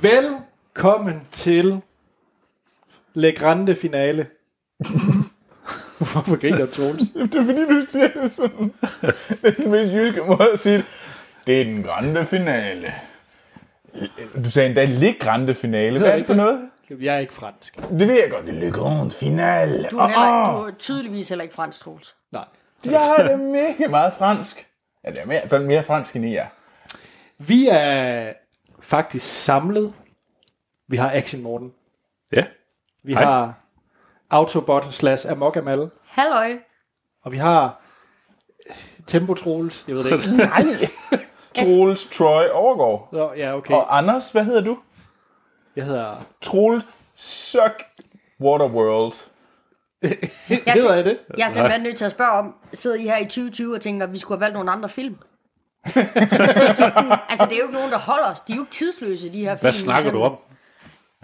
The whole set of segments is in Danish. Velkommen til Le Grande Finale. Hvorfor griner Troels? Det er fordi, du siger det sådan. Det er den mest jyske måde at sige det. Det er den grande finale. Du sagde endda Le Grande Finale. Hvad er det for noget? Jeg er ikke fransk. Det ved jeg godt. Le Grande Finale. Du Du er, heller, oh, du er tydeligvis heller ikke fransk, Troels. Nej. jeg har det mega meget fransk. Ja, det er mere, i hvert fald mere fransk end I er. Vi er faktisk samlet. Vi har Action Morten. Ja. Vi Hej. har Autobot slash Amok Amal. Halløj. Og vi har Tempo Troels. Jeg ved det ikke. Nej. Troels Troy Overgaard. Nå, ja, okay. Og Anders, hvad hedder du? Jeg hedder... Troels Suck Waterworld. Jeg, Hedder er, jeg det? sim- jeg er simpelthen nødt til at spørge om, sidder I her i 2020 og tænker, at vi skulle have valgt nogle andre film? altså, det er jo ikke nogen, der holder os. De er jo ikke tidsløse, de her film. Hvad snakker du om?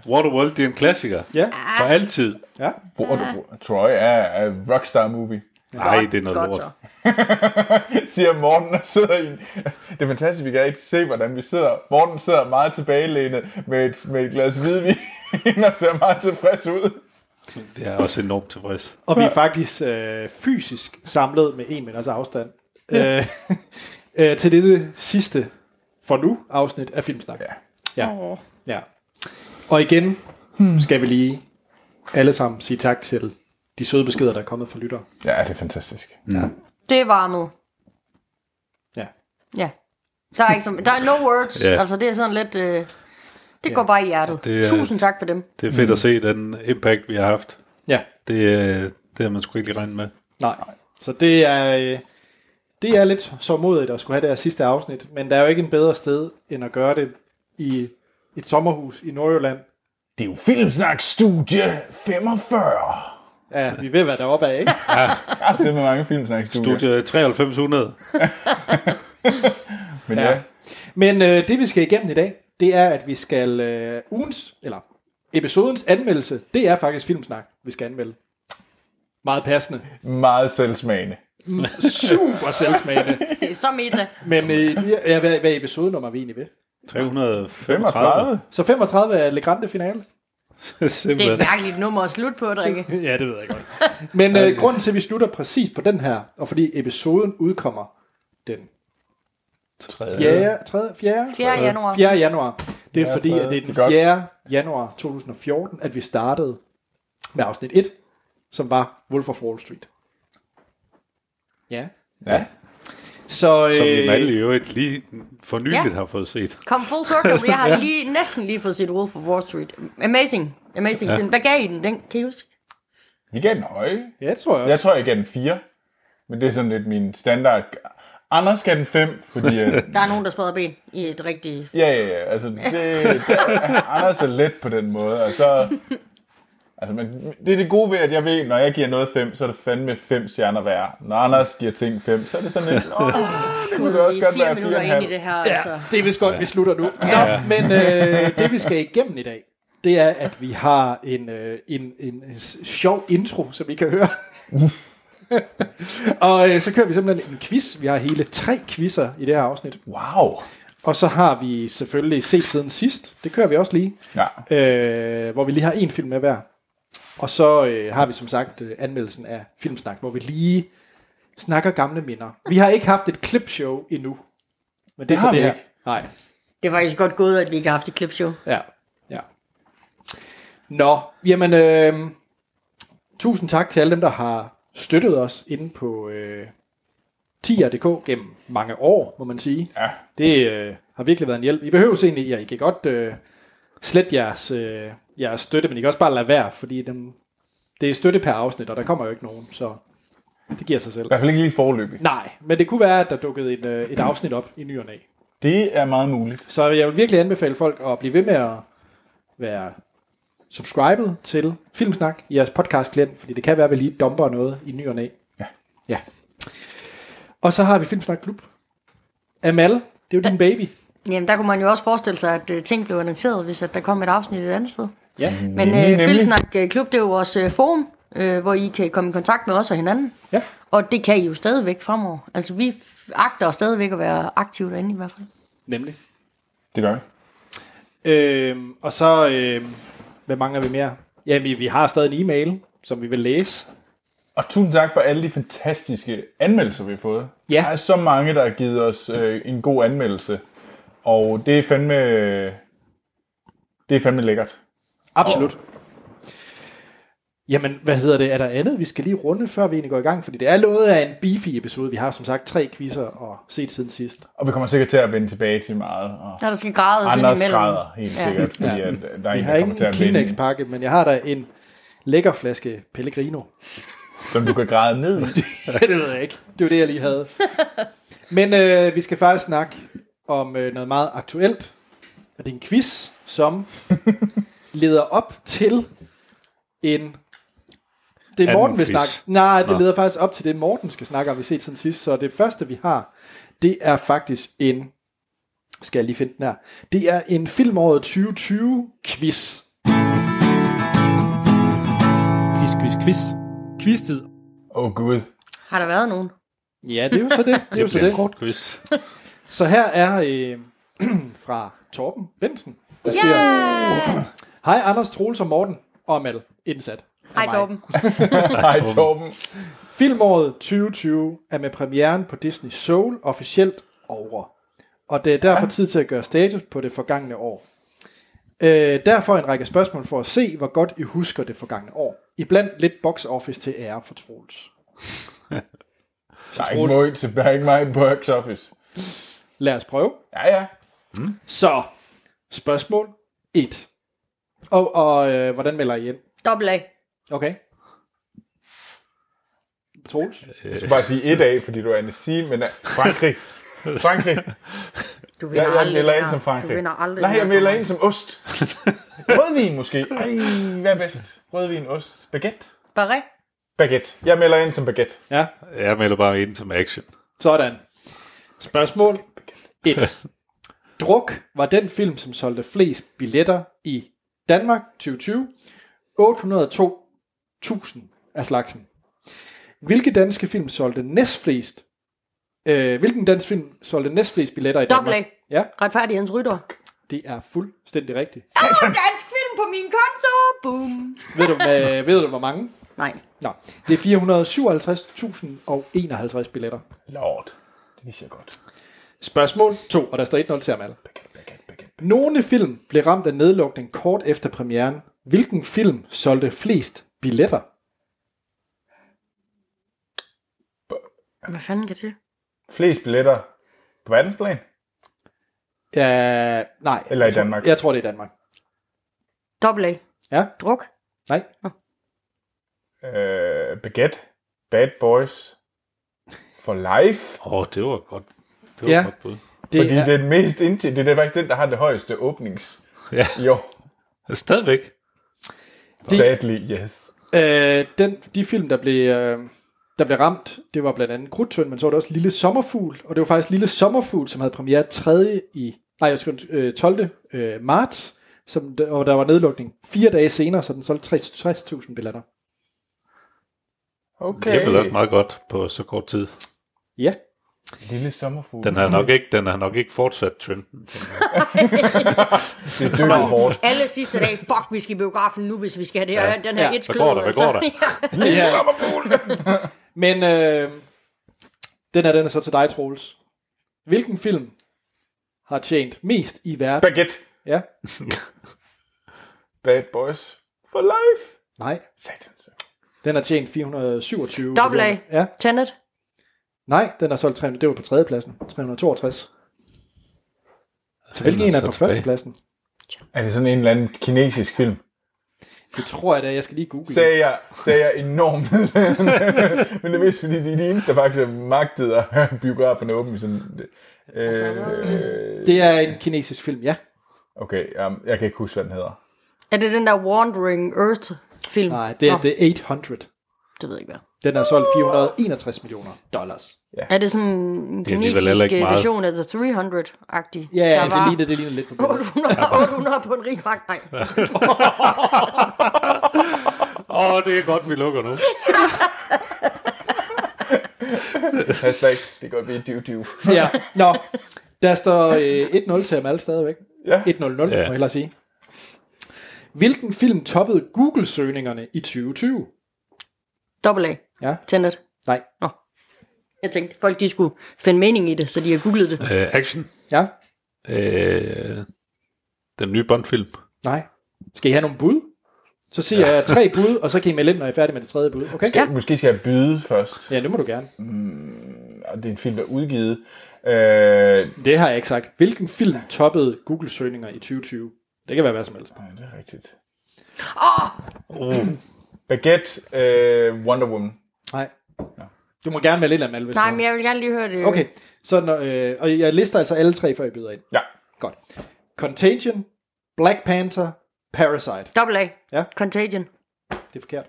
Waterworld, det er en klassiker. Ja. For altid. Ja. Waterworld. Troy er, er rockstar movie. Nej, det er noget Godt lort. så. siger Morten og sidder i en... Det er fantastisk, vi kan ikke se, hvordan vi sidder. Morten sidder meget tilbagelænet med et, med et glas hvidvin og ser meget tilfreds ud. Det er også enormt tilfreds. Og vi er faktisk øh, fysisk samlet med en meters afstand. Ja. Øh, øh, til det sidste, for nu, afsnit af Filmsnak. Ja. Ja. ja. Og igen skal vi lige alle sammen sige tak til de søde beskeder, der er kommet fra lyttere. Ja, det er fantastisk. Det er varmet. Ja. Ja. Der er, ikke som, der er no words. Ja. Altså, det er sådan lidt... Øh, det går bare i hjertet. Det er- Tusind tak for dem. Det er Mm. fedt at se den impact, vi har haft. Ja, Det, øh, det har man sgu ikke lige regnet med. nej. Så det er, øh, det er lidt så modigt at skulle have det her sidste afsnit, men der er jo ikke en bedre sted, end at gøre det i et sommerhus i Nordjylland. Det er jo Filmsnak Studie 45. Ja, vi ved, hvad der oppe af, ikke? Ja, det er med mange Filmsnak Studier. Studie 9300. Men ja. Men øh, det vi skal igennem i dag, det er, at vi skal øh, ugens, eller episodens anmeldelse, det er faktisk filmsnak, vi skal anmelde. Meget passende. meget selvsmagende. Super selvsmagende. Det er så meta. Men øh, de- ja, hvad, hvad episode nummer er vi egentlig ved? 335. 35? Så 35 er Le Grande Finale. Det er Simpelthen. et mærkeligt nummer at slutte på, Rikke. Ja, det ved jeg godt. Men øh, grunden til, at vi slutter præcis på den her, og fordi episoden udkommer den Ja. 4. 3, 4. 4. januar. 4. januar. Det er Ja, fordi, tredje. at det er den Det er 4. godt. januar 2014, at vi startede med afsnit 1, som var Wolf of Wall Street. Ja. ja. Så, øh, Som vi med alle i øvrigt lige for nyligt Ja. har fået set. Kom full circle. Jeg har lige, næsten lige fået set Wolf of Wall Street. Amazing. Amazing ja. film. Hvad gav I den? den? Kan I huske? Jeg gav den høje. ja, det tror jeg også. Jeg tror, jeg gav den 4. Men det er sådan lidt min standard. Anders gav den 5, fordi... øh, Der er nogen, der spreder ben i et rigtigt... Ja, ja, ja. Altså, det, det, Anders er let på den måde, og så... Altså, men det er det gode ved, at jeg ved, når jeg giver noget 5, så er det fandme 5 stjerner værd. Når Anders giver ting 5, så er det sådan lidt... Åh, det kunne det også Vi er godt fire være minutter ind i 4,5. det her, ja. altså. det er vist godt, ja. vi slutter nu. Ja. Nå, men øh, det vi skal igennem i dag, det er, at vi har en, øh, en, en s- sjov intro, som I kan høre. og øh, så kører vi simpelthen en quiz. Vi har hele tre quizzer i det her afsnit. Wow! Og så har vi selvfølgelig set siden sidst. Det kører vi også lige. Ja, øh, hvor vi lige har en film med hver. Og så øh, har vi som sagt øh, anmeldelsen af Filmsnak, hvor vi lige snakker gamle minder. Vi har ikke haft et clipshow endnu. Men det, er så har det vi her. ikke. Nej, Det er faktisk godt gået, at vi ikke har haft et klipshow. ja. ja. Nå, jamen, øh, tusind tak til alle dem, der har støttet os inde på øh, tier.dk gennem mange år, må man sige. ja. Det øh, har virkelig været en hjælp. I behøver egentlig, ja, I kan godt øh, slet jeres, øh, jeres støtte, men I kan også bare lade være, fordi dem, det er støtte per afsnit, og der kommer jo ikke nogen, så det giver sig selv. I hvert fald ikke lige forløbig. Nej, men det kunne være, at der dukkede et, øh, et afsnit op i ny og næ. Det er meget muligt. Så jeg vil virkelig anbefale folk at blive ved med at være subscribet til Filmsnak i jeres podcastklient, fordi det kan være, at vi lige dumper noget i ny og næ. Ja. ja. Og så har vi Filmsnak Klub. Amal, det er jo din baby. Jamen, der kunne man jo også forestille sig, at øh, ting blev annonceret, hvis at der kom et afsnit et andet sted. Ja. Men Nemlig, øh, nemlig. Filmsnak øh, Klub, det er jo vores øh, forum, øh, hvor I kan komme i kontakt med os og hinanden. Ja. Og det kan I jo stadigvæk fremover. Altså, vi f- agter stadigvæk at være aktive derinde i hvert fald. Nemlig. Det gør vi. Øhm, og så, øhm, hvad mangler vi mere? Ja, vi, vi har stadig en e-mail, som vi vil læse. Og tusind tak for alle de fantastiske anmeldelser, vi har fået. Ja. Der er så mange, der har givet os øh, en god anmeldelse. Og det er fandme... Det er fandme lækkert. Absolut. Jamen, hvad hedder det? Er der andet, vi skal lige runde, før vi egentlig går i gang? Fordi det er noget af en beefy episode. Vi har som sagt tre quizzer og set siden sidst. Og vi kommer sikkert til at vende tilbage til meget. Og Når der skal grædes Anders indimellem. græder helt Ja. sikkert, fordi at, øh, der er Jeg en, har der kommer ikke til en at vinde, Kleenex-pakke, men jeg har da en lækker flaske Pellegrino. som du kan græde ned i. det ved jeg ikke. Det var det, jeg lige havde. Men øh, vi skal faktisk snakke om øh, noget meget aktuelt. Og det er en quiz, som leder op til en... Det er Anden Morten vil quiz. snakke. Nej, det Nå. leder faktisk op til det, Morten skal snakke om, vi har set siden sidst. Så det første, vi har, det er faktisk en... Skal jeg lige finde den her. Det er en filmåret 2020-quiz. Quiz, quiz, quiz. Quiz-tid. Åh oh, gud. Har der været nogen? Ja, det er jo så det. Det er jo Det så bliver en det. kort quiz. Så her er øh, fra Torben Bensen. Der Ja! Yeah! Hej Anders, Troels og Morten og Mal indsat. Og Hej mig. Torben. Hej Torben. Filmåret 2020 er med premieren på Disney Soul officielt over. Og det er derfor tid til at gøre status på det forgangne år. Øh, derfor en række spørgsmål for at se, hvor godt I husker det forgangne år. Iblandt lidt box office til ære for Troels. Der er ikke møg til, der er ikke meget på box office. Lad os prøve. Ja, ja. Så, spørgsmål 1. Og, og øh, hvordan melder I ind? Dobbelt A. Okay. Troels? Du skal bare sige et af, fordi du er Annecy, men øh, Frankrig. Frankrig. Du Jeg, vinder jeg aldrig melder det ind her. som Frankrig. Du vinder aldrig Nej, det jeg her, melder Torben. ind som ost. Rødvin måske. Ej, hvad er bedst? Rødvin, ost, baguette? Barret? Baguette. Jeg melder ind som baguette. Ja, Jeg melder bare ind som action. sådan. Spørgsmål 1. Druk var den film, som solgte flest billetter i Danmark 2020. 802.000 af slagsen. Hvilke danske film solgte næstflest? Øh, hvilken dansk film solgte næstflest billetter i Danmark? Dobbelt A. Ja, Retfærdighedens rytter. det er fuldstændig rigtigt. Åh, dansk film på min konto! Boom! ved, du, med, ved du, hvor mange? Nej. Nå, det er 457.051 billetter. Lord. Det viser jeg godt. Spørgsmål 2, og der står 1-0 til Amal. Baguette, baguette, baguette. Nogle film blev ramt af nedlukning kort efter premieren. Hvilken film solgte flest billetter? Hvad fanden kan det? Flest billetter på verdensplan? Ja, nej. Eller i Jeg tror- Danmark. Jeg tror, det er Danmark. Dobbelt A. Ja, Druk? nej. Øh, baguette. Bad Boys. For life. Åh, oh, det var godt. Det var Ja. ja. godt bud. Det Fordi er, det er den mest indtil, det er faktisk den, der har det højeste åbnings. Ja. Jo, Stadigvæk. sadly, yes. øh, den, de film, der blev, øh, der blev ramt, det var blandt andet Krudtøn, men så var det også Lille Sommerfugl, og det var faktisk Lille Sommerfugl, som havde premiere 3. i, nej, jeg skulle, øh, 12. Øh, marts, som, der- og der var nedlukning fire dage senere, så den solgte 60.000 billetter. Okay. Det er Okay. vel også meget godt på så kort tid. Ja, Lille sommerfugl. Den Mm. har nok ikke, den har nok ikke fortsat trenden. tænker jeg. Det er dykket hårdt. Alle sidste dag, fuck, vi skal i biografen nu, hvis vi skal have det her, ja. den her altså. Ja. ja. et Hvad går der? Hvad går der? ja. øh, Men øh, den er den er så til dig, Troels. Hvilken film har tjent mest i verden? Baguette. Ja, Bad Boys. For life. nej. Satans. Den har tjent 427. Double A. millioner. Ja, Tenet? nej, den har solgt 300. Det var på tredjepladsen. 362. Så hvilken en er så på tilbage. førstepladsen? Er det sådan en eller anden kinesisk film? Det tror jeg da, jeg skal lige google. det. Sagde jeg, sagde jeg enormt. Men det er vist, fordi de er de eneste, der faktisk magtede at have biografen åben. i Sådan, øh, Det er en kinesisk film, ja. okay, um, jeg kan ikke huske, hvad den hedder. Er det den der Wandering Earth film? Nej, det er Nå, The 800. det ved jeg ikke hvad. Den har solgt 461 millioner dollars. Er det sådan en er alligevel heller kinesisk ikke meget. version af The Ja, 300-agtig? Der yeah, det, var ligner, det ligner lidt på billedet. 800, 800 på en rigsbank. Nej. Åh, oh, det er godt, vi lukker nu. Hashtag, det går vi dyv dyv. Ja, nå. Der står øh, 1-0 til Amal stadigvæk. Ja. 100, ja. må Ja. jeg hellere sige. Hvilken film toppede Google-søgningerne i 2020? Dobbelt A. Ja. Tenet. Nej. Nå. Jeg tænkte, folk de skulle finde mening i det, så de har googlet det. Øh, action. Ja? Øh, den nye Bond-film. Nej. Skal I have nogle bud? Så siger ja. jeg tre bud, og så kan I melde ind, når jeg er færdig med det tredje bud. Okay? Ja. Måske skal jeg byde først. Ja, det må du gerne. Og det er en film, der er udgivet. Øh, Det har jeg ikke sagt. Hvilken film toppede Google-søgninger i 2020? Det kan være hvad som helst. nej, det er rigtigt. Uh, Baguette, øh, Wonder Woman. Nej. Du må gerne melde ind, Amal, hvis Nej, du- men jeg vil gerne lige høre det. Okay, så når, øh, og jeg lister altså alle tre, før jeg byder ind. Ja. Godt. Contagion, Black Panther, Parasite. Dobbelt A. Ja. Contagion. Det er forkert.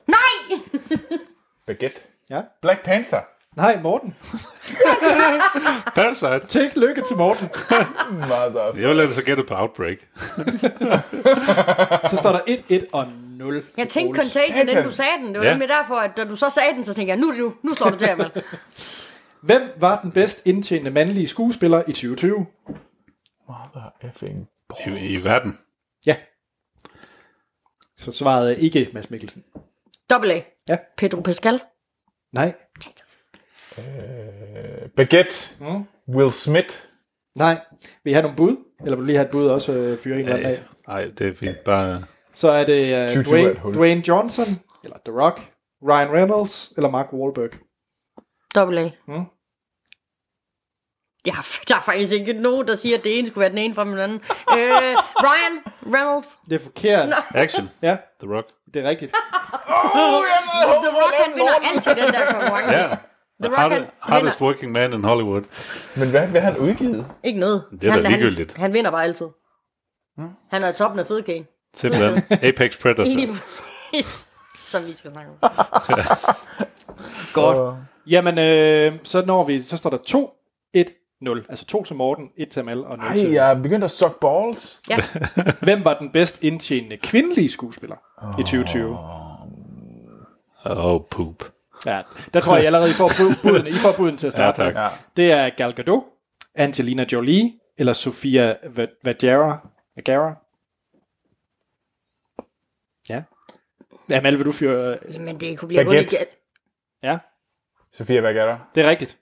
Baguette. Ja. Black Panther. Nej, Morten. Parasite. Tillykke til Morten. Mother. Jeg vil altså gætte på Outbreak. Så står der 1-1 og 0. Jeg tænkte Contagion, inden du sagde den. Det var Ja. nemlig derfor, at da du så sagde den, så tænkte jeg, nu er det nu. Nu slår du til, Amal. Hvem var den bedst indtjente mandlige skuespiller i 2020? Mother effing. I, i verden. Ja. Så svarede ikke Mads Mikkelsen. Dobbelt A. Ja. Pedro Pascal. Nej. Øh, Baguette. Mm. Will Smith. Nej. Vil I have nogle bud? Eller vil du lige have et bud også øh, fyre en eller anden af? Nej, det er fint. Bare... Så er det uh, 2020 er et Dwayne, hul. Dwayne Johnson, eller The Rock, Ryan Reynolds, eller Mark Wahlberg. Dobbelt A. Mm. Ja, der er faktisk ikke nogen, der siger, at det ene skulle være den ene fra den anden. øh, Ryan Reynolds. Det er forkert. Action. Ja, The Rock. det er rigtigt. The Rock, han vinder altid den der konkurrence. Ja. The The Rock, Hard, han hardest working man in Hollywood. Men hvad, hvad har han udgivet? Ikke noget. Det er da ligegyldigt. Han, han vinder bare altid. Mm. Han er toppen af fødekagen. Simpelthen. Apex Predator. Lige præcis. Som vi skal snakke om. Godt. Jamen, øh, så når vi, så står der 2-1-0. Altså 2 til Morten, 1 til Mal og 0 til... Ej, jeg er begyndt at suck balls. Ja, Hvem var den bedst indtjenende kvindelige skuespiller i 2020? Oh, poop. Ja, der tror jeg I allerede, I får bud- budene, I får buden til at starte. Ja, tak. med. Det er Gal Gadot, Angelina Jolie eller Sofia Va- Vergara. Vergara. Ja. Ja, Mal, vil du fyre... øh, men det kunne blive Baguette. hurtigt galt. Ja, Sofia Vergara. det er rigtigt.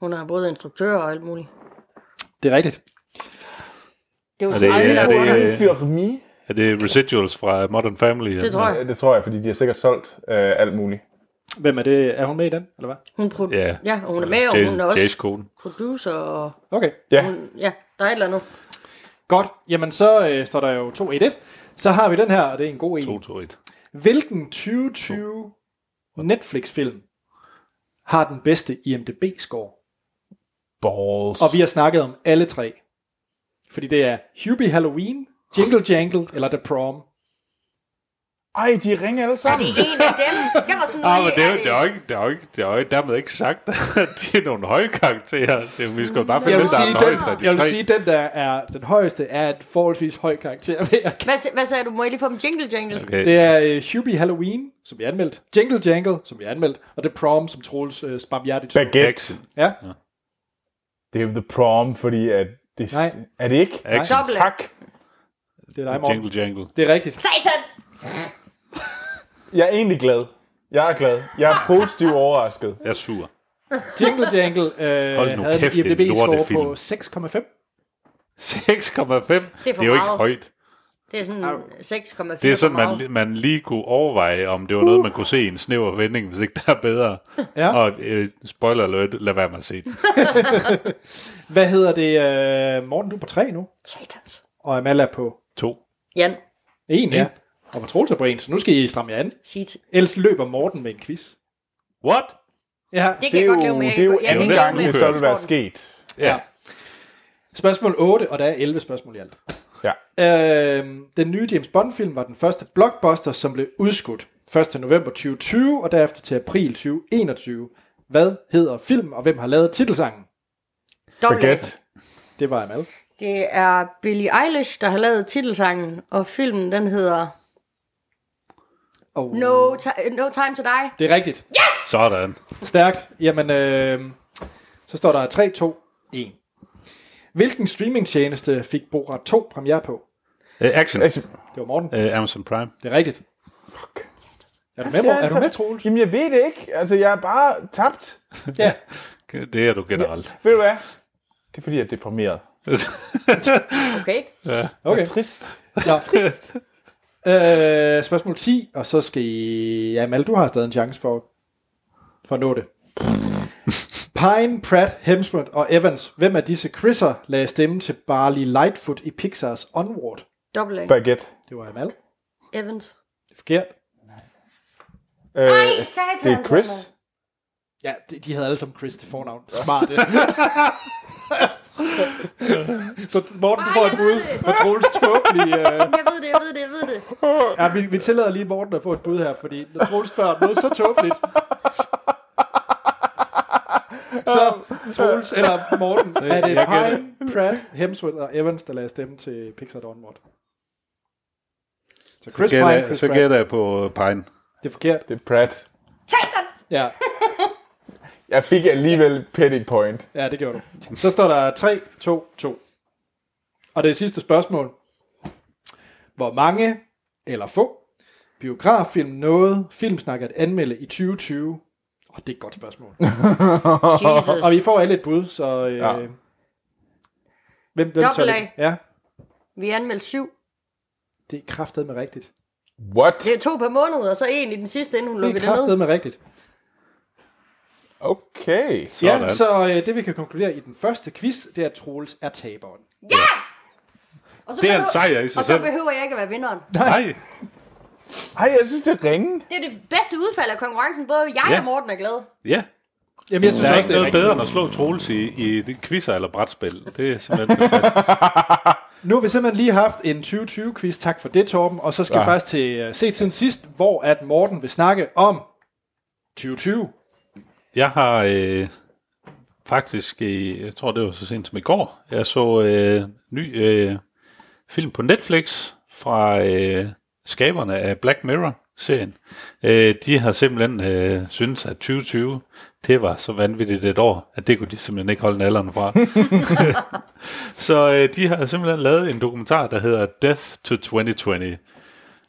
Hun er både instruktør og alt muligt. Det er rigtigt. Det var Er det, sgu aldrig, er, der det, var der. øh, Fyr Remy. er det residuals fra Modern Family? Det tror jeg. Det tror jeg, fordi de har sikkert solgt øh, alt muligt. Hvem er det? Er hun med i den, eller hvad? Hun pro- Ja. ja, og hun er med, og hun er Jace også Coden. producer. Og Okay. Ja. hun, ja, der er et eller andet. Godt. Jamen, så øh, står der jo 2-1-1. Så har vi den her, og det er en god en. 221. Hvilken 2020 Netflix-film har den bedste IMDb-score? Balls. Og vi har snakket om alle tre. Fordi det er Hubie Halloween, Jingle Jangle eller The Prom. Ej, de ringer alle Er sammen. det en af dem? Jeg var sådan Ah, lige, men det er, jo- er det er jo ikke, det er jo ikke, det er jo ikke dermed ikke sagt, at de er nogle høje karakterer. Det er, vi skal jo bare finde Jeg den, vil, der sige, er den den, højeste af de jeg vil tre. sige, den der er den højeste er et forholdsvis høj karakter. vil jeg kalde. Hvad, hvad sagde du? Må jeg lige få dem jingle jangle? Okay. Det er uh, Hubie Halloween, som vi anmeldt, Jingle Jangle, som vi anmeldt, og The Prom, som Troels uh, spamhjertigt så. Baguette. Action. Ja, Det er jo The Prom, fordi at... Det, Nej. Er det ikke? Action. Dobbelt A. Tak. det er dig, Morten. Jingle Jangle. Det er rigtigt. Satan! Jeg er egentlig glad. Jeg er glad. Jeg er positivt overrasket. Jeg er sur. Jingle Jangle øh, Hold nu havde kæft, en det er en IMDb-score lortefilm. på 6,5. 6,5. Det er jo ikke meget. højt. Det er sådan 6,4 Det er sådan, for meget. man, man lige kunne overveje, om det var noget, man kunne se i en snæver vending, hvis ikke der er bedre. Ja. Og øh, spoiler alert, lad være med at se den. Hvad hedder det? Øh, Morten, du er på 3 nu, Satans. og Amal er på To. Jan, 1, ja. Og på Troels er på 1, så nu skal I stramme jer an. sig til. Ellers løber Morten med en quiz. What? Ja, Det kan Det er jeg godt jo, leve med. Jeg det er kan- jo jeg kan anden ikke leve gang, leve med, det at så Troels ville være får den. sket. Ja. Spørgsmål 8, og der er 11 spørgsmål i alt. Ja. Øhm, den nye James Bond-film var den første blockbuster, som blev udskudt 1. november 2020 og derefter til april 2021. Hvad hedder filmen, og hvem har lavet titelsangen? Dobbelt A. Baguette. Det var Amal. Det er Billie Eilish, der har lavet titelsangen, og filmen den hedder Og No, Ti- no Time to Die. Det er rigtigt. øhm, Ja! Sådan. Stærkt. Jamen, øh, så står der 3, 2, 1. Hvilken streamingtjeneste fik Borat 2 premiere på? Øh, action. Action. Det var Morten. Øh, Amazon Prime. Det er rigtigt. Er du med, Morten? Er du med, Troels? altså, Jamen, jeg ved det ikke. Altså, jeg er bare tabt. Ja. Det er du generelt. Ved du hvad? Det er fordi, jeg er deprimeret. Okay. Okay. Trist. Nå. øh, spørgsmål 10, og så skal I... Ja, Mal, du har stadig en chance for, for at nå det. Pine, Pratt, Hemsworth og Evans. Hvem af disse Chris'er lagde stemme til Barley Lightfoot i Pixars Onward? Dobbelt A. Baguette. Det var Amal. Det Evans. er forkert. Øh, Ej, satan. altså, det er Chris. Ja, de, de havde alle som Chris til fornavn. Smart. så Morten, du Ej, får jeg et ved bud det. for Troels tåbelige... Øh... Jeg ved det, jeg ved det, jeg ved det. Ja, vi, vi tillader lige Morten at få et bud her, fordi når Troels spørger om noget så tåbeligt, så Troels eller Morten, er det Pine, Pratt, Hemsworth og Evans, der lader stemme til Pixar Onward. Så Chris Pine, Gætter, Chris så Pratt. gætter jeg på øh, Pine. Det er forkert. Det er Pratt. Satan! Ja, Jeg fik alligevel petty point. ja, det gjorde du. Så står der 3, 2, 2. Og det sidste spørgsmål. Hvor mange eller få biograffilm nåede Filmsnak at anmelde i 2020? Åh, oh, det er et godt spørgsmål. Jesus. Og vi får alle et bud, så... Øh, ja. Ja. Hvem, hvem tør Dobbelt det? Ja, Vi anmeldte syv. det er kraftet med rigtigt. What? Det er to per måned, og så en i den sidste, inden hun Det lukker er det ned. kraftet med rigtigt. Okay. Sådan. Ja, så øh, det vi kan konkludere i den første quiz, det er, at Troels er taberen. Og så Det er en behøver- sejr i sig Og så selv. behøver jeg ikke at være vinderen. Nej. Ej, jeg synes, det er ringe. Det er det bedste udfald af konkurrencen. Både jeg Ja. og Morten er glade. Ja. Jamen, jeg synes Der er også, ikke det er noget rigtigt. bedre end at slå Troels i, i det quizzer eller brætspil. Det er simpelthen fantastisk. Nu har vi simpelthen lige haft en 2020-quiz. Tak for det, Torben. Og så skal ja. vi faktisk til øh, set siden sidst, hvor at Morten vil snakke om 2020. Jeg har øh, faktisk, øh, jeg tror det var så sent som i går, jeg så øh, ny øh, film på Netflix fra øh, skaberne af Black Mirror-serien. Øh, de har simpelthen øh, synes at 2020, det var så vanvittigt et år, at det kunne de simpelthen ikke holde nallerne fra. så øh, de har simpelthen lavet en dokumentar, der hedder Death to 2020.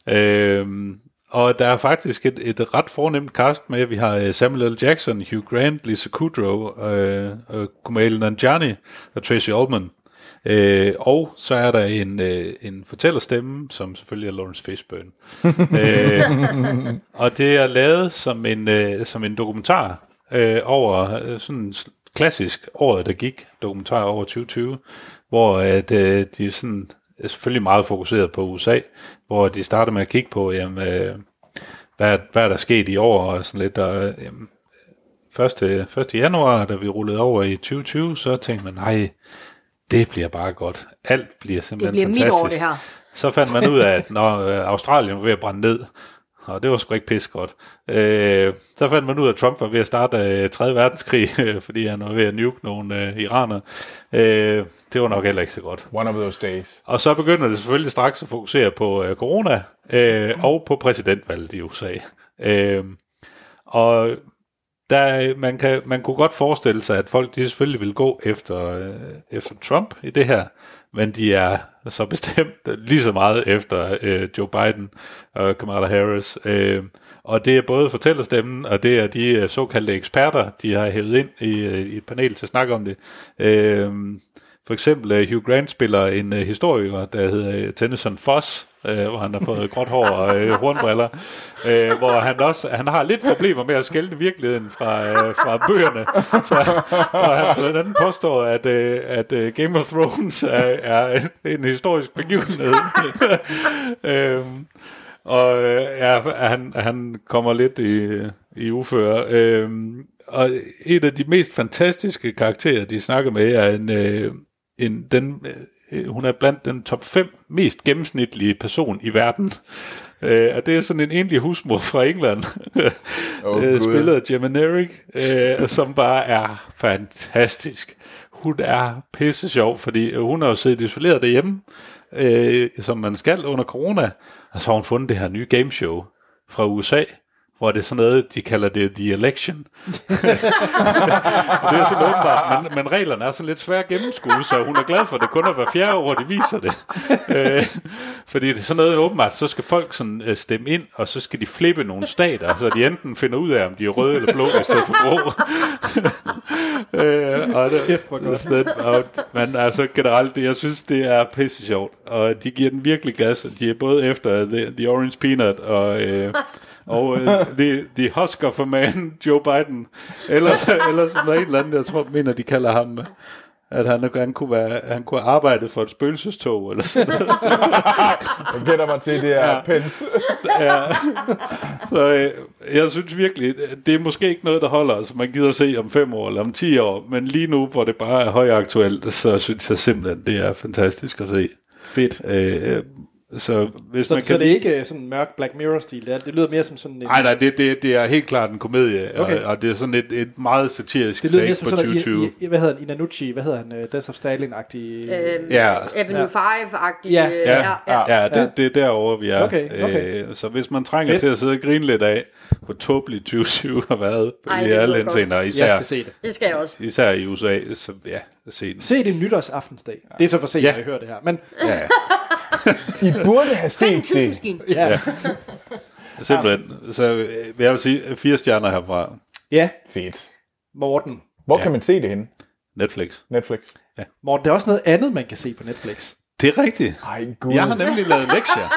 Øhm, og der er faktisk et, et ret fornemt cast med. Vi har øh, Samuel L. Jackson, Hugh Grant, Lisa Kudrow, øh, øh, Kumail Nanjiani og Tracy Ullman. Øh, og så er der en, øh, en fortællerstemme, som selvfølgelig er Lawrence Fishburne. øh, og det er lavet som en, øh, som en dokumentar øh, over øh, sådan en sl- klassisk året, der gik, dokumentar over 2020, hvor at, øh, de er sådan er selvfølgelig meget fokuseret på USA, hvor de starter med at kigge på, jamen, øh, hvad, hvad er der sket i år, og sådan lidt, og, øh, jamen, 1. 1. januar, da vi rullede over i 2020, så tænkte man, nej, det bliver bare godt. Alt bliver Det simpelthen bliver mit fantastisk. år, det her. Så fandt man ud af, at når øh, Australien var ved at brænde ned, og det var sgu ikke pisse godt. Øh, så fandt man ud af, at Trump var ved at starte øh, 3. verdenskrig, øh, fordi han var ved at nuke nogle øh, iranere. Øh, det var nok heller ikke så godt. One of those days. Og så begynder det selvfølgelig straks at fokusere på øh, corona øh, og på præsidentvalget i USA. Øh, og der, man, kan, man kunne godt forestille sig, at folk de selvfølgelig vil gå efter, øh, efter Trump i det her, men de er så bestemt lige så meget efter øh, Joe Biden og Kamala Harris. Øh, og det er både fortællerstemmen, og det er de øh, såkaldte eksperter, de har hævet ind i, øh, i et panel til at snakke om det. Øh, for eksempel øh, Hugh Grant spiller en øh, historiker, der hedder øh, Tennyson Foss, øh, hvor han har fået gråt hår og øh, hornbriller, øh, hvor han også han har lidt problemer med at skælde virkeligheden fra, øh, fra bøgerne. Så, og han blandt andet påstår, at, øh, at øh, Game of Thrones er, er en historisk begivenhed. øhm, og øh, ja, han, han kommer lidt i, i uføre. Øhm, og et af de mest fantastiske karakterer, de snakker med, er en, øh, en den, øh, hun er blandt den top 5 mest gennemsnitlige person i verden. Øh, og det er sådan en enlig husmor fra England, Åh, oh, øh, Gud. spillet af Jim Eric, øh, som bare er fantastisk. Hun er pisse sjov, fordi øh, hun har jo siddet isoleret derhjemme, øh, som man skal under corona, og så har hun fundet det her nye gameshow fra USA, hvor det er sådan noget, de kalder det The Election. det er sådan åbenbart, men, men reglerne er sådan lidt svære at gennemskue, så hun er glad for, at det kun er hver fjerde år, de viser det. Øh, fordi det er sådan noget åbenbart, så skal folk sådan, øh, stemme ind, og så skal de flippe nogle stater, så de enten finder ud af, om de er røde eller blå, i stedet for grå. øh, og det, Kæft, hvor det er sådan, lidt- og, men altså generelt, det, jeg synes, det er pisse sjovt, og de giver den virkelig gas, og de er både efter The, the Orange Peanut og... Øh, og øh, the, the Husker for man, Joe Biden, ellers, ellers er der en eller anden, jeg tror, mener, de kalder ham, at han, han, kunne, være, han kunne arbejde for et spøgelsestog, eller sådan noget. Jeg gætter mig til, det er ja. pens. Ja. Så øh, jeg synes virkelig, det er måske ikke noget, der holder, som man gider se om fem år eller om ti år, men lige nu, hvor det bare er højaktuelt, så synes jeg simpelthen, det er fantastisk at se. Fedt. Øh, øh, så hvis Så, man så kan det er ikke øh, sådan mørk Black Mirror-stil. Det, er- det lyder mere som sådan en... Nej, nej, det, det, det er helt klart en komedie, Okay. okay. og, og det er sådan et, et meget satirisk det lyder mere take som på sådan noget, 2020. I, I, hvad hedder han, Inanucci, hvad hedder han, uh, Death of Stalin-agtig... Øhm, Ja. Ja. Avenue 5-agtig. Ja. øh, Ja, ja, ja. det, det er derovre, vi er. Okay, okay. Øh, så hvis man trænger Fedt. Fedt. til at sidde og grine lidt af, hvor tåbeligt 2020 har været Ej, Ej, i det lyder alle godt. indseender, Jeg især, skal se det. Det skal jeg også. især i USA, så ja, se den. Se det nytårsaftensdag. Det er så for sent, Ja. ja. jeg hører det her. Men Ja, I burde have Find en set det. tidsmaskine. ja, ja. simpelthen. Så øh, jeg vil sige, fire stjerner herfra. ja Fedt. Morten. Hvor Ja. kan man se det henne? Netflix. Netflix? Morten, der er også noget andet, man kan se på Netflix. Det er rigtigt. Ej, gud. Jeg har nemlig lavet lektier.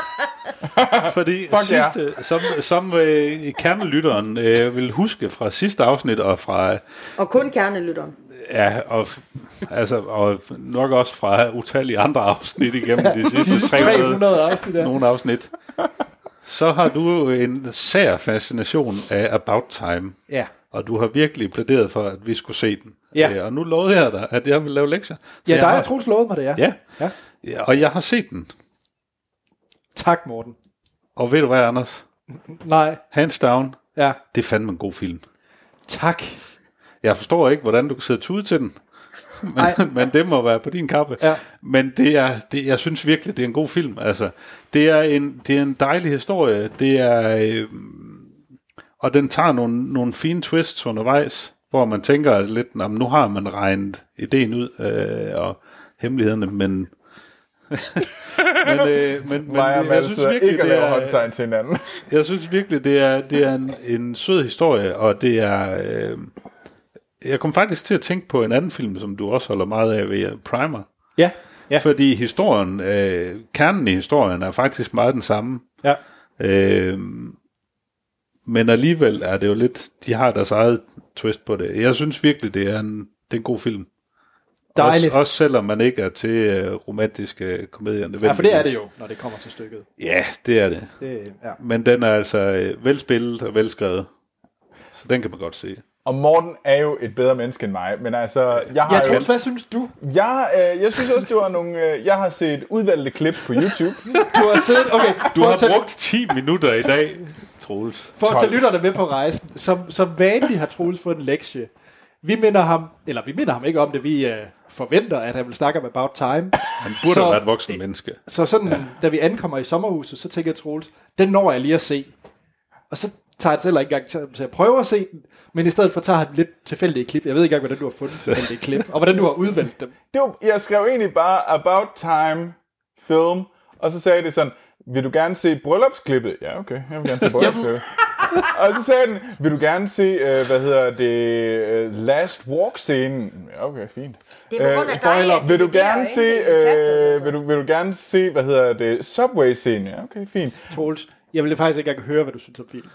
Fordi Fuck ja. sidste, yeah. som, som øh, kernelytteren øh, vil huske fra sidste afsnit og fra Og kun kernelytteren. Ja, og, f- altså, og f- nok også fra utallige andre afsnit igennem de sidste 300, 300 afsnit der. nogle afsnit. Så har du en sær fascination af About Time, Ja. og du har virkelig plæderet for, at vi skulle se den. Ja. Øh, Og nu lovede jeg dig, at jeg ville lave lektier. Så Ja, jeg dig har, og Troels lovede mig det, ja. ja. Ja. ja. ja. Og jeg har set den. Tak, Morten. Og ved du hvad, Anders? Nej, Hands down, ja. det er fandme en god film. Tak. Jeg forstår ikke, hvordan du kan sidde og tude til den. Ej. Men, men det må være på din kappe. Ja. Men det er, det, jeg synes virkelig, det er en god film. Altså, det, er en, det er en dejlig historie. Det er, øh, og den tager nogle, nogle fine twists undervejs, hvor man tænker lidt, "Nå, men nu har man regnet ideen ud øh, og hemmelighederne, men... men, øh, men, men Mig og det, jeg synes Malte virkelig, ikke at det lave er, håndtegn til hinanden. jeg synes virkelig, det er, det er en, en sød historie, og det er... Øh, jeg kom faktisk til at tænke på en anden film, som du også holder meget af, ved Primer. Ja, ja, Ja. Fordi historien, øh, kernen i historien er faktisk meget den samme. ja. Øh, men alligevel er det jo lidt... De har deres eget twist på det. Jeg synes virkelig, det er en, det er en god film. Dejligt. Også, også selvom man ikke er til øh, romantiske komedier. Ja, for det er det jo, når det kommer til stykket. Ja, det er det. Det, ja. Men den er altså øh, velspillet og velskrevet. Så den kan man godt se. Og Morten er jo et bedre menneske end mig, men altså, jeg har Ja, jo... Troels, hvad synes du? Jeg, øh, jeg synes også, det var nogle... Øh, jeg har set udvalgte klip på YouTube. Du har siddet, okay, Du for, har at tage, brugt 10 minutter i dag, Troels. for at tage lytterne med på rejsen. Som, som vanligt har Troels fået en lektie. Vi minder ham, eller vi minder ham ikke om det, vi øh, forventer, at han vil snakke om About Time. Han burde Så- Altså, så, være et voksen menneske. Så sådan, ja. da vi ankommer i sommerhuset, så tænker jeg, Troels, den når jeg lige at se. Og så tager jeg selv ikke engang til til at prøve at se den, men i stedet for tager han lidt tilfældige klip. Jeg ved ikke engang, hvordan du har fundet tilfældige klip, og hvordan du har udvalgt dem. Det var, jeg skrev egentlig bare About Time Film, og så sagde det sådan, vil du gerne se bryllupsklippet? Ja, okay, jeg vil gerne se bryllupsklippet. og så sagde den, vil du gerne se, øh, hvad hedder det, uh, Last Walk-scenen? Ja, okay, fint. Det er på grund af dig, Øh, Øh, at spoiler, vil det altså. du bliver gerne ikke se, en tablet, øh, vil, du, vil du gerne se, hvad hedder det, Subway-scenen? Ja, okay, fint. Troels, jeg ville faktisk ikke engang høre, hvad du synes om filmen.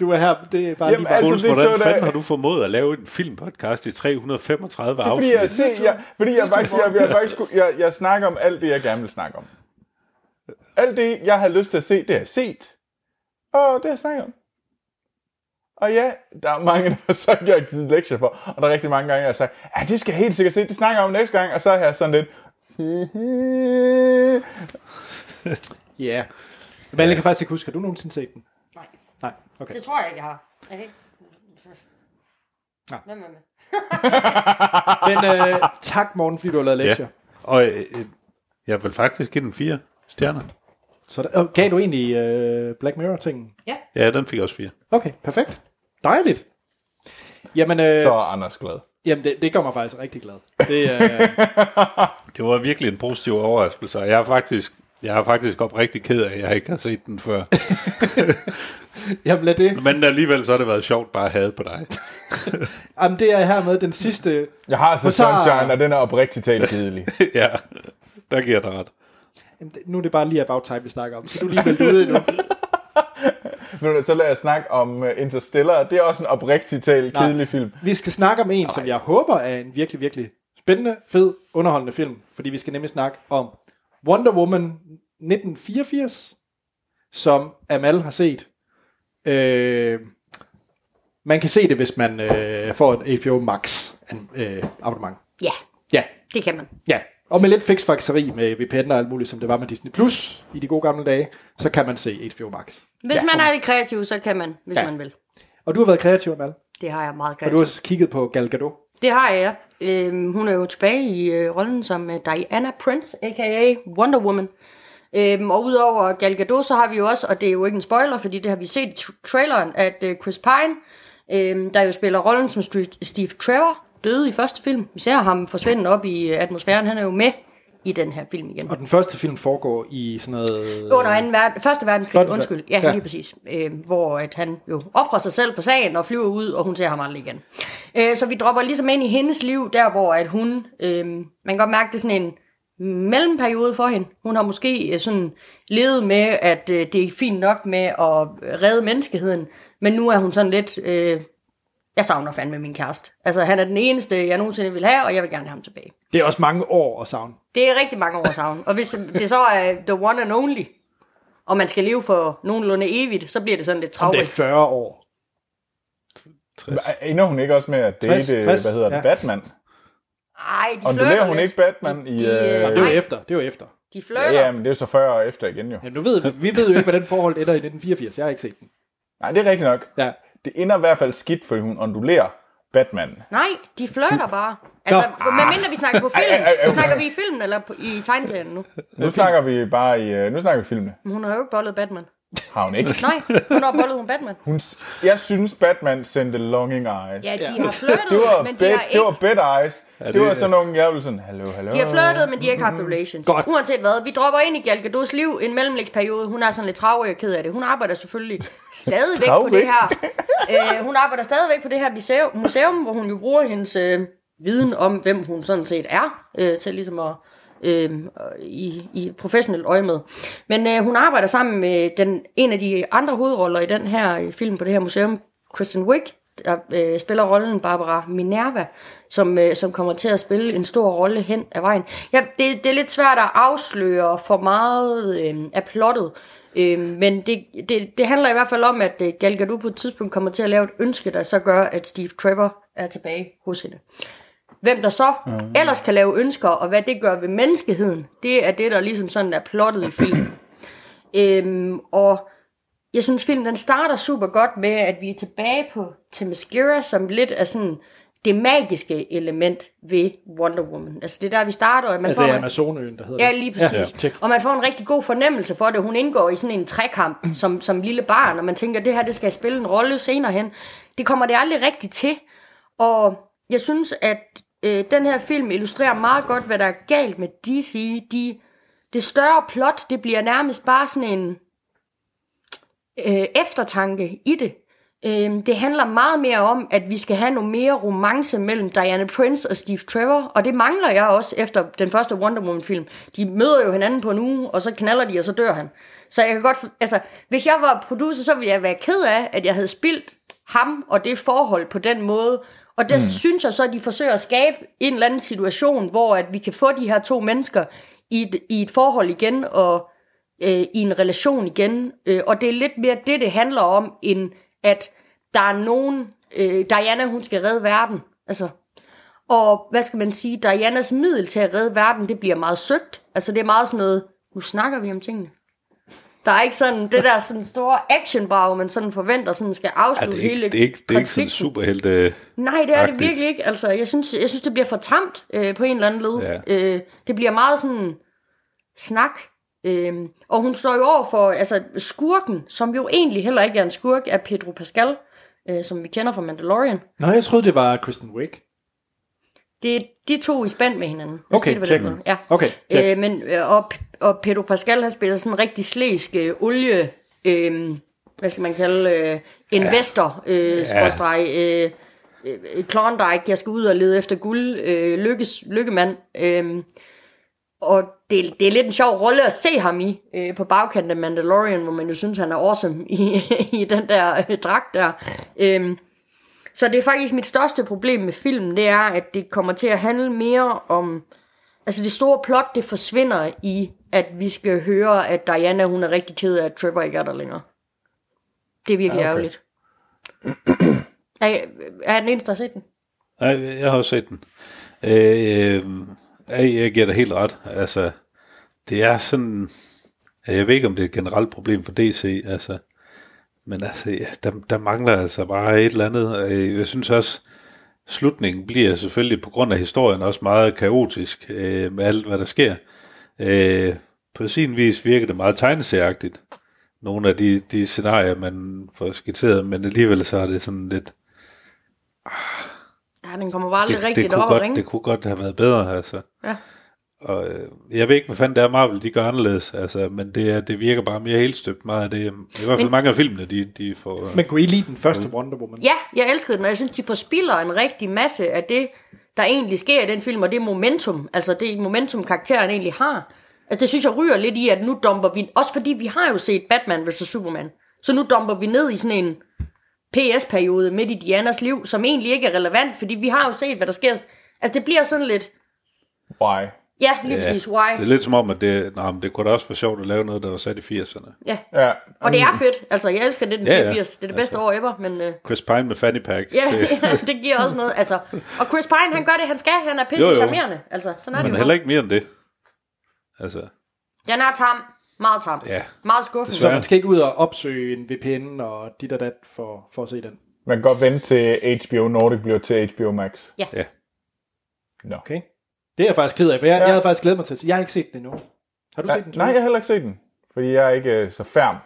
Du er her, det er bare Jamen, lige altså, bare... Troels, det er hvordan sådan, fanden at- har du formået at lave en filmpodcast i 335 Fordi afsnit? jeg, se, jeg, fordi jeg faktisk, jeg, jeg, faktisk, jeg, jeg snakker om alt det, jeg gerne vil snakke om. Alt det, jeg har lyst til at se, det har jeg set. Og det har jeg snakket om. Og ja, der er mange, der har sagt, jeg har givet lektier for. Og der er rigtig mange gange, jeg har sagt, ja, det skal jeg helt sikkert se. Det snakker jeg om næste gang. Og så har jeg sådan lidt... Ja. Men jeg kan faktisk ikke huske, har du nogensinde set den? Nej, Nej, okay. det tror jeg ikke, jeg har. Okay. Nå. Hvem er med? Men øh, tak, Morten, fordi du har lavet ja. lektier. Og øh, øh, jeg vil faktisk give den fire stjerner. Så der, og gav du egentlig øh, Black Mirror-tingen? Ja, den fik også fire. Okay, perfekt. Dejligt. Jamen, øh, Så er Anders glad. jamen det, det gør mig faktisk rigtig glad. Det, øh, Det var virkelig en positiv overraskelse, og jeg er faktisk, jeg er faktisk oprigtig ked af, at jeg ikke har set den før. jamen, lad det. Men alligevel så har det været sjovt bare at have på dig. Jamen, det er hermed den sidste. Jeg har altså så- Sunshine, og den er oprigtigt talt kedelig. ja, der giver jeg dig ret. Jamen, det- nu er det bare lige about time, vi snakker om. Så du er lige meldt ude endnu. Ved du hvad, Så lad os snakke om øh, Interstellar. Det er også en oprigtigt talt Nej. kedelig film. Vi skal snakke om en, som jeg håber er en virkelig, virkelig spændende, fed, underholdende film. Fordi vi skal nemlig snakke om Wonder Woman 1984, som Amal har set. Øh, man kan se det, hvis man øh, får et HBO Max an- øh, abonnement. Ja, Ja, det kan man. ja. Og med lidt fiksfakseri med VPN og alt muligt, som det var med Disney Plus i de gode gamle dage, så kan man se HBO Max. Hvis ja. man er lidt kreativ, så kan man, hvis Ja. ja. man vil. Og du har været kreativ, Amal. Det har jeg meget Og du kreativ. har også kigget på Gal Gadot. Det har jeg. Øhm, hun er jo tilbage i øh, rollen som øh, Diana Prince, a.k.a. Wonder Woman. Øhm, og udover Gal Gadot, så har vi jo også, og det er jo ikke en spoiler, fordi det har vi set i tra- traileren, at øh, Chris Pine, øhm, der jo spiller rollen som St- Steve Trevor, døde i første film. Vi ser ham forsvinde op i øh, atmosfæren. Han er jo med i den her film igen. Og den første film foregår i sådan noget... Under anden verden, første verdenskrig, Første ver- undskyld. Ja, ja. ja, lige præcis. Øh, hvor at han jo offrer sig selv for sagen og flyver ud, og hun ser ham aldrig igen. Øh, så vi dropper ligesom ind i hendes liv, der hvor at hun, øh, man kan godt mærke, det er sådan en mellemperiode for hende. Hun har måske øh, sådan levet med, at øh, det er fint nok med at redde menneskeheden, men nu er hun sådan lidt, øh, jeg savner fandme min kæreste. Altså han er den eneste, jeg nogensinde vil have, og jeg vil gerne have ham tilbage. Det er også mange år at savne. Det er rigtig mange år savn. Og hvis det så er the one and only, og man skal leve for nogenlunde evigt, så bliver det sådan lidt Om det er travlt. 40 år. 60. Ender hun ikke også med at date, 60, 60, hvad hedder det, ja. Batman? Ej, de Og flirter lever hun lidt. ikke Batman i... de, øh, Nej, øh, det var Nej. efter. Det var efter. De Ja, flirter. ja, men det er jo så 40 år efter igen jo. Jamen, nu ved, vi- vi ved jo ikke, hvordan forholdet ender i 1984. Jeg har ikke set den. Nej, det er rigtigt nok. Ja. Det ender i hvert fald skidt, fordi hun ondulerer Batman. Nej, de flirter bare. Altså, med mindre vi snakker på film. Ej, ej, ej, ej. snakker vi i film eller på, i tegneserien nu? Nu snakker vi bare i... øh, Nu snakker vi filmene. Men hun har jo ikke bollet Batman. Har hun ikke? Nej, hun har bollet hun Batman. Hun, s- jeg synes, Batman sendte longing eyes. Ja, de Ja. har flirtet, Det var, men de bed, har det var ikke... bed eyes. det, det- var sådan nogle, jeg ville sådan, hallo, hallo. De har flirtet, men de har ikke haft relations. Godt. Uanset hvad, vi dropper ind i Gal Gadot's liv en mellemlægsperiode. Hun er sådan lidt travlig og ked af det. Hun arbejder selvfølgelig stadigvæk på Travlig? det her. Øh, hun arbejder stadigvæk på det her museum, museum hvor hun jo bruger hendes øh, viden om, hvem hun sådan set er, øh, til ligesom at øh, i, i professionelt øje med. Men øh, hun arbejder sammen med den, en af de andre hovedroller i den her øh, film på det her museum, Kristen Wiig, der øh, spiller rollen Barbara Minerva, som, øh, som kommer til at spille en stor rolle hen ad vejen. Ja, det, det er lidt svært at afsløre for meget øh, af plottet, øh, men det, det, det handler i hvert fald om, at øh, Gal Gadot på et tidspunkt kommer til at lave et ønske, der så gør, at Steve Trevor er tilbage hos hende. Hvem der så ellers kan lave ønsker, og hvad det gør ved menneskeheden, det er det, der ligesom sådan er plottet i filmen. øhm, og jeg synes, filmen den starter super godt med, at vi er tilbage på Themyscira, som lidt er sådan det magiske element ved Wonder Woman. Altså det er der, vi starter, og man Altså, får... det er Amazonøen, der hedder Ja, det. lige præcis. Ja, Ja, tjek. og man får en rigtig god fornemmelse for det. Hun indgår i sådan en trækamp som, som lille barn, og man tænker, det her det skal spille en rolle senere hen. Det kommer det aldrig rigtigt til. Og jeg synes, at øh, den her film illustrerer meget godt, hvad der er galt med DC. De, det større plot, det bliver nærmest bare sådan en øh, eftertanke i det. Øhm, det handler meget mere om, at vi skal have noget mere romance mellem Diana Prince og Steve Trevor, og det mangler jeg også efter den første Wonder Woman-film. De møder jo hinanden på en uge, og så knaller de, og så dør han. Så jeg kan godt... f- Altså, hvis jeg var producer, så ville jeg være ked af, at jeg havde spildt ham og det forhold på den måde. Og der mm. synes jeg så, at de forsøger at skabe en eller anden situation, hvor at vi kan få de her to mennesker i et, i et forhold igen, og øh, i en relation igen. Øh, og det er lidt mere det, det handler om, end at der er nogen... Øh, Diana, hun skal redde verden. Altså, og hvad skal man sige? Dianas middel til at redde verden, det bliver meget søgt. Altså, det er meget sådan noget, nu snakker vi om tingene. Der er ikke sådan det der sådan store actionbrag, man sådan forventer, sådan skal Ja, afslutte det er ikke, hele det er ikke, det er ikke sådan konflikten. superhelte... Øh, Nej, det er det agtigt. virkelig ikke. Altså, jeg synes, jeg synes det bliver for tamt øh, på en eller anden led. Ja. Øh, det bliver meget sådan snak Øhm, og hun står jo over for altså, skurken, som jo egentlig heller ikke er en skurk, er Pedro Pascal, øh, som vi kender fra Mandalorian. Nå, jeg troede, det var Kristen Wiig. Det er de to i spænd med hinanden. Lad os Okay, sige det på den check. måde. Ja. Okay, check. Øh, men, øh, og, og Pedro Pascal har spillet sådan en rigtig slæsk øh, olie... Øh, hvad skal man kalde øh, investor øh, skråstreg, øh, øh, øh, Klondike, jeg skal ud og lede efter guld, øh, lykkes, lykkemand. Øh, og det, det er lidt en sjov rolle at se ham i øh, på bagkanten af Mandalorian, hvor man jo synes, han er awesome i, i den der øh, dragt der. Øhm, så det er faktisk mit største problem med filmen, det er, at det kommer til at handle mere om... Altså det store plot, det forsvinder i, at vi skal høre, at Diana hun er rigtig ked af, at Trevor ikke er der længere. Det er virkelig ja, okay. ærgerligt. er, jeg- er jeg den eneste, der har set den? Nej, jeg har også set den. Øh, øh, jeg giver dig helt ret. Altså, det er sådan... øh, Jeg ved ikke, om det er et generelt problem for DC, altså. Men altså, ja, der, der mangler altså bare et eller andet. Øh, Jeg synes også, slutningen bliver selvfølgelig på grund af historien også meget kaotisk øh, med alt, hvad der sker. Øh, på sin vis virker det meget tegneserieagtigt. Nogle af de, de scenarier, man får skitseret, men alligevel så er det sådan lidt Ja, den kommer bare aldrig det, rigtigt det, kunne op at godt, ringe. det kunne godt have været bedre, altså. Ja. Og, øh, jeg ved ikke, hvad fanden det er, Marvel de gør anderledes, altså, men det, er, det virker bare mere helt støbt meget af det. I hvert fald Men- mange af filmene, de, de får... Øh, Men kunne I lide den første Wonder Woman? Ja, jeg elskede den, og jeg synes, de forspiller en rigtig masse af det, der egentlig sker i den film, og det momentum, altså det momentum, karakteren egentlig har. Altså det synes jeg ryger lidt i, at nu dumper vi, også fordi vi har jo set Batman vs. Superman, så nu dumper vi ned i sådan en PS-periode midt i Dianas liv, som egentlig ikke er relevant, fordi vi har jo set, hvad der sker. Altså det bliver sådan lidt, Why? ja, lige Ja, præcis, why? Det er lidt som om, at det, nej, men det kunne da også være sjovt at lave noget, der var sat i 80'erne. Ja. Ja. Og det er fedt, altså jeg elsker 1984, ja, ja. det er det bedste år ever, men... Øh, Chris Pine med Fanny Pack. Ja, Altså. det, ja, det giver også noget. Altså, og Chris Pine, han gør det, han skal. Han er pisse Jo, jo. charmerende. Altså, sådan er det men jo. heller ikke mere end det. Altså, Den er tam. Meget tam. Ja. Meget skuffende. Så Ja. man skal ikke ud og opsøge en VPN og dit og dat for, for at se den. Man kan godt vente til HBO Nordic bliver til HBO Max. ja. Nå. Okay? Det er jeg faktisk ked af, for jeg, ja. Ja. jeg havde faktisk glædet mig til at se. Jeg har ikke set den endnu. Har du Ja, set den? nej, jeg har Troels? heller ikke set den, fordi jeg er ikke øh, så færm.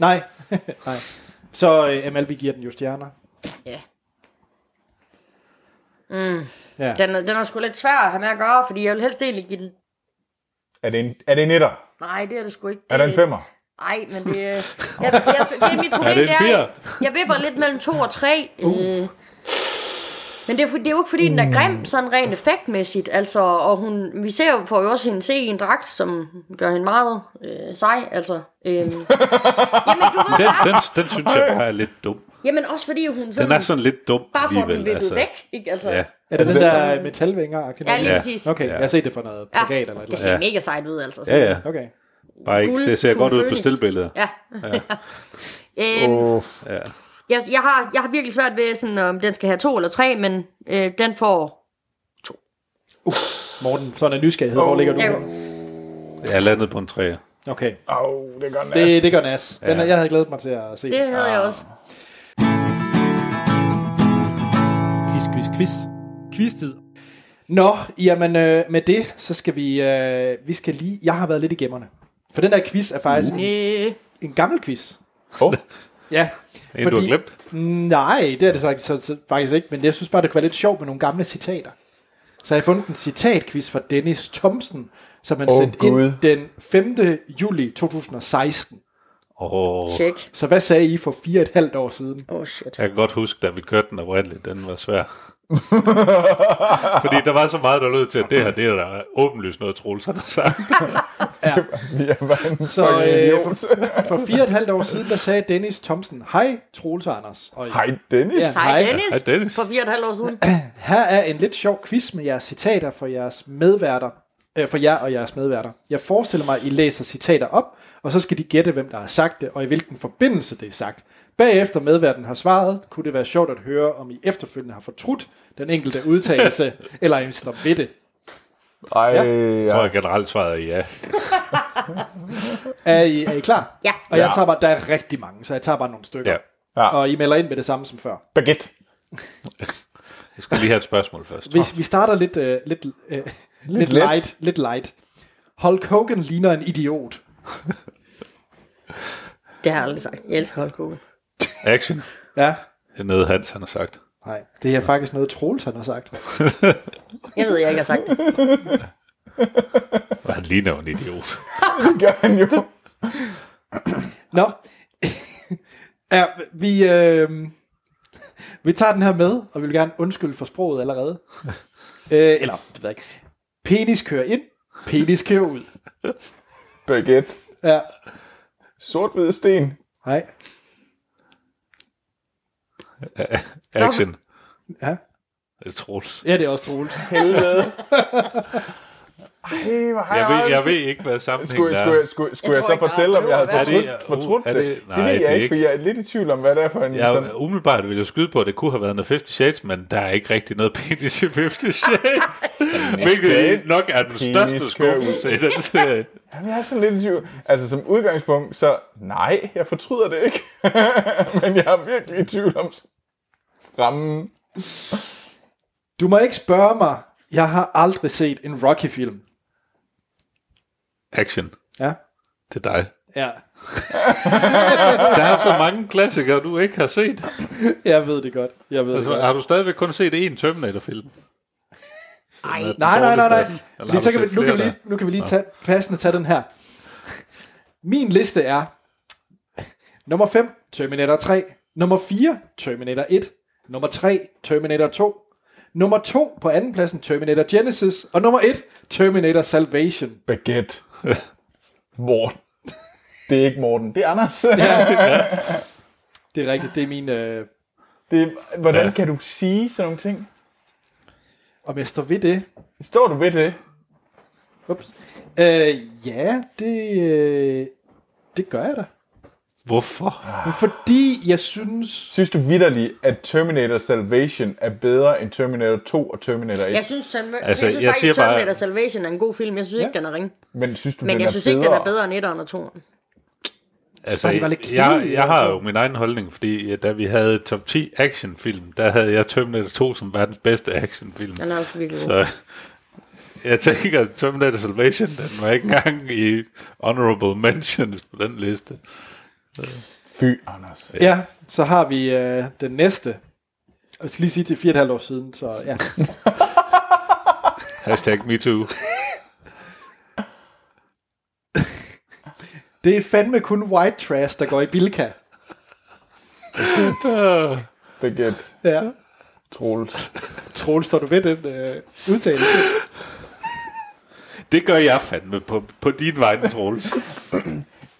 Nej. nej. Så øh, ML, vi giver den jo stjerner. Ja. Mm. Ja. Den, er- den er sgu lidt svær at have med at gøre, fordi jeg vil helst egentlig give den... Er det en, er det en etter? Nej, det er det sgu ikke. Er det en femmer? Nej, men det, øh, jeg, jeg, det er mit problem. Er det en Uh. at fire? jeg vipper lidt mellem to og tre. Øh, men det er, for- det er jo ikke, fordi den er grim, Mm. sådan rent effektmæssigt. Altså, og hun, vi ser jo, får jo også hende se i en dragt, som gør hende meget øh, sej. Altså, øh, jamen, du ved Den, bare, den, den synes jeg bare er lidt dum. jamen, også fordi hun sådan, Den er sådan lidt dum bare får den alligevel. vippet væk. Ikke? Altså, Ja. ja. Er det den der øh, metalvinger? Kan ja, du- lige Ja. præcis. Okay, jeg har set det for noget plakat Ja, eller et det eller ser Ja. mega sejt ud, altså. Ja, ja. andet. Okay. Bare ikke, det ser Guld, godt ud på Phoenix. stillbilleder. Ja. ja. øhm, Uh, jeg, jeg, har, jeg har virkelig svært ved, sådan, om den skal have to eller tre, men øh, den får... Morten, sådan en nysgerrighed. Oh. Hvor ligger du? Jeg, Jeg er landet på en træer. Okay. au, det gør nas. Det, det gør nas. Den, er- Jeg havde glædet mig til at se det den. havde jeg også. Quiz, quiz, quiz. Quiztid. Nå, jamen øh, med det, så skal vi, øh, vi skal lige, jeg har været lidt i gemmerne. For den der quiz er faktisk en, Øh, en gammel quiz. Oh, Ja. Mm. En, du har glemt? Nej, det er det faktisk, så, så, faktisk ikke, men jeg synes bare, det kunne være lidt sjovt med nogle gamle citater. Så jeg har fundet en citatquiz fra Dennis Thomsen, som han Åh, oh, sendte Gud. ind den 5. juli 2016. Åh, oh, check. Så hvad sagde I for fire og et halvt år siden? Åh, oh, shit. Jeg kan godt huske, da vi kørte den oprindeligt, den var svær. Fordi der var så meget, der lød til, at det her, det er der åbenlyst noget, Troels han har sagt. vi er bare en Så fucking øh, idiot. for, for fire og et halvt år siden, der sagde Dennis Thomsen, hej Troels og Anders. Og Hej, Dennis. Ja. Hej, Hej. Dennis. Hej, Dennis. For fire og et halvt år siden. Her er en lidt sjov quiz med jeres citater for jeres medværter. Øh, for jer og jeres medværter. Jeg forestiller mig, at I læser citater op, og så skal de gætte, hvem der har sagt det, og i hvilken forbindelse det er sagt. Bagefter medværten har svaret, kunne det være sjovt at høre, om I efterfølgende har fortrudt den enkelte udtalelse, eller om I står ved det. Ej, ja. Jeg tror jeg generelt svarede ja. Er I, er I klar? Ja. Og jeg Ja. tager bare, der er rigtig mange, så jeg tager bare nogle stykker. ja. Ja. Og I melder ind med det samme som før. Baguette. Jeg skal lige have et spørgsmål først. Vi, vi starter lidt, øh, lidt, øh, lidt, let. light, lidt light. Hulk Hogan ligner en idiot. Det har jeg aldrig sagt. Jeg elsker Hulk Action. Ja. Det er noget, Hans han har sagt. Nej, det er faktisk noget, Troels han har sagt. Jeg ved, jeg ikke har sagt det. Og han ligner jo en idiot. Det gør han jo. Nå. ja, vi, øh, vi tager den her med, og vi vil gerne undskylde for sproget allerede. øh, eller, det ved jeg ikke. Penis kører ind, penis kører ud. Baguette. Ja, Sort-hvide sten. nej. Action. Ja. Det er Troels. ja, det er også Troels. Helvede. Ej, hvor har Jeg ved, jeg aldrig- ved ikke, hvad sammenhængen Skulle, skulle, er. jeg, skulle, skulle jeg, tror så ikke, der er fortælle, om jeg havde behøver at være- fortrudt, Er det- fortrudt uh, er det? det- det nej, ved det er jeg ikke, for ikke. jeg er lidt i tvivl om, hvad det er for en... sådan- Jeg, umiddelbart ville jeg skyde på, at det kunne have været noget 50 Shades, men der er ikke rigtig noget penis i 50 Shades. Hvilket nok er den Penis største skuffelse i den serie. Jamen, jeg er sådan lidt i tvivl. Altså, som udgangspunkt, så nej, jeg fortryder det ikke. Men jeg er virkelig i tvivl om rammen. Du må ikke spørge mig. Jeg har aldrig set en Rocky-film. Action. Ja. Det er dig. Ja, Der er så mange klassikere, du ikke har set. jeg ved det godt. Jeg ved det Altså, godt. har du stadigvæk kun set én Terminator-film? Ej, Nej, nej, nej, nej. Eller Fordi har så du kan vi, set nu, kan vi flere, lige, nu kan vi lige tage, passende tage den her. Min liste er nummer 5, Terminator 3, nummer 4, Terminator 1, nummer 3, Terminator 2, nummer 2 på anden pladsen, Terminator Genesis, og nummer 1, Terminator Salvation. Baguette. Morten. Det er ikke Morten, det er Anders. Det er rigtigt, det er min... Øh, Det er, hvordan ja. kan du sige sådan nogle ting? om jeg står ved det? Står du ved det? Ups. Øh, ja, det, øh, det gør jeg da. Hvorfor? Fordi jeg synes... Synes du vidderligt, at Terminator Salvation er bedre end Terminator 2 og Terminator 1? Jeg synes, han, Altså, altså, jeg synes jeg jeg siger faktisk, bare- Terminator bare... Salvation er en god film. Jeg synes ikke, den er ringe. Men synes du, Men den jeg er synes bedre? ikke, den er bedre end 1'eren og 2'eren. Altså, Bare det var lidt jeg, jeg, kedeligt, jeg har altså. jo min egen holdning, fordi øh, da vi havde top 10 actionfilm, der havde jeg Terminator 2 som verdens bedste actionfilm. Den er også virkelig god. Så jeg tænker, at Terminator Salvation, den var ikke engang i honorable mentions på den liste. Fy, ah, Anders. Ja, så har vi øh, den næste. Jeg skal lige sige til 4,5 år siden, så ja. Hashtag MeToo. Det er fandme kun white trash, der går i Bilka. Baguette. Ja. Troels. Troels, står du ved den øh, udtalelse? Det gør jeg fandme på, på din vej, Troels.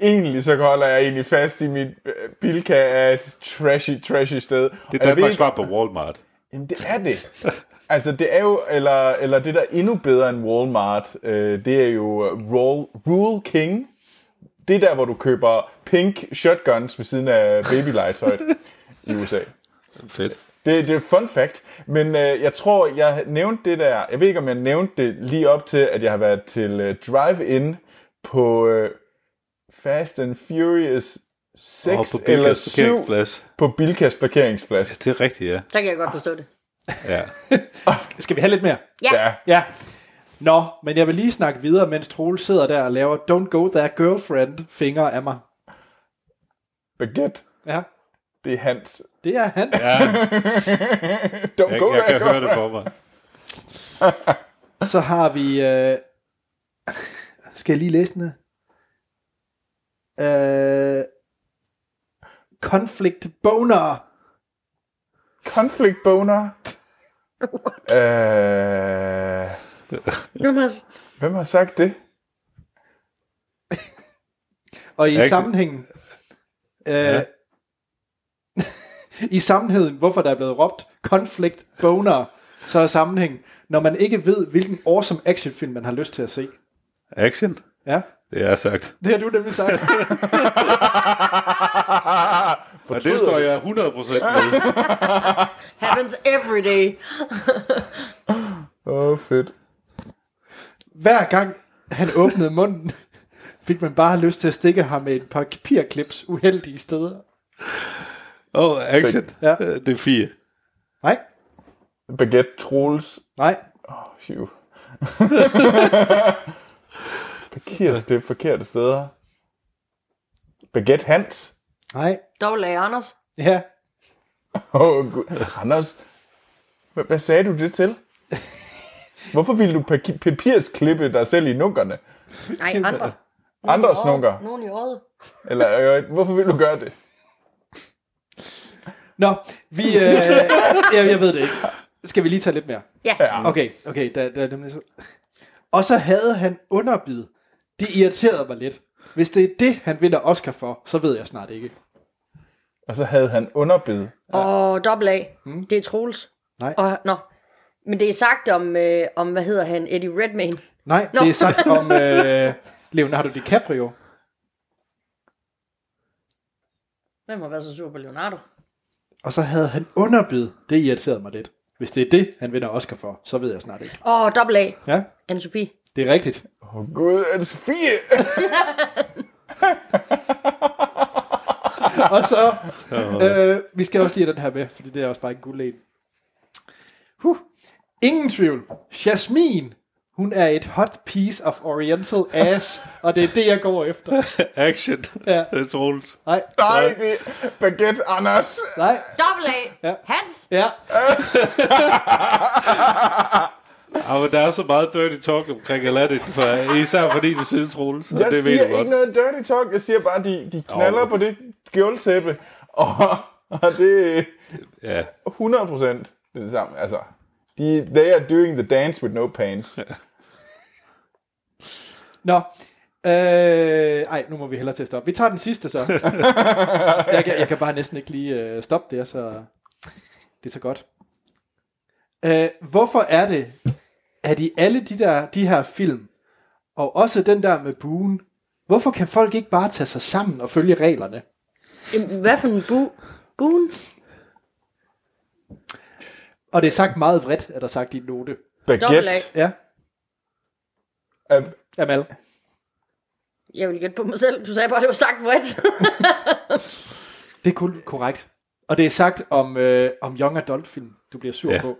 egentlig så holder jeg egentlig fast i mit øh, Bilka er et trashy, trashy sted. Det Og er jeg ved Danmarks ikke- svar på Walmart. Jamen det er det. Altså det er jo, eller, eller det der er endnu bedre end Walmart, øh, det er jo øh, Roll, Rule King. Det er der, hvor du køber pink shotguns ved siden af babylegetøjet i USA. Fedt. Det, det er fun fact, men øh, jeg tror, jeg nævnte det der, jeg ved ikke, om jeg nævnte det lige op til, at jeg har været til øh, drive-in på øh, Fast and Furious 6 Og oh, på eller Bilkas 7 parkeringsplads. på Bilkas parkeringsplads. Det er rigtigt, ja. Så kan jeg godt forstå det. ja. Skal vi have lidt mere? Ja, Ja, Ja. Nå, men jeg vil lige snakke videre, mens Troels sidder der og laver Don't go there girlfriend fingre af mig. baguette, Ja, det er hans. det er han. Don't Jeg, go jeg there, kan høre girl. det for mig. Så har vi... Øh... Skal jeg lige læse den her? Øh... Conflict boner. Conflict boner. øh, Jonas. hvem har sagt det? Og i Jeg kan- sammenhængen... Øh, I sammenhængen, hvorfor der er blevet råbt konflikt boner, så er sammenhængen, når man ikke ved, hvilken awesome actionfilm, man har lyst til at se. Action. Ja, Det er sagt. det har du nemlig sagt. Og det står jeg 100% med. Happens every day. Åh, oh, fedt. Hver gang han åbnede munden, fik man bare lyst til at stikke ham med et par papirklips uheldige steder. Åh, oh, action. Ja. Øh, Det er fire. Nej, Baguette, Troels, nej, Phew. Parkeres det forkerte steder. Baguette Hans. Nej. Dog lagde Anders. Ja. Åh, oh, Anders, hvad, hvad sagde du det til? Hvorfor ville du pa- papirsklippe dig selv i nunkerne? Nej, andre. Andres Åh, nunker? Nogen i øjet. Eller øh, hvorfor ville du gøre det? Nå, vi... Øh, jeg, jeg ved det ikke. Skal vi lige tage lidt mere? Ja. Ja. Okay, okay. Der, der er nemlig så. Og så havde han underbid. Det irriterede mig lidt. Hvis det er det, han vinder Oscar for, så ved jeg snart ikke. Og så havde han underbid. Og dobbelt A. Det er Troels. Hmm? Nej. Og, nå. Men det er sagt om, øh, om hvad hedder han, Eddie Redmayne. Nej, Nå. det er sagt om øh, Leonardo DiCaprio. Hvem har været så sur på Leonardo? Og så havde han underbid. Det irriterede mig lidt. Hvis det er det, han vinder Oscar for, så ved jeg snart ikke. Åh, dobbelt A. Ja, Anne-Sophie. det er rigtigt. Åh oh, gud, er det Sofie? Og så, øh, vi skal også lige have den her med, fordi det er også bare en guld en. Huh. Ingen tvivl. Jasmine, hun er et hot piece of oriental ass, og det er det, jeg går efter. Action. Ja. Det er Troels. Nej, Nej, det er Baguette Anders. nej, Dobbelt A. Ja. Hans. ja. Ja, Ah, men der er så meget dirty talk omkring Aladdin, for, især fordi det sidder Troels, og Jeg det ved siger du ikke godt. noget dirty talk. Jeg siger bare, de, de knaller Jo. på det gulvtæppe. Og, og det er Ja. 100 procent det samme. Altså, de, they are doing the dance with no pants. Nå. Øh, ej, nu må vi hellere til at stoppe. Vi tager den sidste så. jeg, kan, jeg kan bare næsten ikke lige øh, stoppe det, så det er så godt. Øh, hvorfor er det, at i alle de, der, de her film, og også den der med buen, hvorfor kan folk ikke bare tage sig sammen og følge reglerne? Jamen, Hvad for en bu? Buen? Og det er sagt meget vredt, er der sagt i en note. Dobbelt A. Baguette. Ja, er- Amal. Jeg vil gætte på mig selv. Du sagde bare, det var sagt bredt. Det er kun korrekt. Og det er sagt om, øh, om young adult film, du bliver sur ja. Ja. på.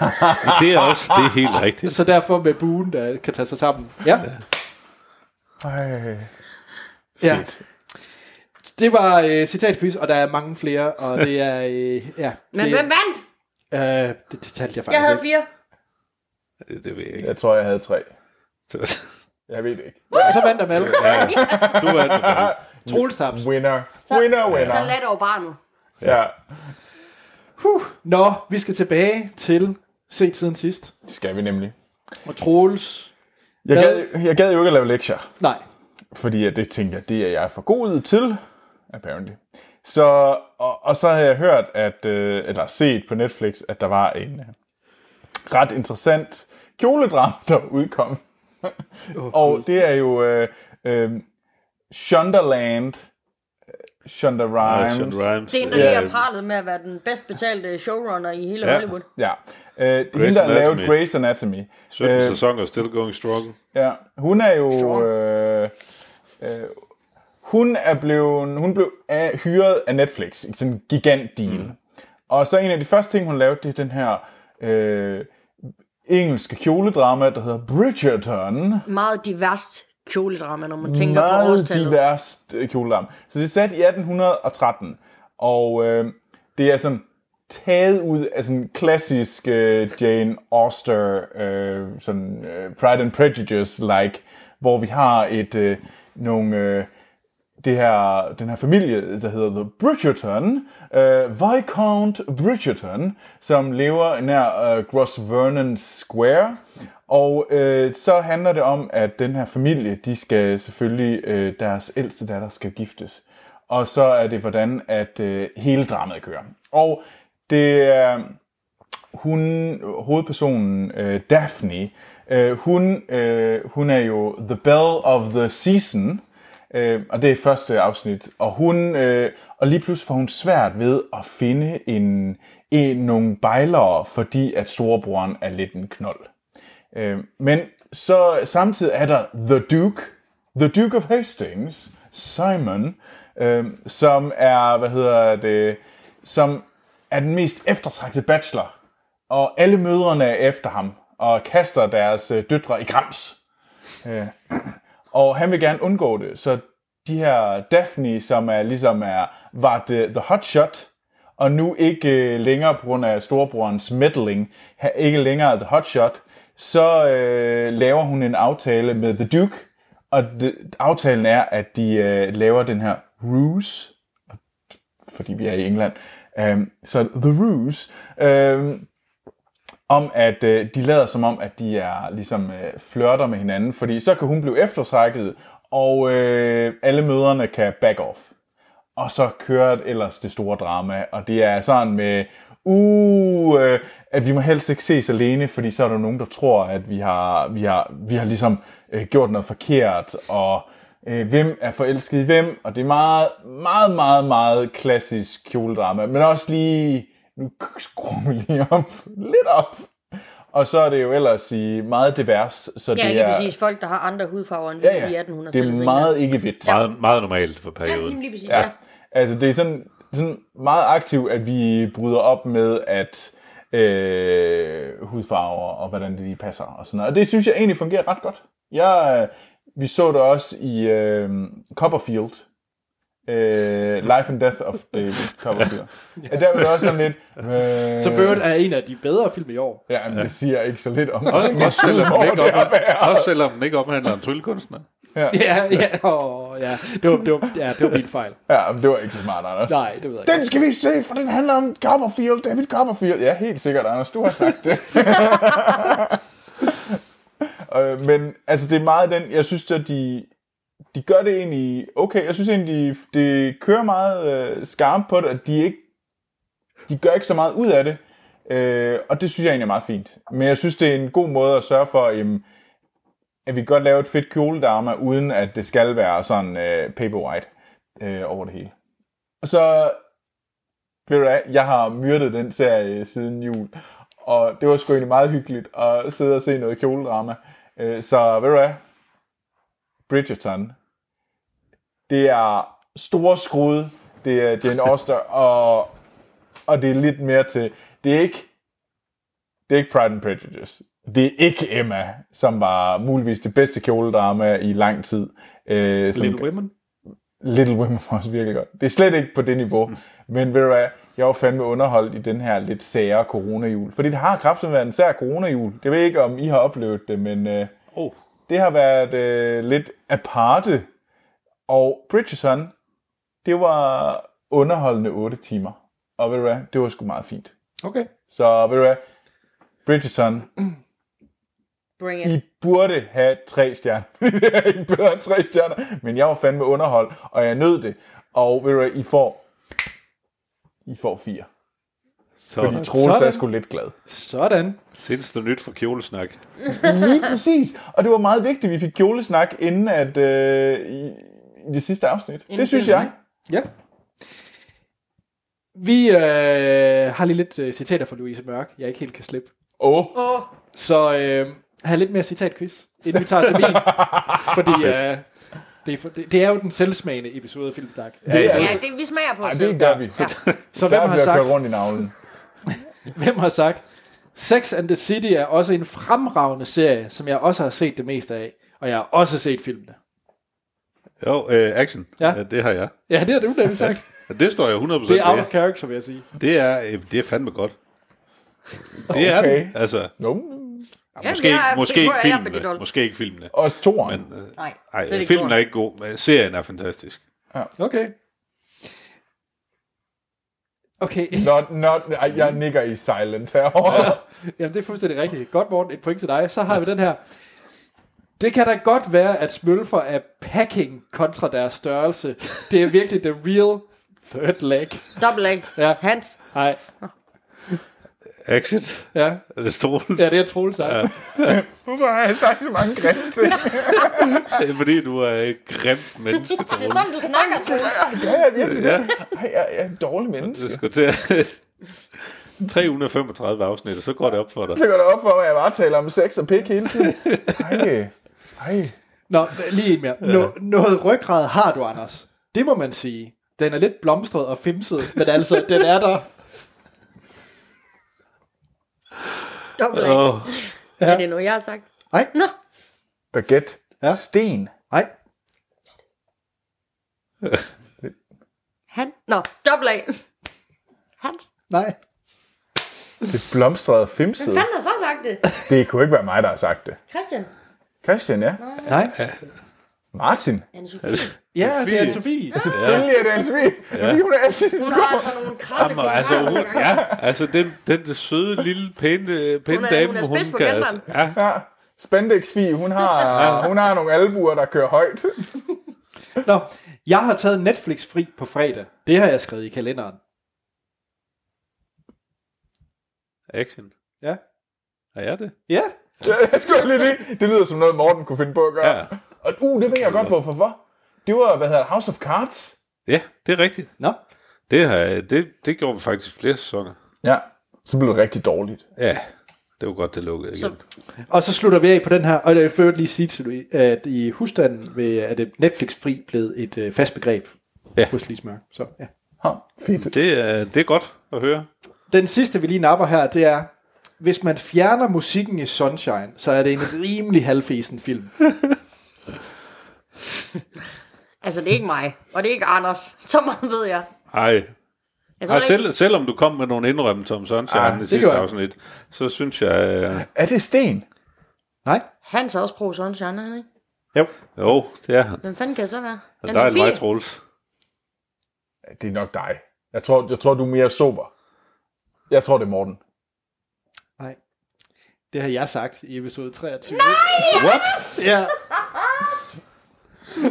Men Det er også det er helt rigtigt. Så derfor med buen, der kan tage sig sammen. Ja. Ej. Ja. Det var øh, citatquiz, og der er mange flere, og det er... Øh, ja, Men det, hvem vandt? øh, det, det talte jeg faktisk Jeg havde ikke. fire. Det, det ved jeg ikke. Jeg tror, jeg havde tre. Jeg ved det ikke. Så vandt Amal. Du er det bare. Troels tabs. Winner. Så- winner, Så winner. lad over barnet. ja. Huh. Nå, vi skal tilbage til set siden sidst. Det skal vi nemlig. Og Troels... Jeg Hvad? gad, jeg gad jo ikke at lave lektier. Nej. Fordi at det tænkte jeg, det er jeg for god til, apparently. Så, og, og så har jeg hørt, at, øh, eller set på Netflix, at der var en øh, ret interessant kjoledrama, der udkom. Oh, og det er jo øh, øh, Shondaland, øh, Shonda Rhimes. Action Rhymes. Det er en, der Ja, lige har pralet med at være den bedst betalte showrunner i hele Ja. Hollywood. Ja, øh, hende, der har lavet Anatomy. Grey's Anatomy. 17 Øh, sæsoner still going strong. Ja, hun er jo... Strong. Øh, øh, hun er blevet, hun blev af, hyret af Netflix i sådan en gigant deal. Mm. Og så en af de første ting, hun lavede, det er den her øh, engelske kjoledrama, der hedder Bridgerton. Meget diverst kjoledrama, når man tænker på Meget årstallet. divers øh, kjoledrama. Så det er sat i 1813, og øh, det er sådan taget ud af sådan en klassisk øh, Jane Auster, øh, sådan øh, Pride and Prejudice-like, hvor vi har et øh, nogle øh, det her, den her familie, der hedder The Bridgerton, øh, Viscount Bridgerton, som lever nær øh, Gros Vernon Square. Og øh, så handler det om, at den her familie, de skal selvfølgelig, øh, deres ældste datter skal giftes. Og så er det, hvordan at øh, hele dramaet kører. Og det er hun, hovedpersonen øh, Daphne, øh, hun, øh, hun er jo the belle of the season, øh, og det er første afsnit, og hun, øh, og lige pludselig får hun svært ved at finde en, en nogle bejlere, fordi at storebroren er lidt en knold. Øh, men så samtidig er der The Duke, The Duke of Hastings, Simon, øh, som er, hvad hedder det, som er den mest eftertragtede bachelor, og alle mødrene er efter ham, og kaster deres øh, døtre i grams. Øh, og han vil gerne undgå det, så de her Daphne, som er ligesom er, var the, the hot shot, og nu ikke øh, længere på grund af storebrorens meddling, ha- ikke længere the hot shot, så øh, laver hun en aftale med The Duke, og det, aftalen er, at de øh, laver den her ruse, fordi vi er i England, øh, så The Ruse, øh, om at øh, de lader som om, at de er ligesom øh, flørter med hinanden, fordi så kan hun blive eftertrækket, og øh, alle møderne kan back off. Og så kører ellers det store drama, og det er sådan med, uh, øh, at vi må helst ikke ses alene, fordi så er der nogen, der tror, at vi har, vi har, vi har ligesom øh, gjort noget forkert, og øh, hvem er forelsket i hvem, og det er meget, meget, meget, meget klassisk kjoledrama, men også lige nu skruer vi lige op, lidt op. Og så er det jo ellers i meget divers, så Ja, det lige er, præcis. Folk, der har andre hudfarver end ja, vi i ja, 1800-tallet. det er meget ikke hvidt. Meget, meget normalt for Ja, perioden. lige præcis, Ja. ja. ja. Altså, det er sådan, sådan meget aktivt, at vi bryder op med, at øh, hudfarver og hvordan det lige passer og sådan noget. Og det synes jeg egentlig fungerer ret godt. Jeg, øh, vi så det også i øh, Copperfield. Øh, Life and Death of David Copperfield. ja. Der var det også sådan lidt... Øh, Som Bird er en af de bedre film i år. Ja, men det siger ikke så lidt om. Og, også, selvom den ikke omhandler, også selvom den ikke omhandler en tryllekunstner. Ja, ja, åh, ja. Det var, det var, ja, det var min fejl. Ja, men det var ikke så smart, Anders. Nej, det ved jeg ikke. Den skal vi se, for den handler om Copperfield, David Copperfield. Ja, helt sikkert, Anders, du har sagt det. øh, men altså, det er meget den, jeg synes, at de, de gør det egentlig okay. Jeg synes egentlig, de, de kører meget øh, skarpt på det, at de ikke de gør ikke så meget ud af det. Øh, og det synes jeg egentlig er meget fint. Men jeg synes, det er en god måde at sørge for, jamen, at vi kan godt lave et fedt kjoledarma, uden at det skal være sådan øh, paperwhite øh, over det hele. Og så, ved du hvad, jeg har myrdet den serie siden jul, og det var sgu egentlig meget hyggeligt at sidde og se noget kjoledrama. Øh, så ved du hvad, Bridgerton, det er store skrud, det er Jane Auster, og, og det er lidt mere til, det er ikke, det er ikke Pride and Prejudice. Det er ikke Emma, som var muligvis det bedste kjoledrama i lang tid. Øh, som- Little Women. Little Women var også virkelig godt. Det er slet ikke på det niveau. Men ved du hvad, jeg var fandme underholdt i den her lidt sære coronajul. Fordi det har kraftigt været en sær coronajul. Jeg ved ikke, om I har oplevet det, men øh, Oh. det har været øh, lidt aparte. Og Bridgerton, det var underholdende 8 timer. Og ved du hvad, det var sgu meget fint. Okay. Så ved du hvad, Bridgerton, Bring it. i burde have tre stjerner, fordi det er ikke bedre end tre stjerner. Men jeg var fandme underhold, og jeg nød det. Og ved du hvad, I får, I får fire. Fordi Så Troels er Sådan. sgu lidt glad. Sådan. seneste nyt for kjolesnak. Lige præcis. Og det var meget vigtigt, at vi fik kjolesnak inden at, øh, i, i det sidste afsnit. Inden det synes filmen, jeg. Ja. Vi øh, har lige lidt øh, citater fra Louise Mørk, jeg ikke helt kan slippe. Åh, oh, Åh, Så øh, have lidt mere citatquiz, inden vi tager til min. fordi øh, det, er for, det, det er jo den selvsmagende episode af Filmsnak. det, er, ja, altså- det, vi smager på ej, os selv. det gør vi. Ja. Så Der hvem har, bliver kørt sagt, rundt i navlen. hvem har sagt, Sex and the City er også en fremragende serie, som jeg også har set det meste af, og jeg har også set filmene. Jo, øh, action. Ja. Ja. Det har jeg. Ja, det har du nemlig sagt. Det står jeg 100% Det er out of ved. character, vil jeg sige. Det er, øh, det er fandme godt. Det er Okay. det. Altså, No. ja, måske, ikke, det er- måske, det ikke tror jeg er rigtig filmene. dårligt. Måske ikke filmene. Også toeren. Men, øh, Nej, ej, slet ikke filmen er gjort. ikke god, men serien er fantastisk. Okay. Okay, Not, not, ej, jeg nikker i silent herovre. jamen det er fuldstændig rigtigt. Godt, Morten, et point til dig. Så har vi den her. Det kan da godt være, at smølfer er packing kontra deres størrelse. Det er virkelig the real third leg. Double A. Ja. Hans. Nej, Action. ja. Er det Øh, Troels? ja, det er Troels sagt. Ja. Hvorfor har jeg sagt så mange grimme ting? Det er fordi, du er et grimt menneske, Det er Troels. sådan, du snakker, Troels. Ja, jeg er virkelig Ja. Ej, jeg, jeg er en dårlig menneske. Du skal til 335 afsnit, og så går det op for dig. Så går det op for mig, at jeg bare taler om sex og pik hele tiden. Ej, ej. Nå, lige en mere. Nå, noget ryggrad har du, Anders. Det må man sige. Den er lidt blomstret og fimset, men altså, den er der. Double A. Åh, Er det noget, jeg har sagt? Nej. Nå. Baguette. Ja. Sten. Nej. Han? Nå, dobbelt A. Hans? Nej. Det blomstrede fimsede. Hvem fanden har så sagt det? Det kunne ikke være mig, der har sagt det. Christian? Christian, ja. Nej. Martin. Anne-Sophie. Ja, det er Sofie. Sofie. Selvfølgelig er det en svig. Fordi hun er altid... Hun har altså nogle krasse Jamen, altså, kommentarer nogle hun, gange. ja, altså den, den der søde, lille, pæne, øh, pæne Hun er- dame, hun er spids på kan... kanteren. Altså, ja, Ja. Spandex svig, hun har, hun har nogle albuer, der kører højt. Nå, jeg har taget Netflix fri på fredag. Det har jeg skrevet i kalenderen. action. Ja. Er jeg det? Ja. Ja, jeg skulle lige det. Det lyder som noget, Morten kunne finde på at gøre. Ja. Og uh, det ved jeg godt, hvorfor. Hvor? Det var, hvad hedder det, House of Cards. Ja, det er rigtigt. Nå. Det, har, jeg- det, det gjorde vi faktisk flere sæsoner. Ja. Så blev det rigtig dårligt. Ja, det var godt, det lukkede igen. Så- Og så slutter vi af på den her, og jeg vil øvrigt lige sige til Louis, at i husstanden ved, er det Netflix fri blevet et øh, fast begreb Ja. hos Lise Mørk. Så, ja. Ha, fedt. Det, er, det er godt at høre. Den sidste, vi lige napper her, det er, hvis man fjerner musikken i Sunshine, så er det en rimelig halvfesen film. Altså, det er ikke mig, og det er ikke Anders. Så meget ved jeg. Ej, Jeg tror, Og ikke- selv, selvom du kom med nogle indrømmelser om Sunshine Ah, i det sidste gør jeg. afsnit, så synes jeg, øh, Er det sten? Nej? Hans er også pro sunshine, er han ikke? Jo. jo, det er han. Hvem fanden kan det så være? Og Der er en Anne-Sophie? vej, Troels. Ja, Det er nok dig. Jeg tror, jeg tror du er mere sober. Jeg tror, det er Morten. Nej. Det har jeg sagt i episode 23. Nej! What? Ja.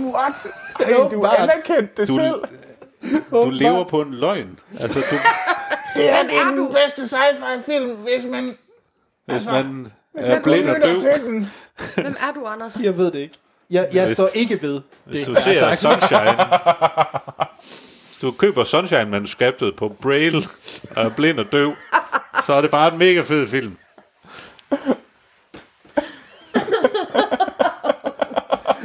What? Ej, Jo, du bare- anerkendte det Du, selv. du lever på en løgn. Altså, du, Det er er du? bedste sci-fi-film, hvis man hvis Altså, man er blind og lytter døv, den. Hvem er du, Anders? Jeg ved det ikke. Jeg, jeg Vist. står ikke ved hvis det. Altså, du jeg har ser sagt. Sunshine, hvis du køber Sunshine-manuskriptet på Braille og er blind og døv, så er det bare en mega fed film.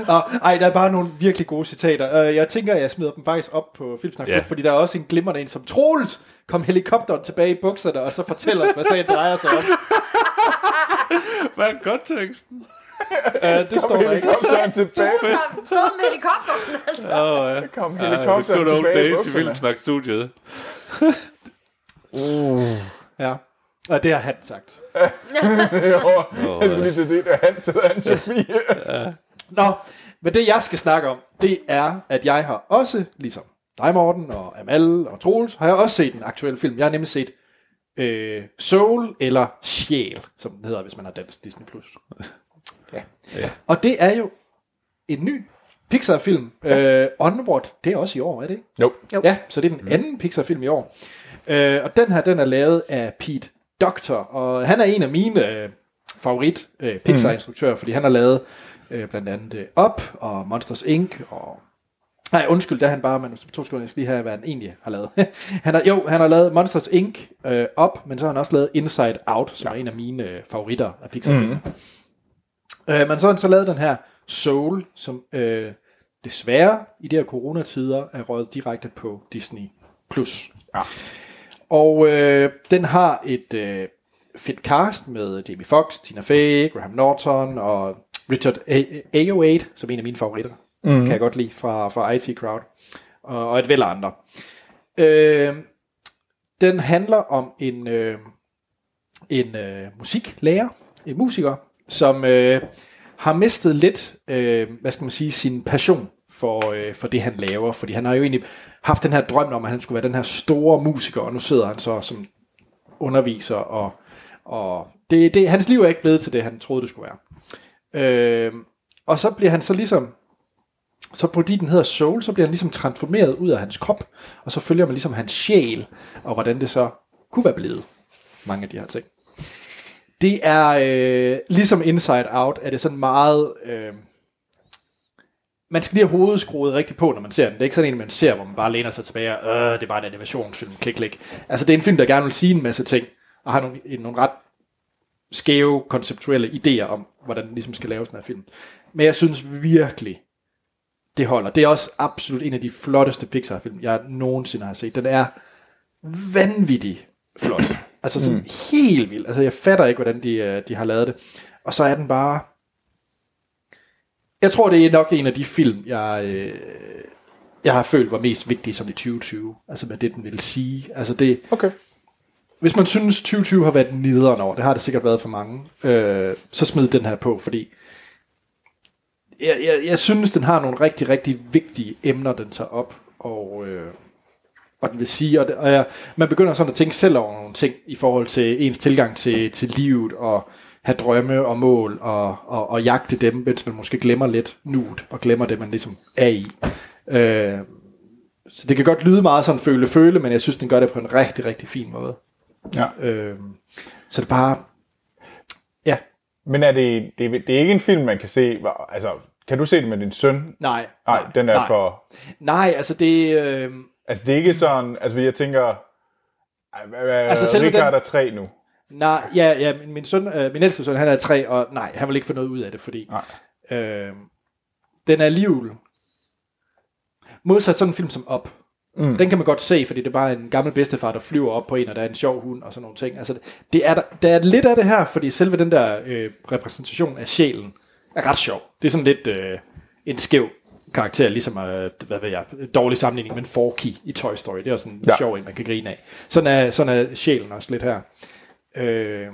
Og, ej, der er bare nogle virkelig gode citater. Øh, Jeg tænker, jeg smider dem faktisk op på Filmsnak, Ja. ja. fordi der er også en glimrende en, som Troels kom helikopteren tilbage i bukserne, og så fortæller os, hvad sagen drejer sig om. Hvad er konteksten? Øh, det står der ikke. Helikopteren tilbage. Så stod med helikopteren, altså. Åh, oh, ja. Kom Ej, det helikopteren good old tilbage i days i bukserne. Filmsnak-studiet. Ja. Og det har han sagt. Jo, jeg øh, skulle lige til det, der han sidder han Sofie. Nå, men det jeg skal snakke om, det er, at jeg har også, ligesom dig Morten og Amal og Troels, har jeg også set en aktuel film. Jeg har nemlig set øh, Soul eller Sjæl, som den hedder, hvis man har dansk Disney+. Plus. Ja. Ja. Og det er jo en ny Pixar-film. Øh, Onward, det er også i år, er det ikke? Jo. Jo. Ja, så det er den anden Pixar-film i år. Øh, og den her, den er lavet af Pete Doctor, og han er en af mine øh, favorit øh, Pixar-instruktører, fordi han har lavet øh, blandt andet øh, Up og Monsters Inc. og Nej, undskyld, der er han bare, men to sekunder, jeg skal lige have, hvad han egentlig har lavet. han har, jo, han har lavet Monsters Inc. Øh, op, men så har han også lavet Inside Out, som ja. er en af mine øh, favoritter af Pixar-film. Mm. Øh, men så har han så lavet den her Soul, som øh, desværre i de her coronatider er røget direkte på Disney+. Plus. Ja. Og øh, den har et øh, fedt cast med Jamie Foxx, Tina Fey, Graham Norton og Richard A- Ayoade, som er en af mine favoritter, mm. kan jeg godt lide, fra, fra IT Crowd, og, og et væld af andre. Øh, den handler om en, øh, en øh, musiklærer, en musiker, som øh, har mistet lidt, øh, hvad skal man sige, sin passion for, øh, for det, han laver. Fordi han har jo egentlig haft den her drøm om, at han skulle være den her store musiker, og nu sidder han så som underviser, og, og det, det, hans liv er ikke blevet til det, han troede, det skulle være. Øh, og så bliver han så ligesom så fordi den hedder Soul, så bliver han ligesom transformeret ud af hans krop, og så følger man ligesom hans sjæl, og hvordan det så kunne være blevet. Mange af de her ting. Det er, øh, ligesom Inside Out, er det sådan meget... Øh, man skal lige have hovedet skruet rigtigt på, når man ser den. Det er ikke sådan en, man ser, hvor man bare læner sig tilbage og, øh, det er bare en animationsfilm, klik, klik. Altså, det er en film, der gerne vil sige en masse ting, og har nogle, en- nogle ret skæve, konceptuelle idéer om, hvordan den ligesom skal laves, den her film. Men jeg synes virkelig, det holder. Det er også absolut en af de flotteste Pixar-film, jeg nogensinde har set. Den er vanvittig flot. Altså sådan mm. helt vildt. Altså jeg fatter ikke, hvordan de, øh, de har lavet det. Og så er den bare... Jeg tror, det er nok en af de film, jeg øh, jeg har følt var mest vigtig som i 2020. Altså med det, den ville sige. Altså det, Okay. hvis man synes, 2020 har været nederen over, det har det sikkert været for mange, øh, så smid den her på, fordi jeg, jeg, jeg synes, den har nogle rigtig, rigtig vigtige emner, den tager op, og, øh, og den vil sige, og, det, og jeg, man begynder sådan at tænke selv over nogle ting i forhold til ens tilgang til, til livet, og have drømme og mål, og, og, og jagte dem, mens man måske glemmer lidt nuet, og glemmer det, man ligesom er i. Øh, så det kan godt lyde meget sådan føle-føle, men jeg synes, den gør det på en rigtig, rigtig fin måde. Ja. Øh, så det er bare... Ja, Men er det, det, er- det er ikke en film, man kan se... hvor- Altså, kan du se det med din søn? nej. Nej, den er nej. for... Nej, altså det... Øh, Altså, det er ikke sådan... Altså, jeg tænker... Altså, Altså, selve selve Richard den- er tre nu. nej, ja, ja, min, min, søn, øh, min ældste søn, han er tre, og nej, han vil ikke få noget ud af det, fordi... Nej. Øh, den er alligevel... Modsat sådan en film som Op. Mm. Den kan man godt se, fordi det er bare en gammel bedstefar, der flyver op på en, og der er en sjov hund og sådan nogle ting. Altså, det- det er der, der er lidt af det her, fordi selve den der øh, repræsentation af sjælen er ret sjov. Det er sådan lidt øh, en skæv karakter, ligesom, øh, hvad ved jeg, dårlig sammenligning, men Forky i Toy Story. Det er også sådan en Ja. ja. sjov en, man kan grine af. Sådan er, sådan er sjælen også lidt her. Øh,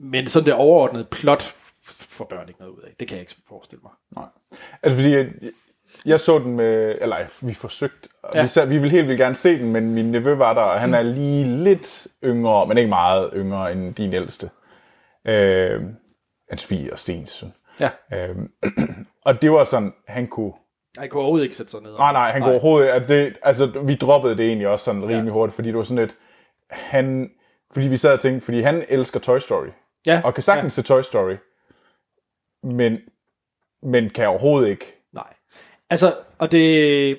men sådan det overordnede plot f- får børn ikke noget ud af. Det kan jeg ikke forestille mig. Nej. Altså, fordi jeg, jeg så den med... Eller, vi forsøgte. Ja. Ja. Vi, sad, vi ville helt vildt gerne se den, men min nevø var der, og han er lige lidt yngre, men ikke meget yngre end din ældste. Øh, hans fire og Stens søn. Ja. Øh, og det var sådan, han kunne Jeg kunne overhovedet ikke sætte sig ned. Nej, nej, han går overhovedet... At det, altså, vi droppede det egentlig også sådan rimelig ja. hurtigt, fordi det var sådan lidt... Han, fordi vi sad og tænkte, fordi han elsker Toy Story, Ja, og kan sagtens ja. se Toy Story, men, men kan overhovedet ikke. Nej. Altså, og det...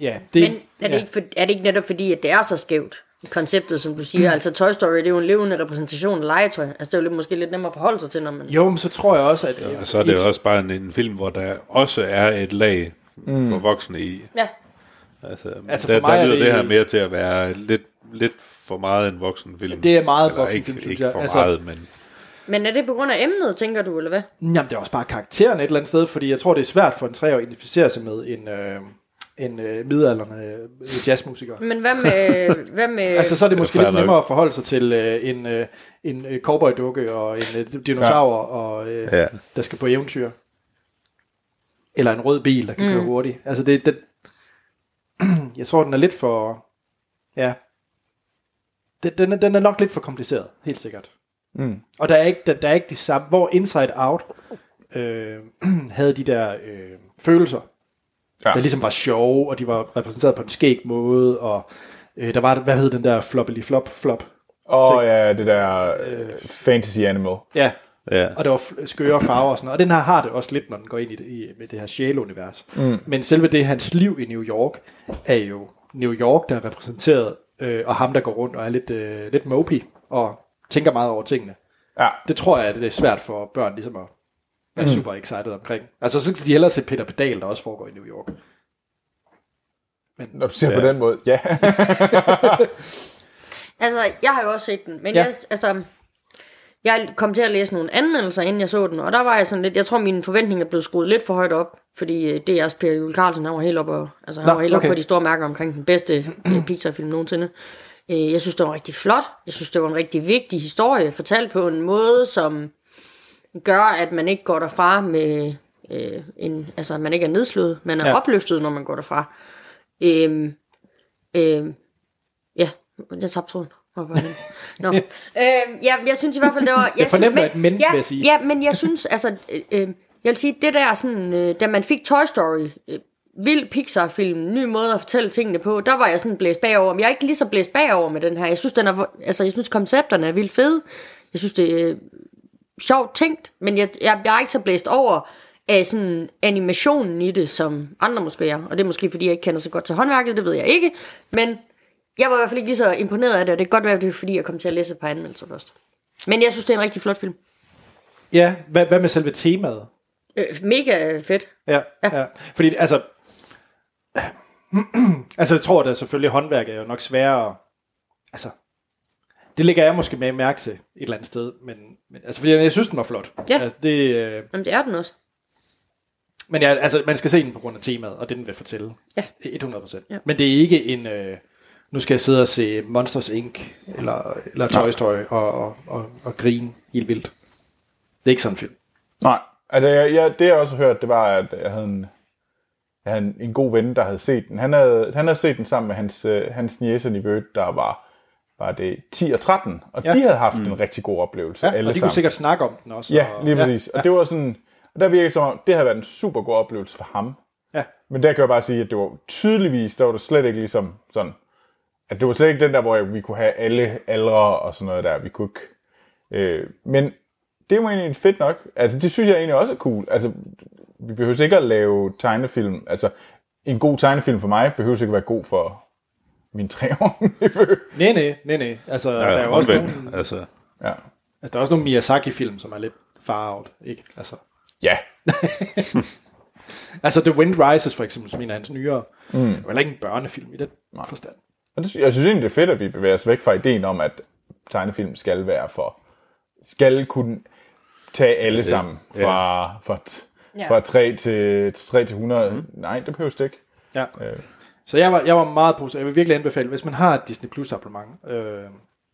Ja, det... Men er det, ja. ikke for, er det ikke netop fordi, at det er så skævt, konceptet, som du Mm. siger? Altså Toy Story, det er jo en levende repræsentation af legetøj. Altså det er jo lidt, måske lidt nemmere at forholde sig til, når man... Jo, men så tror jeg også, at... Ja, Og så er det jo også bare en, en film, hvor der også er et lag mm. for voksne i. Ja, Altså, Altså, altså der, for mig der er lyder det, det- det her mere til at være lidt, lidt for meget en voksenfilm. Det er meget Eller voksenfilm, ikke, synes ikke jeg. for Altså- meget, men men er det på grund af emnet, tænker du, eller hvad? Jamen, det er også bare karakteren et eller andet sted, fordi jeg tror, det er svært for en treårig at identificere sig med en, øh, en øh, midalderne øh, jazzmusiker. Men hvad med... hvad med Altså, så er det måske fair lidt nok. nemmere at forholde sig til øh, en, øh, en øh, cowboydukke og en øh, dinosaur, ja. og, øh, ja. Ja. der skal på eventyr. Eller en rød bil, der kan mm. køre hurtigt. Altså, det, det, jeg tror, den er lidt for... Ja. Den, den, er, den er nok lidt for kompliceret, helt sikkert. Mm. Og der er ikke, der, der er ikke de samme... Hvor Inside Out øh, havde de der øh, følelser, Ja. der ligesom var sjove, og de var repræsenteret på en skæg måde, og øh, der var, hvad hed den der floppily flop flop? Og ja, det der øh, fantasy animal. Ja, ja. og der var f- skøre farver og sådan noget. Og den her har det også lidt, når den går ind i det, i, med det her sjæleunivers. Mm. Men selve det, hans liv i New York, er jo New York, der er repræsenteret, øh, og ham, der går rundt og er lidt, øh, lidt mopey, og tænker meget over tingene. Ja, Det tror jeg, at det er svært for børn ligesom at være mm. super excited omkring. Altså, så skal de hellere se Peter Pedal, der også foregår i New York. når du ser ja. på den måde, ja. Altså, jeg har jo også set den, men Ja. ja. jeg, altså, jeg kom til at læse nogle anmeldelser, inden jeg så den, og der var jeg sådan lidt, jeg tror, mine forventninger blev skruet lidt for højt op, fordi øh, DR's Per Jule Carlsen, han var helt oppe, og- altså, han Nå, var helt okay. okay. på de store mærker omkring den bedste øh, Pixar-film nogensinde. Øh, Jeg synes, det var rigtig flot. Jeg synes, det var en rigtig vigtig historie, fortalt på en måde, som gør, at man ikke går derfra med øh, en, altså, man ikke er nedslået, man er Ja. ja. opløftet, når man går derfra. Øhm, øhm, ja, jeg tabte tråden. Hvor var den? Nå. øhm, ja, jeg synes i hvert fald, det var... Jeg, synes- fornemmer et men, ja, vil jeg sige. Ja, men jeg synes, altså... Øh, øh, jeg vil sige, det der sådan... Øh, da man fik Toy Story, øh, vild Pixar-film, ny måde at fortælle tingene på, der var jeg sådan blæst bagover. Men jeg er ikke lige så blæst bagover med den her. Jeg synes, den er, vo- altså, jeg synes koncepterne er vildt fede. Jeg synes, det er øh, sjovt tænkt, men jeg, jeg, jeg er ikke så blæst over af sådan animationen i det, som andre måske er. Og det er måske, fordi jeg ikke kender så godt til håndværket, det ved jeg ikke. Men jeg var i hvert fald ikke lige så imponeret af det, og det kan godt være, at det er fordi, jeg kom til at læse et par anmeldelser først. Men jeg synes, det er en rigtig flot film. Ja, hvad, hvad med selve temaet? Øh, mega fedt. Ja, ja. Fordi altså... altså, jeg tror da selvfølgelig, at håndværk er jo nok sværere... Altså, det ligger jeg måske med mærke til et eller andet sted, men, men altså, fordi jeg, jeg synes, den var flot. Ja. Altså, det, øh, Jamen, det er den også. Men ja, altså, man skal se den på grund af temaet, og det den vil fortælle. Ja. 100%. Ja. Men det er ikke en, øh, nu skal jeg sidde og se Monsters Inc. eller, eller Toy Story og, og, og, og grine helt vildt. Det er ikke sådan en film. Nej, altså jeg, jeg, det jeg også har hørt, det var, at jeg havde en, jeg havde en, en god ven, der havde set den. Han havde, han havde set den sammen med hans, øh, hans niece og nevø, der var, var det 10 og 13, og Ja. ja. de havde haft mm. en rigtig god oplevelse. Ja, alle og de kunne sammen. sikkert snakke om den også. Ja, og, lige præcis. Ja. Og det var sådan, og der virkede det som om, det havde været en super god oplevelse for ham. Ja. Men der kan jeg bare sige, at det var tydeligvis, der var det slet ikke ligesom sådan, at det var slet ikke den der, hvor vi kunne have alle aldre og sådan noget der, vi kunne ikke. Øh, men det var egentlig fedt nok. Altså, det synes jeg egentlig også er cool. Altså, vi behøver ikke at lave tegnefilm. Altså, en god tegnefilm for mig behøver ikke at være god for min treårige nevø. Nej, nej, nej, nej. Altså, ja, der er jo også nogle, omvendt. Altså, Ja. altså, der er også nogle Miyazaki-film, som er lidt far out, ikke? Altså, Ja. altså The Wind Rises for eksempel, som en af hans nyere. Mm. Det var heller ikke en børnefilm i den forstand. Og det, sy- jeg synes egentlig, det er fedt, at vi bevæger os væk fra ideen om, at tegnefilm skal være for... Skal kunne tage alle sammen ja. fra, fra, t- Ja. fra 3 til, 3 til 100. Mm. Nej, det behøver det ikke. Ja. Øh. Så jeg var, jeg var meget positiv. Jeg vil virkelig anbefale, hvis man har et Disney Plus abonnement, øh,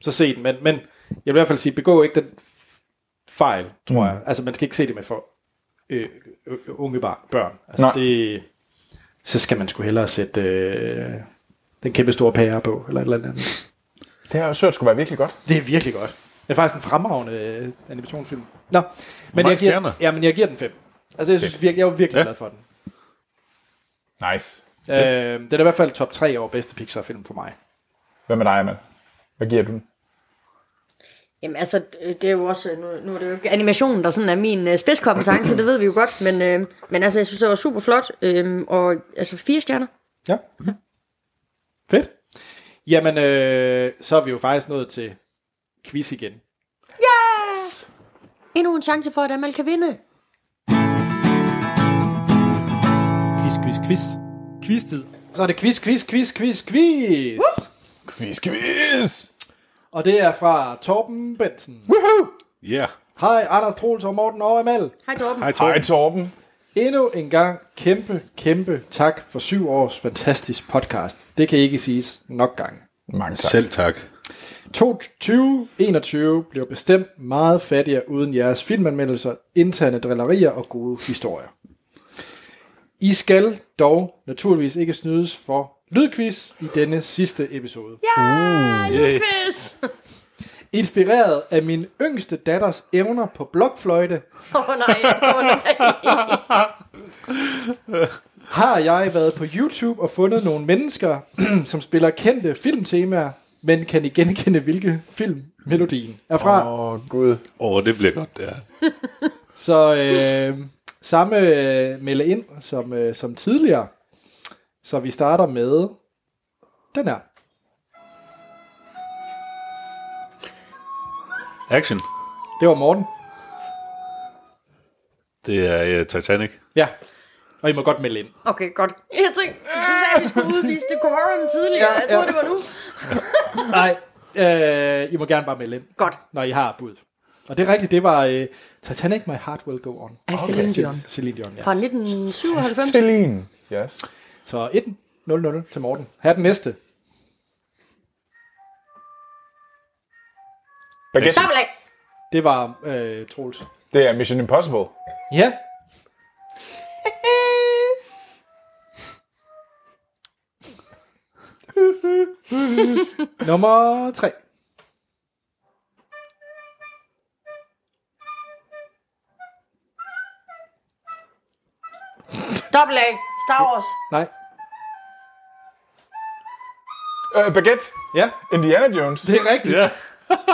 så se den. Men, men jeg vil i hvert fald sige, begå ikke den f- fejl, tror mm. jeg. Altså, man skal ikke se det med for øh, øh, unge bar, børn. Altså, Nej. det, så skal man sgu hellere sætte øh, den kæmpe store pære på, eller et eller andet. Det her sørt skulle være virkelig godt. Det er virkelig godt. Det er faktisk en fremragende øh, animationsfilm. Nå, men mange jeg, giver, stjerner? ja, men jeg giver den fem. Altså, jeg, synes, virkelig, jeg var virkelig ja. Ja. glad for den. Nice. Øh, den er i hvert fald top 3 over bedste Pixar-film for mig. Hvad med dig, Amal? Hvad giver du den? Jamen altså, det er jo også, nu, nu er det jo ikke animationen, der sådan er min øh, spidskompetence, det ved vi jo godt, men, øh, men altså, jeg synes, det var super flot, øh, og altså fire stjerner. Ja. Mhm. Fedt. Jamen, øh, så er vi jo faktisk nået til quiz igen. Endnu en chance for, at Amal kan vinde. Quiz, quiz, quiz. Quiz-tid. Så er det quiz, quiz, quiz, quiz, quiz. Uh! Quiz, quiz! Og det er fra Torben Bensen. ja. Yeah. Hej, Anders Troels og Morten og Amal. Hej Torben. Hej, Hej Torben. Torben. Endnu en gang kæmpe, kæmpe tak for syv års fantastisk podcast. Det kan ikke siges nok gange. Mange tak. Selv tak. 2021 bliver bestemt meget fattigere uden jeres filmanmeldelser, interne drillerier og gode historier. I skal dog naturligvis ikke snydes for lydquiz i denne sidste episode. Yeah. Quiz! Inspireret af min yngste datters evner på blokfløjte, Åh oh, nej, åh oh, nej. har jeg været på YouTube og fundet nogle mennesker, som spiller kendte filmtemaer, men kan I genkende, hvilke film melodien er fra? Åh, oh, Gud. Åh, oh, det bliver godt, det her. Så øh, samme øh, melde ind som, øh, som tidligere. Så vi starter med den her. Action. Det var Morten. Det er uh, Titanic. Ja. Og I må godt melde ind. Okay, godt. Jeg tænkte, du sagde, at vi skulle udvise decorum tidligere. Ja, Jeg troede, ja. det var nu. Nej, øh, I må gerne bare melde ind, Godt. når I har bud. Og det er rigtigt, det var øh, Titanic, My Heart Will Go On. Af Celine Dion. Celine Dion, ja. Fra 1997. Celine. Yes. Så 1-0-0 til Morten. Her er den næste. Baguette. Dobbelt af. Det var øh, Troels. Det er Mission Impossible. Ja. Nummer 3. Dobbelt af. Star Wars. Nej. Øh, Baguette. Ja, Indiana Jones. det er rigtigt. Ja.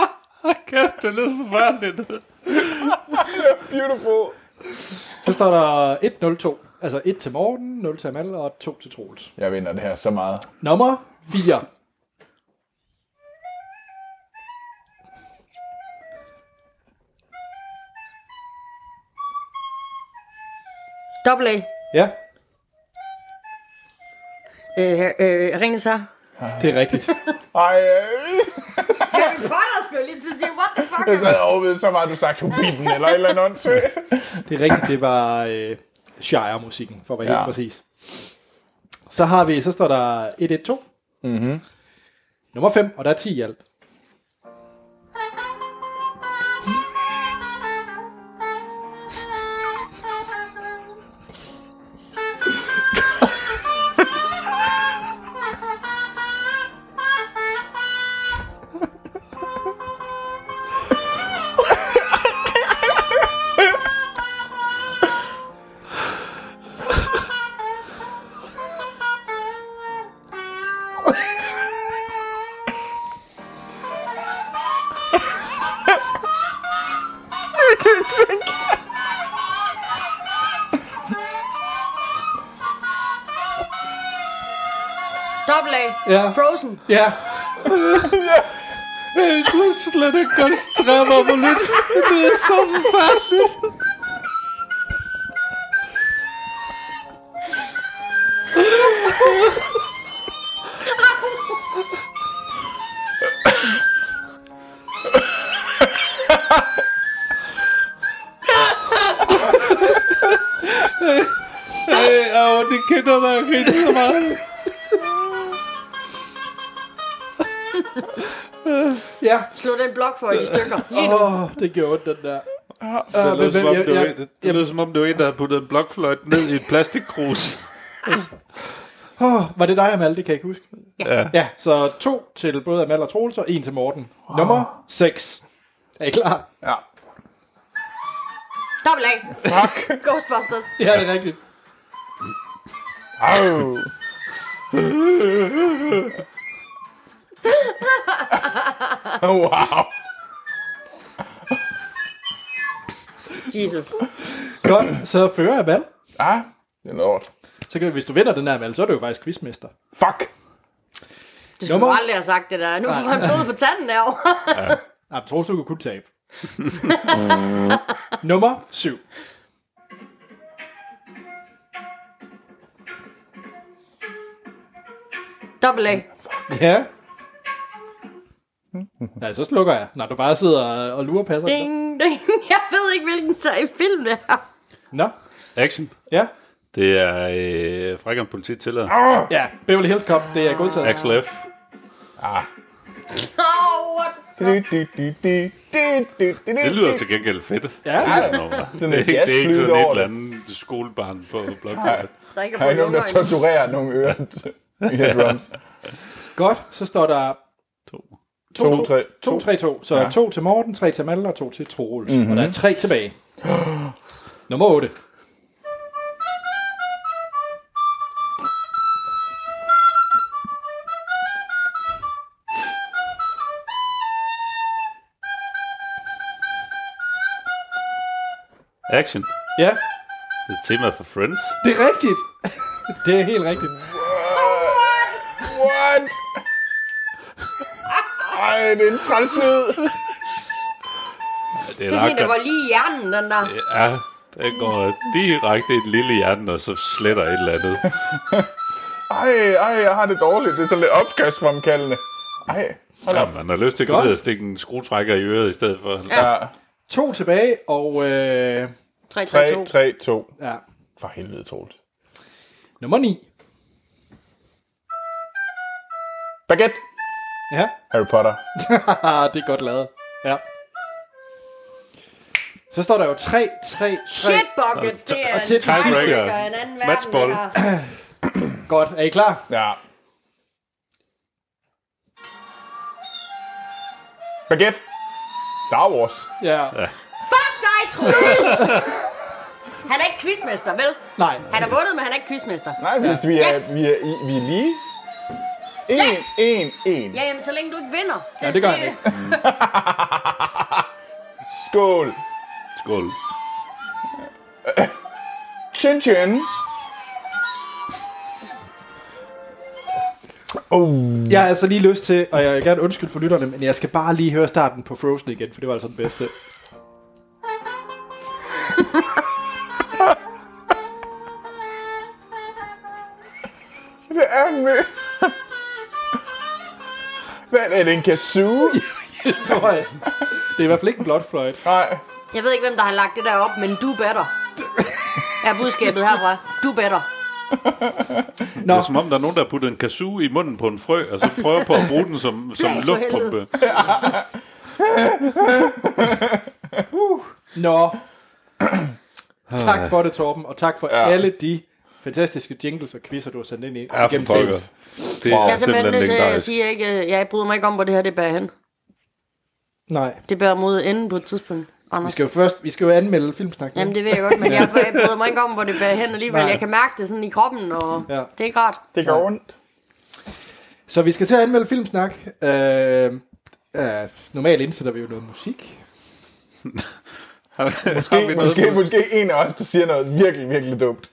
Kæft, det lød forfærdeligt. Beautiful. Så står der 1-0-2. Altså 1 til Morten, 0 til Amal og 2 til Troels. Jeg vinder det her så meget. Nummer 4. Dobbelt af. Ja, Øh, øh, Ringnes her. det er rigtigt. Ej, øh. Harry Potter skulle jeg lige til at sige, what the fuck? Jeg sad og overvejede så meget, du sagde Hobbiten eller et eller andet åndssvagt. Det er rigtigt, det var øh, Shire-musikken, for at være ja. Ja. helt præcis. Så har vi, så står der 112, Mm-hmm. nummer 5, og der er 10 i alt. Dobbelt A. Ja. Frozen. Ja, Jeg kunne slet ikke koncentrere mig på lidt. Det er så forfærdeligt. Ej, og det kender mig ikke så meget. ja. Slå den blok for i stykker. Lige nu. Åh, oh, det gjorde ondt, den der. Ah, Ah, Det lød, som om, det, var, Øh, jeg, en- det lød som om, det var en, der havde puttet en blokfløjt ned i et plastikkrus. oh, var det dig, Amal? Det kan jeg ikke huske. Ja. Ja, så to til både Amal og Troels, og en til Morten. Nummer 6. Er I klar? Ja. Dobbelt A. Fuck. Ghostbusters. Ja, det er rigtigt. Au. wow. Jesus. Godt, så fører Amal. Ja, Ah, det er lort. Så kan, hvis du vinder den her, Amal, så er du jo faktisk quizmester. Fuck. Det skulle Nummer- du aldrig have sagt det der. Nu får han blod på tanden derovre. Nej, Ah, men Troels, du kan kun tabe. Nummer 7. Dobbelt A. Ja. Ja, så slukker jeg, når du bare sidder og lurer passer. Ding, ding. Jeg ved ikke, hvilken sej film det er. Nå, Action. ja. Det er øh, Frækken politi tillader. Ja, Beverly Hills Cop, det er godtaget. Axel F. Oh, what? Det lyder til gengæld fedt. Ja, Det er nummer. Sådan en Det er ikke, det er ikke jazzlyd sådan et over eller det. andet skolebarn på blokfløjt. Der er ikke Der er ikke nogen, der torturerer nogle ører. Ja, drums. godt. Så står der To. 2, 3. 2-3-2. Så ja. to til Morten, tre til Amal og to til Troels. Mm-hmm. Og der er tre tilbage. Nummer 8. Action. Ja, Det er tema for Friends. det er rigtigt. det er helt rigtigt. What? Ej, det er en træls lyd. Det Det er sådan en, der går lige i hjernen, den der. Ja, den går direkte i den lille hjerne, og så sletter et eller andet. Ej, ej, jeg har det dårligt. Det er så lidt opkastfremkaldende. Ej, hold op. Ja, man har lyst til at gå Godt. ned og stikke en skruetrækker i øret i stedet for. Ja, To tilbage, og øh, 3, 3, 3, 2. 3, 2. ja, For helvede, Troels. nummer 9. Baguette. Ja, Harry Potter. Haha, Ah, det er godt lavet. Ja. Så står der jo 3, 3, 3. Shit buckets, det er Og til en den sidste. tiebreaker i en anden verden. Matchball. det her. Godt, er I klar? Ja. Baguette. Star Wars. Ja. ja. Fuck dig, Troels! Han er ikke quizmester, vel? Nej. Han har vundet, men han er ikke quizmester. Nej, hvis vi er, Yes. vi er, i- vi er lige. En, Yes. en, en. Ja, jamen, så længe du ikke vinder. Det, Ja, det gør han ikke. Skål. Skål. Chin chin. Oh. Jeg har altså lige lyst til, og jeg vil gerne undskylde for lytterne, men jeg skal bare lige høre starten på Frozen igen, for det var altså den bedste. Det er med. Hvad er det, en kazoo? Det tror jeg. Det er i hvert fald ikke en blot fløjt. Nej. Jeg ved ikke, hvem der har lagt det der op, men du better. er budskabet herfra. Du better. Nå, Det er som om, der er nogen, der har puttet en kazoo i munden på en frø, og så prøver på at bruge den som, som Blæs for luftpumpe. nå. tak for det, Torben, og tak for ja. alle de fantastiske jingles og quizzer, du har sendt ind i. Ja, for igennem pokker. tiden. Det Wow. Jeg er er simpelthen simpelthen nødt til at legendarisk. sige, at jeg ikke, øh, jeg bryder mig ikke om, hvor det her det bærer hen. Nej, Det bærer mod enden på et tidspunkt, vi Anders. skal jo først, vi skal jo anmelde filmsnak. nu. Jamen, det ved jeg godt, men jeg, jeg bryder mig ikke om, hvor det bærer hen alligevel. Nej. Jeg kan mærke det sådan i kroppen, og Ja. ja. det er ikke rart. Det går ondt. Så vi skal til at anmelde filmsnak. Øh, øh, normalt indsætter vi jo noget musik. Har vi Måske, noget måske, på- måske en af os, der siger noget virkelig, virkelig dumt.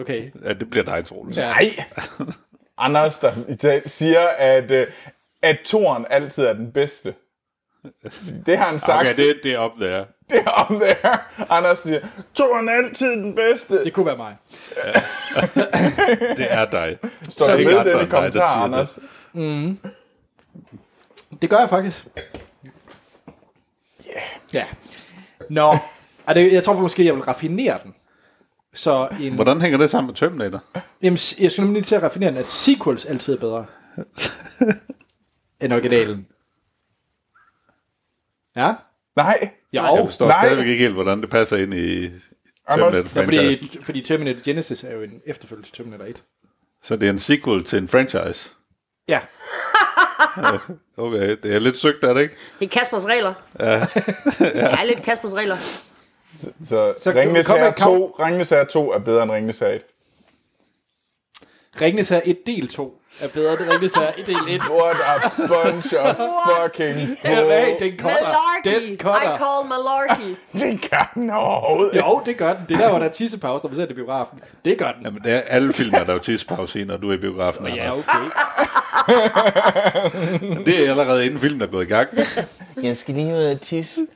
Okay. Ja, det bliver dig, Troels. Ja. Nej. Anders, der i dag siger, at, øh, at toren altid er den bedste. Det har han sagt. Okay, det, det er op der. det er om det her. Anders siger, toren er altid den bedste. Det kunne være mig. Det er dig. Står der ikke med andre den i end mig, der kommentar, siger Anders. Det gør jeg faktisk. Yeah. Ja. Nå, Ej, det, jeg tror måske, jeg vil raffinere den. Så en, Hvordan hænger det sammen med Terminator? jamen, s- jeg skal nemlig lige til at raffinere den, at sequels altid er bedre end originalen. Ja? Nej. Jo. Jeg forstår Nej. stadigvæk ikke helt, hvordan det passer ind i Terminator Ja, franchise. fordi, fordi Terminator Genesis er jo en efterfølgelse til Terminator 1. Så det er en sequel til en franchise. Ja, Okay, det er lidt søgt, er det ikke? Det er Kaspers regler. Ja. det er lidt Kaspers regler. Så, Så så kom- Ringnes kom med Herre et krav. 2, Ringnes Herre 2 er bedre end Ringnes Herre 1. Ringnes her 1 del 2 er bedre end Ringnes her 1 del 1. What a bunch of fucking Hey, bull. den cutter. Den I cutter. call malarkey. Det kan den overhovedet ikke. Jo, det gør den. Det er der, hvor der er tissepause, når vi ser det i biografen. Det gør den. Jamen, det er alle film, er der jo tidspause i, når du er i biografen. Ja, Anders. okay. Altså, Det er allerede inden filmen er gået i gang. Jeg skal lige ud og tisse.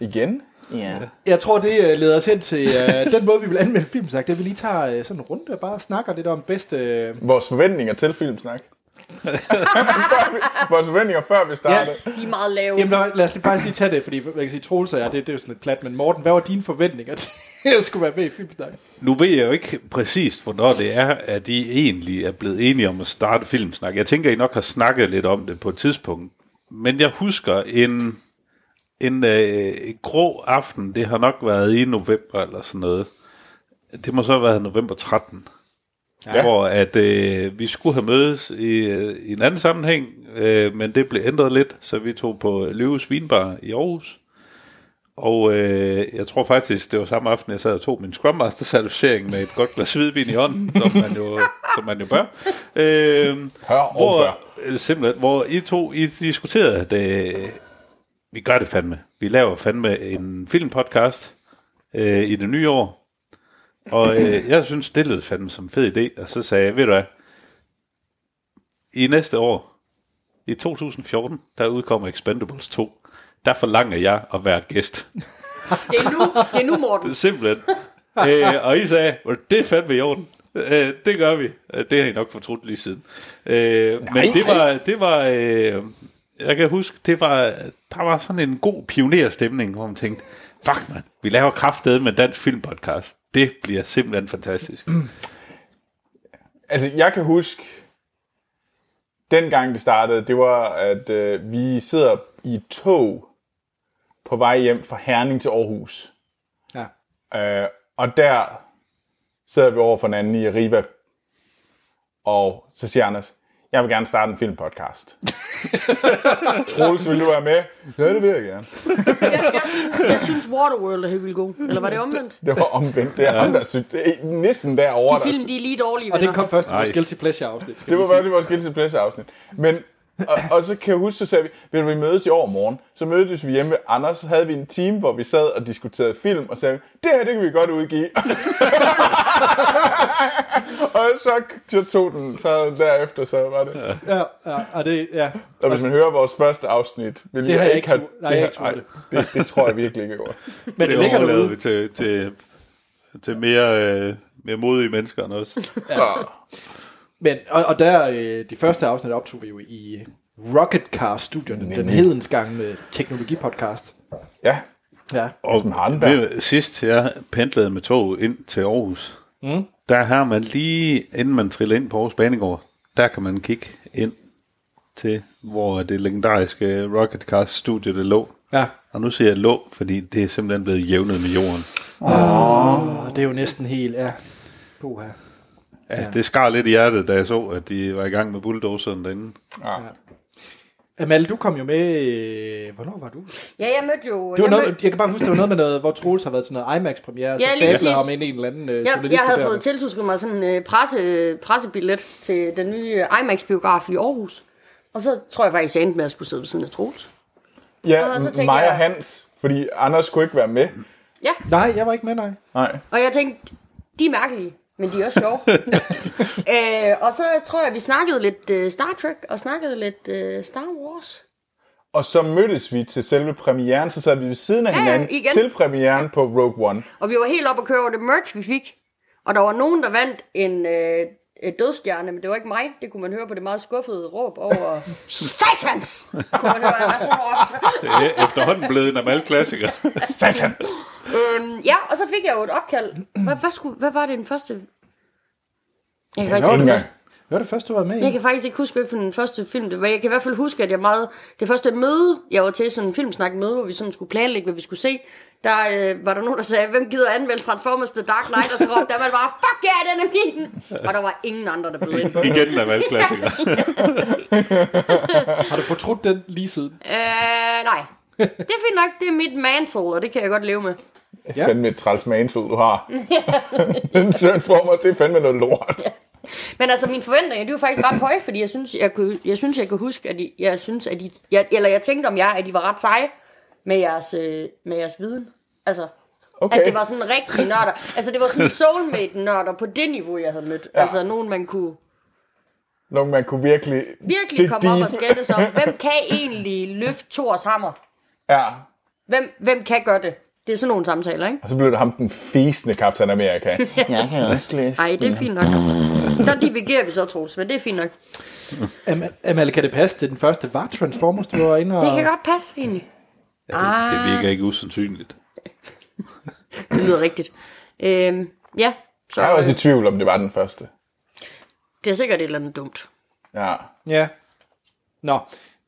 Igen? Ja. Jeg tror, det øh, leder os hen til øh, den måde, vi vil anmelde filmsnak. Det er, at vi lige tager øh, sådan en runde og bare snakker lidt om bedste... Øh, Vores forventninger til filmsnak. Før vi- Vores forventninger før vi startede. De er meget lave. jamen, lad, lad os lige, faktisk lige tage det, fordi man kan sige, Troels og jeg, det, det er jo sådan lidt plat, men Morten, hvad var dine forventninger til, at jeg skulle være med i filmsnak? Nu ved jeg jo ikke præcist, hvornår det er, at I egentlig er blevet enige om at starte filmsnak. Jeg tænker, I nok har snakket lidt om det på et tidspunkt. Men jeg husker en, en øh, grå aften, det har nok været i november eller sådan noget. Det må så have været november 13. Ja. Hvor at, øh, vi skulle have mødes i, øh, i en anden sammenhæng, øh, men det blev ændret lidt, så vi tog på Løves Vinbar i Aarhus. Og øh, jeg tror faktisk, det var samme aften, jeg sad og tog min Scrum Master certificering med et godt glas hvidvin i hånden, som man jo, som man jo bør. Øh, Hør og hvor, bør. øh, simpelthen, hvor I to I diskuterede, at øh, vi gør det fandme. Vi laver fandme en filmpodcast øh, i det nye år. Og øh, jeg synes, det lød fandme som en fed idé. Og så sagde jeg, ved du hvad, i næste år, i 2014, der udkommer Expendables 2. Der forlanger jeg at være gæst. Det er nu, det er nu Morten. Simpelthen. øh, og I sagde, "Well, det er fandme i orden. Øh, det gør vi. Øh, Det har I nok fortrudt lige siden. Øh, men det var, det var øh, jeg kan huske, det var, der var sådan en god pionerstemning, hvor man tænkte, fuck man, vi laver kraftedeme med dansk filmpodcast. Det bliver simpelthen fantastisk. Altså, jeg kan huske, dengang det startede, det var, at øh, vi sidder i et tog på vej hjem fra Herning til Aarhus. Ja. Øh, og der sidder vi over for hinanden i Arriba. Og så siger Anders, jeg vil gerne starte en filmpodcast. Troels, vil du være med? Ja, det vil jeg gerne. Jeg, jeg, synes, jeg synes Waterworld er helt vildt god. Eller var det omvendt? Det var omvendt. Det er ham, der synes. Det er næsten derovre, De der film, de er lige dårlige, Og den venner. kom først i vores Nej. Guilty Pleasure-afsnit. skal Det vi var sige. bare det vores Guilty Pleasure afsnit. Men, og, og, så kan jeg huske, så sagde vi, vil vi mødes i over morgen? Så mødtes vi hjemme ved Anders, så havde vi en time, hvor vi sad og diskuterede film, og sagde, det her, det kan vi godt udgive. og så, så tog den, så derefter, så var det. Ja, ja, og det, ja. Og hvis man hører vores første afsnit, vil Det har jeg ikke have, tur- nej, jeg har ikke har- tur nej, det, det tror jeg virkelig ikke går. Men det, Det ligger overlader derude. vi til, til, til mere, øh, mere modige mennesker end os. Men, og, og der, øh, de første afsnit optog vi jo i Rocketcast-studierne, den hedensgangne teknologipodcast. Ja, Ja. Og Sådan en Hardenberg. ved du, sidst jeg pendlede med tog ind til Aarhus, mm. der har man lige, inden man triller ind på Aarhus Banegård, der kan man kigge ind til, hvor det legendariske Rocketcast studie det lå. Ja. Og nu siger jeg lå, fordi det er simpelthen blevet jævnet med jorden. Og det er jo næsten helt, ja. Puha. Ja, det skar lidt i hjertet, da jeg så, at de var i gang med bulldozeren derinde. Amal, du kom jo med... øh, Hvornår var du? Ja, jeg mødte jo... Det var jeg noget, mødte- jeg kan bare huske, det var noget med noget, hvor Troels har været til noget IMAX-premiere, og så Ja, lige fabler præcis. om en, en eller anden øh, Jeg, jeg journalist, havde der- fået tiltusket mig sådan en øh, presse, pressebillet til den nye IMAX-biograf i Aarhus. Og så tror jeg faktisk, jeg endte med at skulle sidde ved siden af Troels. Ja, Og så tænker mig jeg- og Hans, fordi Anders kunne ikke være med. Ja, Nej, jeg var ikke med, nej. Nej. og jeg tænkte, de er mærkelige, men de er også sjove. øh, og så tror jeg, vi snakkede lidt øh, Star Trek og snakkede lidt øh, Star Wars. Og så mødtes vi til selve premieren, så sad vi ved siden af Ja, ja, hinanden igen. til premieren på Rogue One. Og vi var helt oppe og køre over det merch, vi fik. Og der var nogen, der vandt en øh, øh, dødstjerne, men det var ikke mig. Det kunne man høre på det meget skuffede råb over... Satans! Kunne man høre, jeg var sådan råbt. Det er efterhånden blevet en af alle klassikere. Satan! Øhm, ja, og så fik jeg jo et opkald. Hvad, hvad, skulle, hvad var det den første? Jeg kan, Jeg faktisk var, ikke, tænker det jeg. første, jeg var det første, du var med jeg i. kan faktisk ikke huske, hvad for den første film det var. Jeg kan i hvert fald huske, at jeg meget... Det første møde, jeg var til, sådan en filmsnak møde, hvor vi sådan skulle planlægge, hvad vi skulle se, der øh, var der nogen, der sagde, hvem gider anvende Transformers The Dark Knight? Og så råbte man bare, fuck ja, yeah, den er min! Og der var ingen andre, der blev ind. Igen af alle klassikere. Har du fortrudt den lige siden? Øh, nej. Det er fint nok, det er mit mantle, og det kan jeg godt leve med. Ja. Fandme et træls mantel, du har. Den transformer, det er fandme noget lort. Men altså, mine forventninger, de var faktisk ret høje, fordi jeg synes, jeg, kunne, jeg, synes, jeg kan huske, at I, jeg synes, at I, jeg, eller jeg tænkte om jer, at I var ret seje med jeres, øh, med jeres viden. Altså, okay. at Okay. det var sådan rigtige nørder. Altså, det var sådan soulmate-nørder på det niveau, jeg havde mødt. Ja. Altså, nogen, man kunne Nogen, man kunne virkelig... virkelig dig komme op og deep. skændes om. Hvem kan egentlig løfte Thors hammer? Ja, Hvem, hvem kan gøre det? Det er sådan nogle samtaler, ikke? og så blev det ham den fæsende Captain America. Jeg kan også læse. Nej, det er fint nok. Der divergerer vi så, Troels, men det er fint nok. Am- Amal, kan det passe, det den første var Transformers, du var inde og... Det kan godt passe, egentlig. Ah, Ja, det, det virker ikke usandsynligt. Det lyder rigtigt. Øhm, ja, så Jeg er også i øh, tvivl, om det var den første. det er sikkert et eller andet dumt. Ja. Ja. Nå,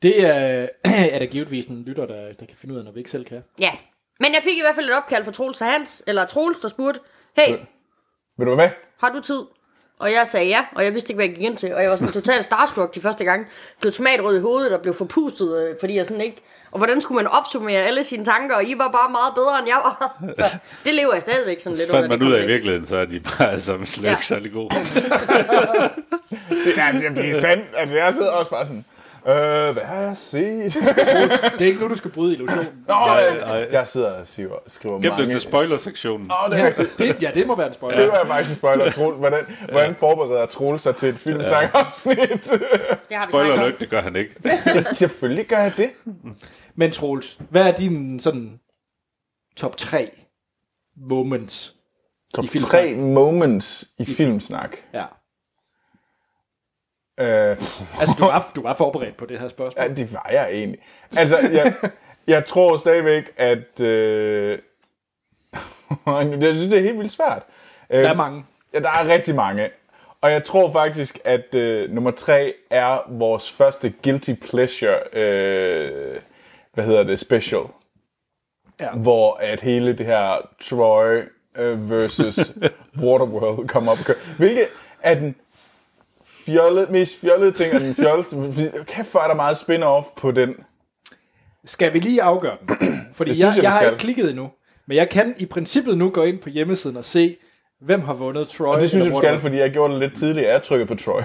det er, er der givetvis en lytter, der, der kan finde ud af, når vi ikke selv kan. Ja. Men jeg fik i hvert fald et opkald fra Troels og Hans, eller Troels, der spurgte, hey, Vil du være med? har du tid? Og jeg sagde ja, og jeg vidste ikke, hvad jeg gik ind til. Og jeg var sådan totalt starstruck de første gange. Blev tomatrød i hovedet og blev forpustet, øh, fordi jeg sådan ikke... Og hvordan skulle man opsummere alle sine tanker? Og I var bare meget bedre, end jeg var. Så det lever jeg stadigvæk sådan lidt Så fandt det man ud af i kompleks. virkeligheden, så er de bare sammen slet Ja. ikke særlig gode. Det er, det er sandt. Altså, jeg sidder også bare sådan... Øh, hvad har jeg set? Det er ikke nu, du skal bryde illusionen. Nå, ej. jeg, jeg sidder og skriver, skriver Gem mange... det til spoilersektionen. Åh, det er rigtigt. Det, ja, det må være en spoiler. Det var faktisk en spoiler. Troel, hvordan, hvordan forbereder Troel sig til et filmsnakafsnit? Det har vi Spoiler snakket om. alert, det gør han ikke. Selvfølgelig gør jeg det. Men Troels, hvad er din sådan top 3 moments? Top filmsnak. 3 moments i filmsnak. Ja. Øh, Altså, du var, du var forberedt på det her spørgsmål. ja, det var jeg egentlig. Altså, jeg, jeg tror stadigvæk, at... Øh, jeg synes, det er helt vildt svært. Øh, Der er mange. Ja, der er rigtig mange. Og jeg tror faktisk, at øh, nummer tre er vores første Guilty Pleasure, øh, hvad hedder det, special. Ja. Hvor at hele det her Troy øh, versus Waterworld kommer op. og kører. Hvilket er den fjollede, mest fjollede ting, og den fjolleste. fordi Kæft, hvor er der meget spin-off på den. Skal vi lige afgøre den? Fordi jeg, synes jeg, jeg, vi jeg har skal. ikke klikket endnu. Men jeg kan i princippet nu gå ind på hjemmesiden og se, hvem har vundet Troy. Og det synes jeg, eller du skal, Waterloo. fordi jeg gjorde det lidt tidligere. Jeg trykkede på Troy.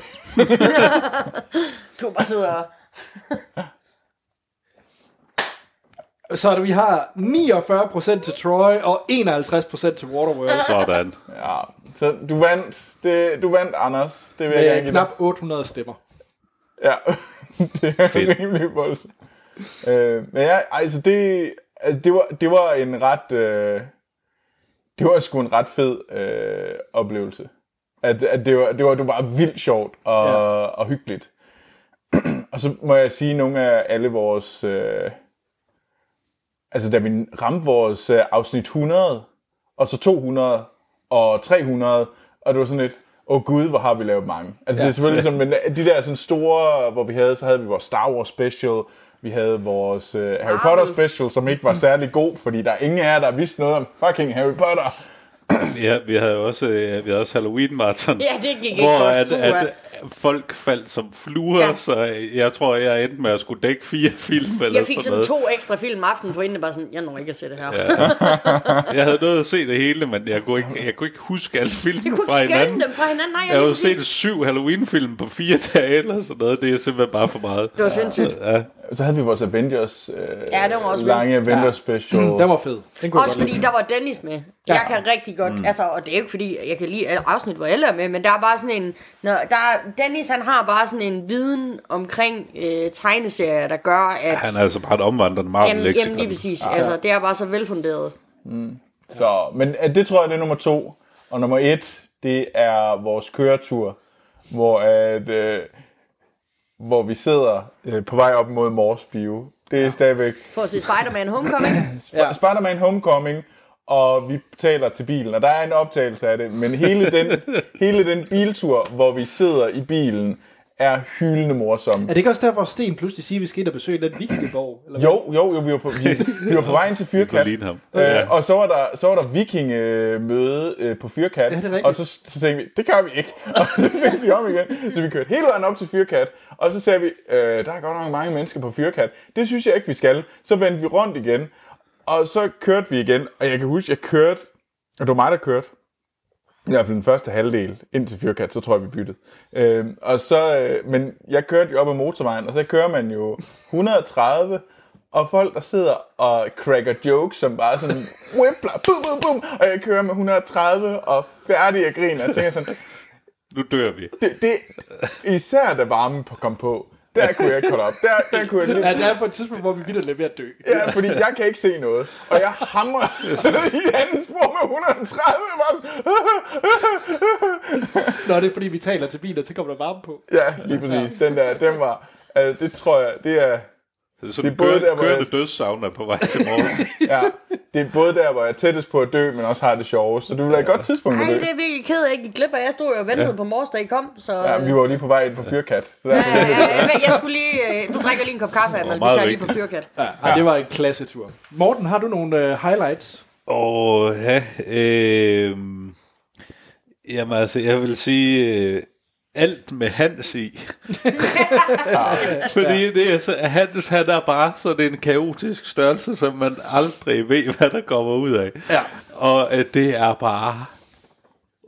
Du bare sidder og... Så er det, vi har 49% til Troy og 51% til Waterworld. Sådan. Ja, så du vandt. Det, du vandt, Anders. Det vil jeg gerne Med give dig. Øh, knap 800 stemmer. Ja, det er Fedt. Fedt. rimelig voldsomt. Øh, men ja, altså det, altså det, var, det var en ret, øh, det var sgu en ret fed øh, oplevelse. At, at det, var, det, var, det var bare vildt sjovt og, ja. og hyggeligt. og så må jeg sige, nogle af alle vores, øh, altså da vi ramte vores øh, afsnit 100, og så 200, og 300, og det var sådan lidt, åh oh gud, hvor har vi lavet mange. Altså ja. det er selvfølgelig sådan, men de der sådan store, hvor vi havde, så havde vi vores Star Wars special, vi havde vores øh, Harry Potter special, som ikke var særlig god, fordi der er ingen af jer, der vidste noget om fucking Harry Potter. Ja, vi havde også, øh, vi havde også Halloween Marathon. Ja, det gik ikke hvor godt, at, puha. at folk faldt som fluer, Ja. ja. så jeg tror, jeg endte med at skulle dække fire film eller Jeg fik sådan sådan noget. to ekstra film aften for inden, bare sådan, jeg når ikke at se det her. Ja. Jeg havde nået at se det hele, men jeg kunne ikke, jeg kunne ikke huske alle Jeg filmene kunne fra ikke skænde hinanden. dem fra hinanden. Nej, Jeg har jo lige præcis- set syv Halloween-film på fire dage eller sådan noget. Det er simpelthen bare for meget. Det var sindssygt. Ja. Så havde vi vores Avengers, øh, Ja, den var også vild. lange Avengers ja. special. Den var fed. Den kunne jeg Også godt fordi der var Dennis med. Ja. Jeg kan rigtig godt, mm. altså, og det er jo ikke fordi, jeg kan lide alle afsnit, hvor alle er med, men der er bare sådan en, når der, er- Dennis han har bare sådan en viden omkring øh, tegneserier, der gør, at... Han er altså bare et omvandrende jamen, jamen, lige Marvel-leksikon. præcis. Ja. Altså, det er bare så velfunderet. Så, men øh, det tror jeg, det er nummer to. Og nummer et, det er vores køretur, hvor, at, øh, hvor vi sidder øh, på vej op mod Mors Bio. Det er ja. stadigvæk For at se Spider-Man Homecoming. ja. Spider-Man Homecoming, og vi taler til bilen, og der er en optagelse af det, men hele den, hele den biltur, hvor vi sidder i bilen, er hyldende morsom. Er det ikke også der, hvor Sten pludselig siger, at vi skal ind og besøge den vikingeborg? Eller hvad? Jo, jo, jo, vi var på, vi, vi var på vejen til kunne Fyrkat. ligne ham. Øh, ja. Og så var der, så var der vikingemøde øh, på Fyrkat. det er rigtigt. og så, så tænkte vi, det gør vi ikke. Og så fik vi om igen. Så vi kørte hele vejen op til Fyrkat. Og så sagde vi, øh, der er godt nok mange mennesker på Fyrkat. Det synes jeg ikke, vi skal. Så vendte vi rundt igen. Og så kørte vi igen. Og jeg kan huske, jeg kørte... Og det var mig, der kørte. I hvert fald den første halvdel ind til Fyrkat, så tror jeg, vi byttede. Øh, og så, øh, men jeg kørte jo op ad motorvejen, og så kører man jo 130, og folk, der sidder og cracker jokes, som bare sådan, whipler, bum, bum, bum, og jeg kører med 130, og færdig jeg griner, og tænker sådan, Nu dør vi. det, det, især da varmen på- kom på, der kunne jeg ikke holde op, der, der kunne jeg lige Ja, der er på et tidspunkt, hvor vi vidt er ved at dø. Ja, fordi jeg kan ikke se noget. Og jeg hamrer i anden spor med 130. Bare sådan, Nå, det er fordi, vi taler til bilen, og så kommer der varme på. Ja, lige præcis. Den der, den var... Altså, det tror jeg, det er... Det Så det er er både der, hvor kørende jeg- dødssavner på vej til morgen. Ja, det er både der, hvor jeg er tættest på at dø, men også har det sjovt. Så det var et godt tidspunkt at Nej, dø. det er virkelig ked af, ikke I glip af. Jeg stod jo og ventede ja. på mors, da I kom, så... Ja, vi var jo lige på vej ind på Fyrkat. Så der, Ja, ja, ja, ja, jeg skulle lige... øh, Du drikker lige en kop kaffe, Amal. Vi meget tager lige på vigtigt. fyrkat. Ja, ja. det var en klassetur. Morten, har du nogle øh, highlights? Og ja, øh, jamen altså, jeg vil sige, øh, alt med Hans i. Fordi det er så, at Hans, han er bare sådan en kaotisk størrelse, som man aldrig ved, hvad der kommer ud af. Ja. Og øh, det er bare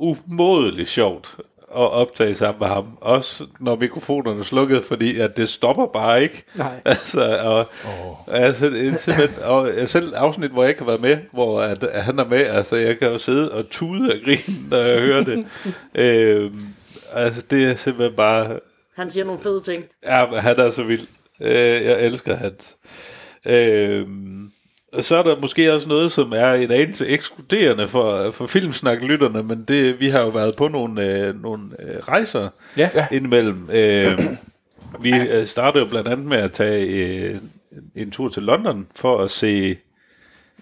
umådeligt sjovt at optage sammen med ham. Også når mikrofonerne er slukket, fordi at det stopper bare ikke. Nej. Altså, og, oh. altså, det er simpelthen, og øh, selv afsnit, hvor jeg ikke har været med, hvor at, at han er med, altså jeg kan jo sidde og tude og grine, når jeg hører det. øhm, altså det er simpelthen bare, Han siger nogle fede ting. ja, men han er så vild. Øh, jeg elsker hans. Øhm, og så er der måske også noget, som er en anelse ekskluderende for, for filmsnaklytterne, men det, vi har jo været på nogle, øh, nogle øh, rejser Ja. Ja. indimellem. Øh, vi øh, startede jo blandt andet med at tage øh, en tur til London for at se,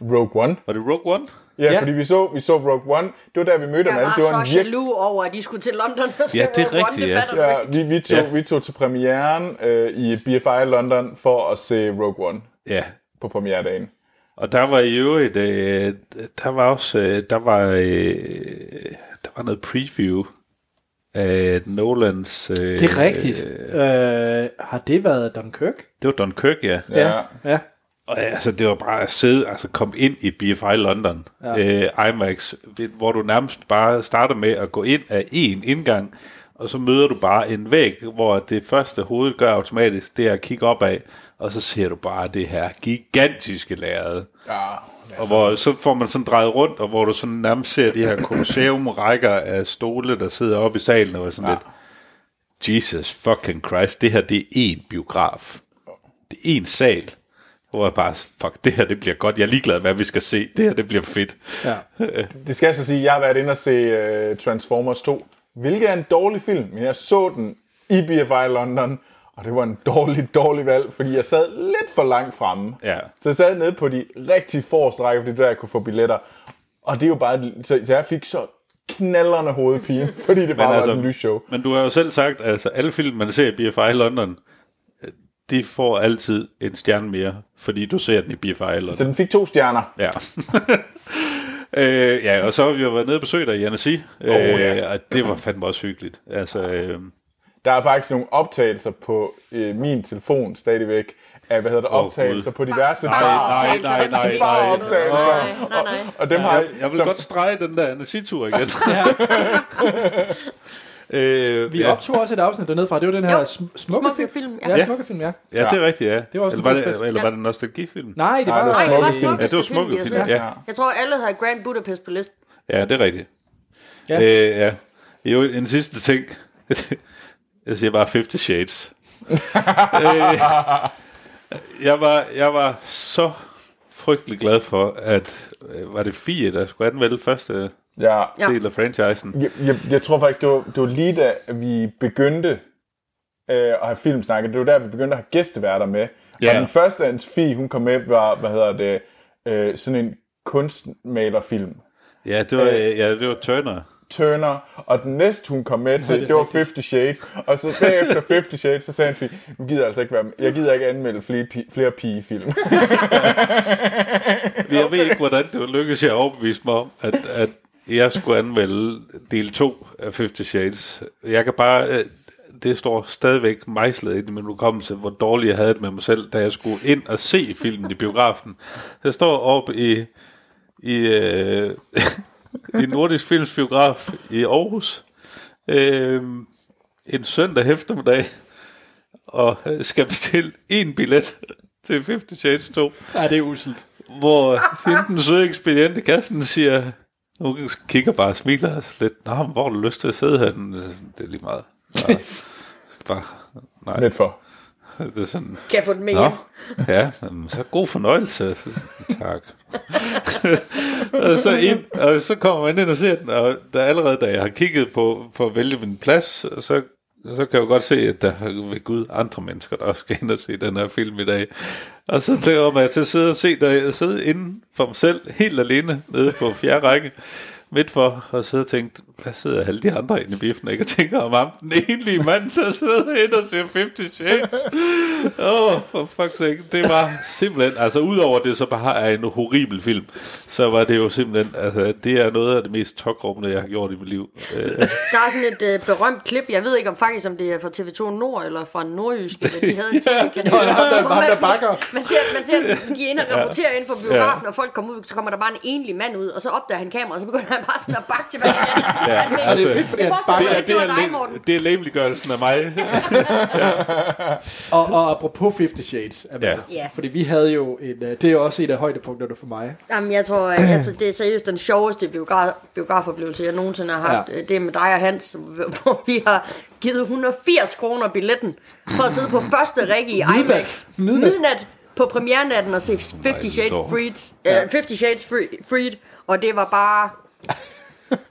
Rogue One. var det Rogue One? Ja, Ja. fordi vi så, vi så Rogue One. Det var der, vi mødte Jeg ham alle. var, Det var så en virkelig... jaloux over, at de skulle til London og se Ja, det er Rogue One, rigtigt, det ja. fatter du Ja, ikke. vi, vi, tog, ja. vi tog til premieren øh, i BFI London for at se Rogue One Ja, på premieredagen. Og der var i øvrigt, øh, der var også, øh, der var, øh, der var noget preview af Nolans... Øh, Det er rigtigt. Øh, har det været Dunkirk? det var Dunkirk, ja. ja. Ja. ja. Og ja, altså, det var bare at sidde, altså komme ind i BFI London, ja. øh, IMAX, ved- hvor du nærmest bare starter med at gå ind af én indgang, og så møder du bare en væg, hvor det første hovedet gør automatisk, det er at kigge opad, og så ser du bare det her gigantiske lærrede. ja. Og hvor så får man sådan drejet rundt, og hvor du sådan nærmest ser de her kolosseum-rækker af stole, der sidder oppe i salen, og er sådan ja. lidt, Jesus fucking Christ, det her, det er én biograf. Det er én sal. Hvor jeg bare, fuck, det her, det bliver godt. Jeg er ligeglad, hvad vi skal se. Det her, det bliver fedt. ja. Det skal jeg så sige, jeg har været inde og øh, se uh, Transformers 2, hvilket er en dårlig film, men jeg så den i BFI London, Og det var en dårlig, dårlig valg, fordi jeg sad lidt for langt fremme. Ja. Så jeg sad nede på de rigtig forreste rækker, fordi det var der, jeg kunne få billetter. Og det er jo bare... et- Så så jeg fik så knalderne hovedpine, fordi det bare altså, var et lysshow. Men du har jo selv sagt, altså alle film, man ser i BFI London, øh, de får altid en stjerne mere, fordi du ser den i BFI Så London. den fik to stjerner. Ja. øh, ja, og så har vi jo været nede og besøgt dig i Annecy, øh, oh, ja. ja. og det var fandme også hyggeligt. Altså, øh, Der er faktisk nogle optagelser på øh, min telefon stadigvæk, af, hvad hedder det, Åh, optagelser Gud. på diverse nej, nej, optagelser, nej, dem skal vi nej, ikke nej. have til noget. Nej, nej, nej. Og dem har jeg, jeg vil som- godt strege den der Annecy-tur igen. øh, Vi optog også et afsnit dernede fra. Det var den her Jo, sm- smukke smukke film. film, ja. Ja, Ja. smukke film, ja. Ja, det er rigtigt, ja. Det var også eller, var en det, fest. eller var det en nostalgifilm? Nej, det Nej, var... det var Smukke film. Nej, Altså, det var Ja, det var smukkeste film, vi smukke har film, set. ja. Ja. Jeg tror, alle havde Grand Budapest på listen. Ja, det er rigtigt. Ja. Ja. Øh, ja. Jo, en sidste ting. jeg siger bare 50 Shades. øh, jeg, var, jeg var så frygtelig glad for, at øh, var det Fie, der skulle anmelde første Ja. Ja. ja. del af franchisen. Jeg, jeg, jeg tror faktisk, det var, det var lige da vi begyndte øh, at have filmsnakket. Det var der, vi begyndte at have gæsteværter med. Ja. Ja. Og den første af Fie, hun kom med, var, hvad hedder det, øh, sådan en kunstmalerfilm. Ja, det var, øh, ja, det var Turner. Turner, og den næste, hun kom med til, det, det var 50 Shades. Og så bagefter 50 Shades, så sagde Fie, nu gider jeg altså ikke være med. Jeg gider ikke anmelde flere, pi- flere pigefilm. Men jeg ved ikke, hvordan det var lykkedes jeg at overbevise mig om, at, at jeg skulle anmelde del 2 af 50 Shades. Jeg kan bare... øh, Det står stadigvæk mejslet ind i min hukommelse, hvor dårligt jeg havde det med mig selv, da jeg skulle ind og se filmen i biografen. Så Jeg står op i, i, øh, i Nordisk Films biograf i Aarhus øh, en søndag eftermiddag og øh, skal bestille en billet til 50 Shades 2 Ja, det er uselt. hvor hende, den søde ekspedient i kassen siger, hun kigger bare og smiler lidt, Nå, men hvor har du lyst til at sidde her? Den, Det er lige meget. Bare, bare nej, Lidt for. det er sådan, Kan jeg få den med Nå, hjem? ja, jamen, så god fornøjelse. Tak. og, så ind, og så kommer man ind og ser den, og der allerede da jeg har kigget på, for at vælge min plads, så, så kan jeg jo godt se, at der er ved Gud andre mennesker, der også skal ind og se den her film i dag. Og så tænker jeg mig til at sidde og se, der jeg sidde inde for mig selv, helt alene, nede på fjerde række, midt for og sidde og tænke, hvad sidder alle de andre inde i biffen, ikke? Og tænker om ham, den enlige mand, der sidder inde og ser 50 Shades. Åh, oh, for fuck's sake. Det var simpelthen, altså udover det så bare er en horribel film, så var det jo simpelthen, altså det er noget af det mest tokrummende, jeg har gjort i mit liv. Øh, Der er sådan et øh, berømt klip, jeg ved ikke om faktisk, om det er fra TV2 Nord eller fra Nordjysk, men de havde en tv-kanal. der er ham, der bakker. Man ser, man ser de er inde og rapporterer ind på biografen, og folk kommer ud, så kommer der bare en enlig mand ud, og så opdager han kameraet, og så begynder han bare sådan at bakke til hver anden. Ja, Han- altså, jeg fordi han forestiller mig bakker. lidt, det var dig, Morten. lem- det er lemliggørelsen af mig. Og, og apropos 50 Shades, Amanda, Ja. Ja. fordi vi havde jo en, øh, det er jo også et af højdepunkterne for mig. Jamen, jeg tror, at- altså, det er seriøst den sjoveste biograf, biografoplevelse, jeg nogensinde har haft. Ja. Det er med dig og Hans, hvor vi har givet 180 kroner billetten for at sidde på første række i IMAX. Midnat. Midnat på premiernatten og se 50 Shades dog. Freed. Ja. 50 Shades Free- Freed, og det var bare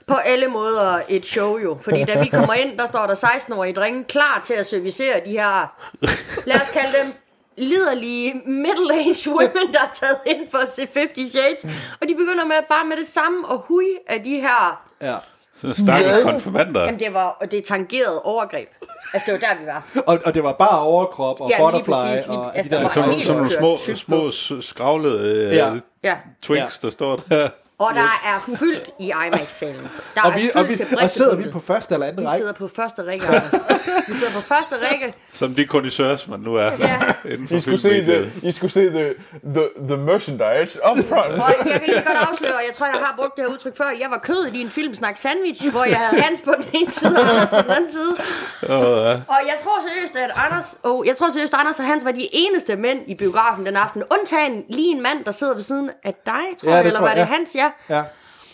på alle måder et show jo. Fordi da vi kommer ind, der står der 16-årige drenge klar til at servicere de her, lad os kalde dem liderlige middle-aged women, der er taget ind for at se 50 Shades. Og de begynder med bare med det samme og hui af de her... Ja. Sådan Stakkels konfirmander. Jamen det var, og det tangerede overgreb. Altså det var der, vi var. Og, og det var bare overkrop og Ja, lige butterfly præcis, lige- og altså, de der der... var- Sådan nogle- helt sådan nogle små, kørt sygt små s- skravlede øh, Ja. ja. Ja. twinks, der står der. Og der er fyldt i IMAX-salen. Der Og, er vi, fyldt og, vi, til og sidder vi bristepunktet. på første eller anden Vi række? sidder på første række, Anders. Vi sidder på første række. Som de kondisørs, man nu er Ja. inden for I skulle se, filmmediet. the, I skulle se the, the, the merchandise up front. Og jeg kan lige så godt afsløre, og jeg tror, jeg har brugt det her udtryk før. Jeg var kødet i en filmsnak sandwich, hvor jeg havde Hans på den ene side og Anders på den anden side. Og jeg tror seriøst, at Anders, oh, jeg tror seriøst, at Anders og Hans var de eneste mænd i biografen den aften. Undtagen lige en mand, der sidder ved siden af dig, tror Ja, ja, det jeg, eller tror var jeg, det ja. Hans, ja. Ja.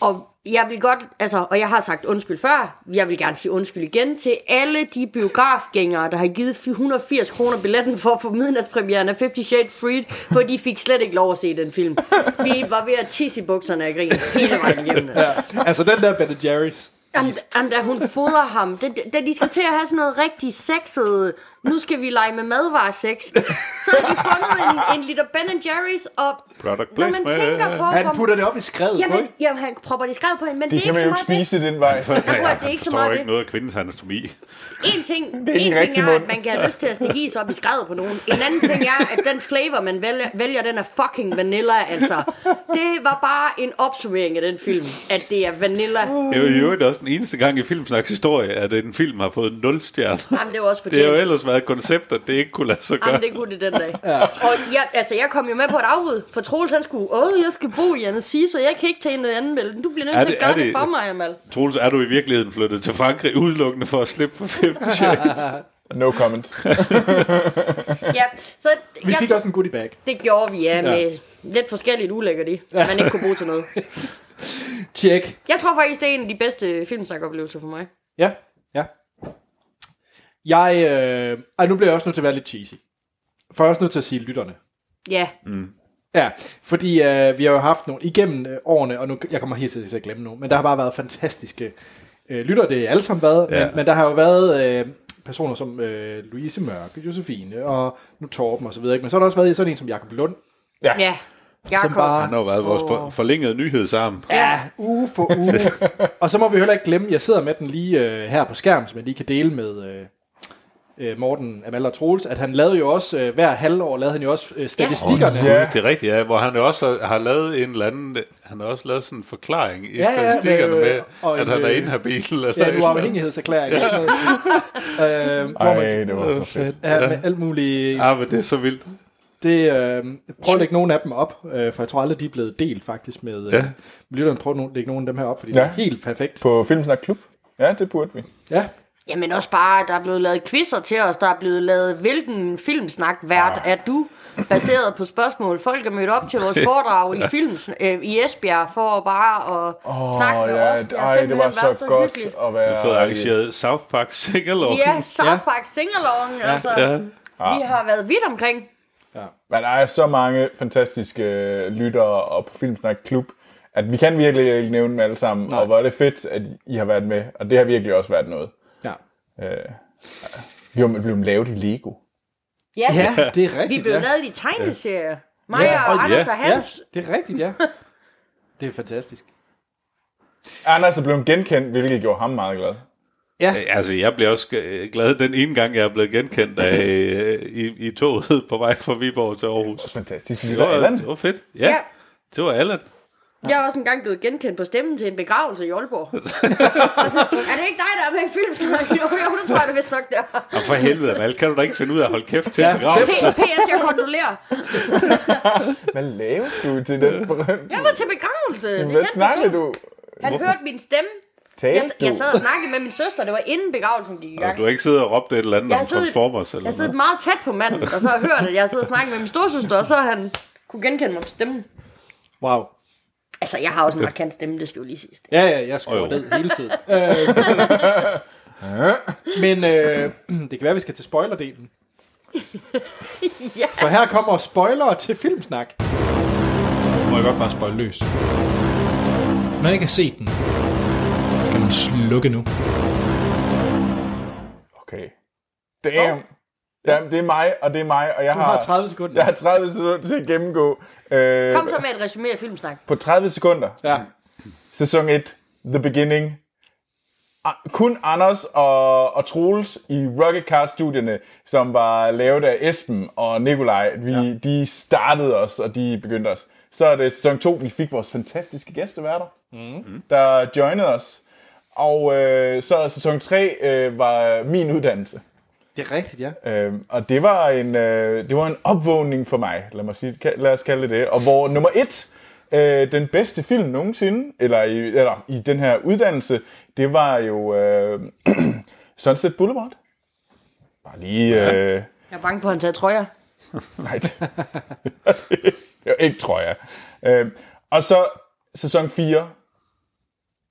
Og jeg vil godt, altså, og jeg har sagt undskyld før, jeg vil gerne sige undskyld igen til alle de biografgængere, der har givet 180 kroner billetten for at få midnatspremieren af 50 Shades Freed, for de fik slet ikke lov at se den film. Vi var ved at tisse i bukserne af grin hele vejen igennem. Altså. Altså den der Ben Jerry's. Jamen, da- jamen, da hun fodrer ham, da, da de skal til at have sådan noget rigtig sexet nu skal vi lege med madvaresex. Så har vi fundet en, en liter Ben Jerry's, og Product når man placement. tænker på... Han hvor- putter det op i skrevet, Jamen, ikke? jamen, han propper det i skrevet på hende, men det, Det er kan ikke man så jo ikke meget det. spise i den vej. Jeg tror, Ja, at det er ikke så forstår meget ikke det. noget af kvindens anatomi. En ting, en er en ting rigtig er, at mund. man kan have lyst til at stikke is op i skrevet på nogen. En anden ting er, at den flavor, man vælger, vælger den er fucking vanilla, altså. Det var bare en opsummering af den film, at det er vanilla. Det er jo i øvrigt også den eneste gang i Filmsnaks historie, at en film har fået 0 stjerner. Jamen, det var også Det har jo fortjent. ellers været et koncept, at det ikke kunne lade sig gøre. Jamen, det kunne det den dag. Og jeg, altså, jeg kom jo med på et afbud, for Troels han skulle, åh, jeg skal bo i Annecy, så jeg kan ikke tage en anden melde. Du bliver nødt Er til det- at gøre er det, det- for mig, Amal. Troels, er du i virkeligheden flyttet til Frankrig udelukkende for at slippe for 50 Shades? No comment. Ja, så Vi jeg, fik også en goodie bag. det gjorde vi, ja, med lidt forskelligt ulækkert i, man ikke kunne bruge til noget. Tjek. Jeg tror faktisk, det er en af de bedste filmsnakoplevelser for mig. Ja, ja. Jeg, øh, ej, nu bliver jeg også nødt til at være lidt cheesy. For jeg er også nødt til at sige lytterne. Ja, Ja, fordi øh, vi har jo haft nogle igennem øh, årene, og nu, jeg kommer helt sikkert til at glemme nu, men der har bare været fantastiske øh, lytter, det er alle sammen været, ja. Ja. men, men der har jo været øh, personer som øh, Louise Mørke, Josefine, og nu Torben og så videre, ikke? men så har der også været sådan en som Jakob Lund, ja. som Jakob. bare Han har jo været vores for- forlængede nyhedsarm. Ja, uge for uge. og så må vi heller ikke glemme, jeg sidder med den lige øh, her på skærmen, som jeg lige kan dele med øh, øh, Morten Amal og Troels, at han lavede jo også, øh, hver halvår lavede han jo også øh, statistikkerne. Ja. Det er rigtigt, ja, hvor han jo også har- har lavet en eller anden, han har også lavet sådan en forklaring i ja, ja, statistikkerne med, øh, med, og at en, han er øh, inhabil. Eller Ja, sådan en noget. uafhængighedserklæring. Ja. øh, hvor Ej, man det var så fedt. ja, med alt muligt. Ja, Ah, men det er så vildt. Det, øh, prøv at lægge nogle af dem op, øh, for jeg tror aldrig, de er blevet delt faktisk med øh, ja. Ja. lytteren. Prøv at no- lægge nogle af dem her op, fordi ja. Ja. det er helt perfekt. På Filmsnak Klub? Ja, det burde vi. Ja, Jamen også bare, der er blevet lavet quizzer til os, der er blevet lavet, hvilken filmsnak vært er du? Baseret på spørgsmål. Folk er mødt op til vores foredrag i films, øh, i Esbjerg for bare at oh, snakke med os. Det har ej, det var simpelthen været så, så godt hyggeligt. at være... Jeg har fået arrangeret South Park Singalong. Ja, South Park Singalong, altså. Ja. Vi har været vidt omkring. Men der er så mange fantastiske øh, lyttere og på Filmsnak Klub, at vi kan virkelig ikke nævne dem alle sammen. Nej. Og hvor er det fedt, at I har været med. Og det har virkelig også været noget. ja. Øh, vi er blevet lavet i Lego. Ja, ja det er vi rigtigt. blev ja. lavet i tegneserier. Maja og og- Anders ja, og Hans. Ja, det er rigtigt, ja. Det er fantastisk. Anders er blevet genkendt, hvilket gjorde ham meget glad. Altså, jeg blev også øh, glad den ene gang, jeg er blevet genkendt af, øh, i, i toget på vej fra Viborg til Aarhus. Fantastisk Det lille var, Allan. det var fedt. Ja, Ja. ja. det var Allan. Jeg er også engang blevet genkendt på stemmen til en begravelse i Aalborg. og så, er det ikke dig, der er med i filmsnak? Jo, jo, det tror jeg, det vist nok der. Og for helvede, Val, kan du da ikke finde ud af at holde kæft til Ja, ja, begravelse? P.S. Jeg kondolerer. Hvad laver du til den berømte? Jeg var til begravelse. Det Hvad kendte snakker person. du? Han hørte min stemme. Talte Jeg, du? jeg sad og snakkede med min søster. Det var inden begravelsen gik i gang. Og du har ikke siddet og råbt et eller andet Jeg om har siddet- Transformers eller Jeg sad noget. meget tæt på manden, og så har jeg hørt, at jeg sad og snakket med min storsøster, og så har han kunne genkende mig på stemmen. Wow. Altså, jeg har også en markant stemme, det skal jo lige siges. Ja, ja, jeg skriver Og jo. ned hele tiden. Øh, Men øh, det kan være, at vi skal til spoilerdelen. Ja. Så her kommer spoilere til filmsnak. Må jeg godt bare spoil løs. Hvis man ikke har set den, skal man slukke nu. Okay. Damn. Jamen, det er mig, og det er mig, og jeg Du har... har 30 sekunder. Jeg har 30 sekunder til at gennemgå. Øh, Kom så med et resumé af filmsnak. På 30 sekunder. Ja. Sæson 1. The Beginning. Ah, Kun Anders og, og Troels i Rocket Car studierne, som var lavet af Esben og Nikolaj, vi, ja. de startede os, og de begyndte os. Så er det sæson 2, vi fik vores fantastiske gæsteværter, mm. der joinede os. Og øh, så er sæson 3 øh, var min uddannelse. Det er rigtigt, ja. Øhm, og det var, en, øh, det var en opvågning for mig, lad, mig sige, ka- lad os kalde det det. Og hvor nummer et, øh, den bedste film nogensinde, eller i, eller i den her uddannelse, det var jo øh, Sunset Boulevard. Bare lige... Øh, Jeg er bange for, at han tager trøjer. nej, det, jo, ikke tror jeg. Øh, og så sæson 4,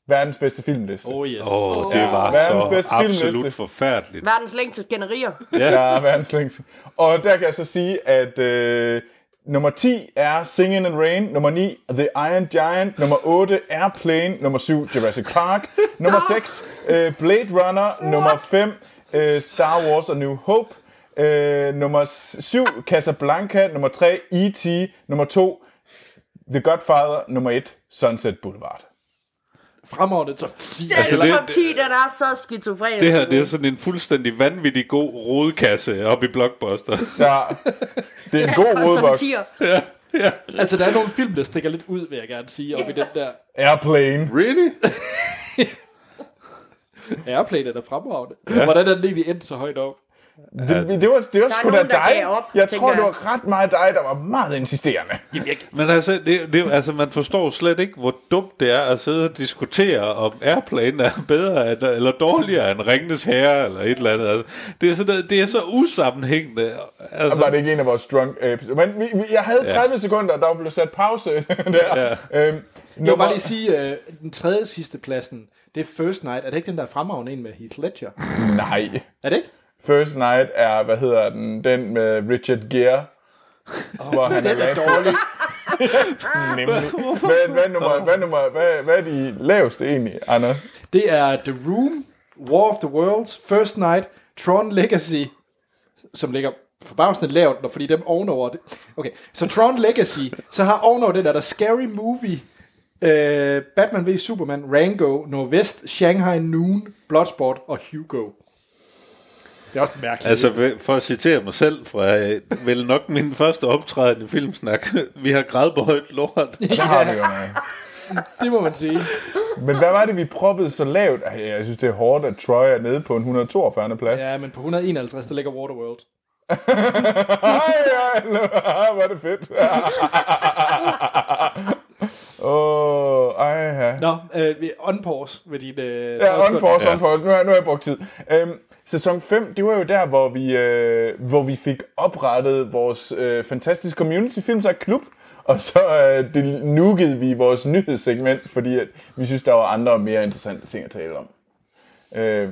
verdens bedste filmliste. Oh yes. Oh. Åh, oh, det var Verdens så bedste filmliste. absolut forfærdeligt. Verdens længste skænderier. Ja, verdens længste. Og der kan jeg så sige, at øh, nummer 10 er Singin' in the Rain, nummer 9 The Iron Giant, nummer 8 Airplane, nummer 7 Jurassic Park, nummer 6 øh, Blade Runner, nummer 5 øh, Star Wars A New Hope, Øh, nummer 7, Casablanca. Nummer 3, E.T. Nummer 2, The Godfather. Nummer 1, Sunset Boulevard. Fremragende top 10. Den altså, Altså, det, det- top 10, den er så skizofren. Det her, det er sådan en fuldstændig vanvittig god rodekasse oppe i Blockbuster. Så det er en god Koster rodeboks. 10'er. Altså, der er nogle film, der stikker lidt ud, vil jeg gerne sige, op i den der Airplane. Really? airplane, der er fremragende. Ja. Hvordan er den egentlig endt så højt op? Det, det var, det var er sgu da nogen, der dig. gav op, jeg tænker tror, det jeg. var ret meget dig, der var meget insisterende. Men altså, det, det, altså, man forstår slet ikke, hvor dumt det er at sidde og diskutere, om Airplane er bedre end, eller dårligere end Ringnes Herre, eller et eller andet. Altså, det, er sådan, noget- det er så usammenhængende. Så var Altså, det ikke en af vores drunk episodes. Men vi, vi, jeg havde 30 sekunder, der blev sat pause der. Ja. Øhm, Jeg vil nummer, bare lige sige, øh, den tredje sidste pladsen, det er First Night. Er det ikke den der fremragende en med Heath Ledger? Nej. Er det ikke? First Night er, hvad hedder den, den med Richard Gere. Oh, hvor han er Den er lavet dårlig. nemlig. Hvad, hvad, nummer, hvad, nummer, hvad, hvad er de laveste egentlig, Anna? Det er The Room, War of the Worlds, First Night, Tron Legacy, som ligger forbavsende lavt, når- fordi dem ovenover... Det. Okay, så Tron Legacy, så har ovenover den er der Scary Movie, øh, Batman v Superman, Rango, Nordvest, Shanghai Noon, Bloodsport og Hugo. Det er også mærkeligt. altså, for at citere mig selv fra øh, vel nok min første optræden i Filmsnak, vi har grædbøjet lort. Det har vi jo med. det må man sige. Men hvad var det, vi proppede så lavt? Ej, Jeg synes, det er hårdt, at Troy er nede på en 142. plads. Ja, men på 151, der ligger Waterworld. Ej, ej, ej, hvor er det fedt. Åh, oh, ej, ja. Nå, øh, vi unpause med din... Øh, Ja, on pause, on pause. Nu har, nu har jeg brugt tid. Øhm, sæson 5, det var jo der, hvor vi, øh, hvor vi fik oprettet vores øh, fantastiske community filmsak klub. Og så øh, det nukede vi vores nyhedssegment, fordi at vi synes, der var andre og mere interessante ting at tale om. Øh,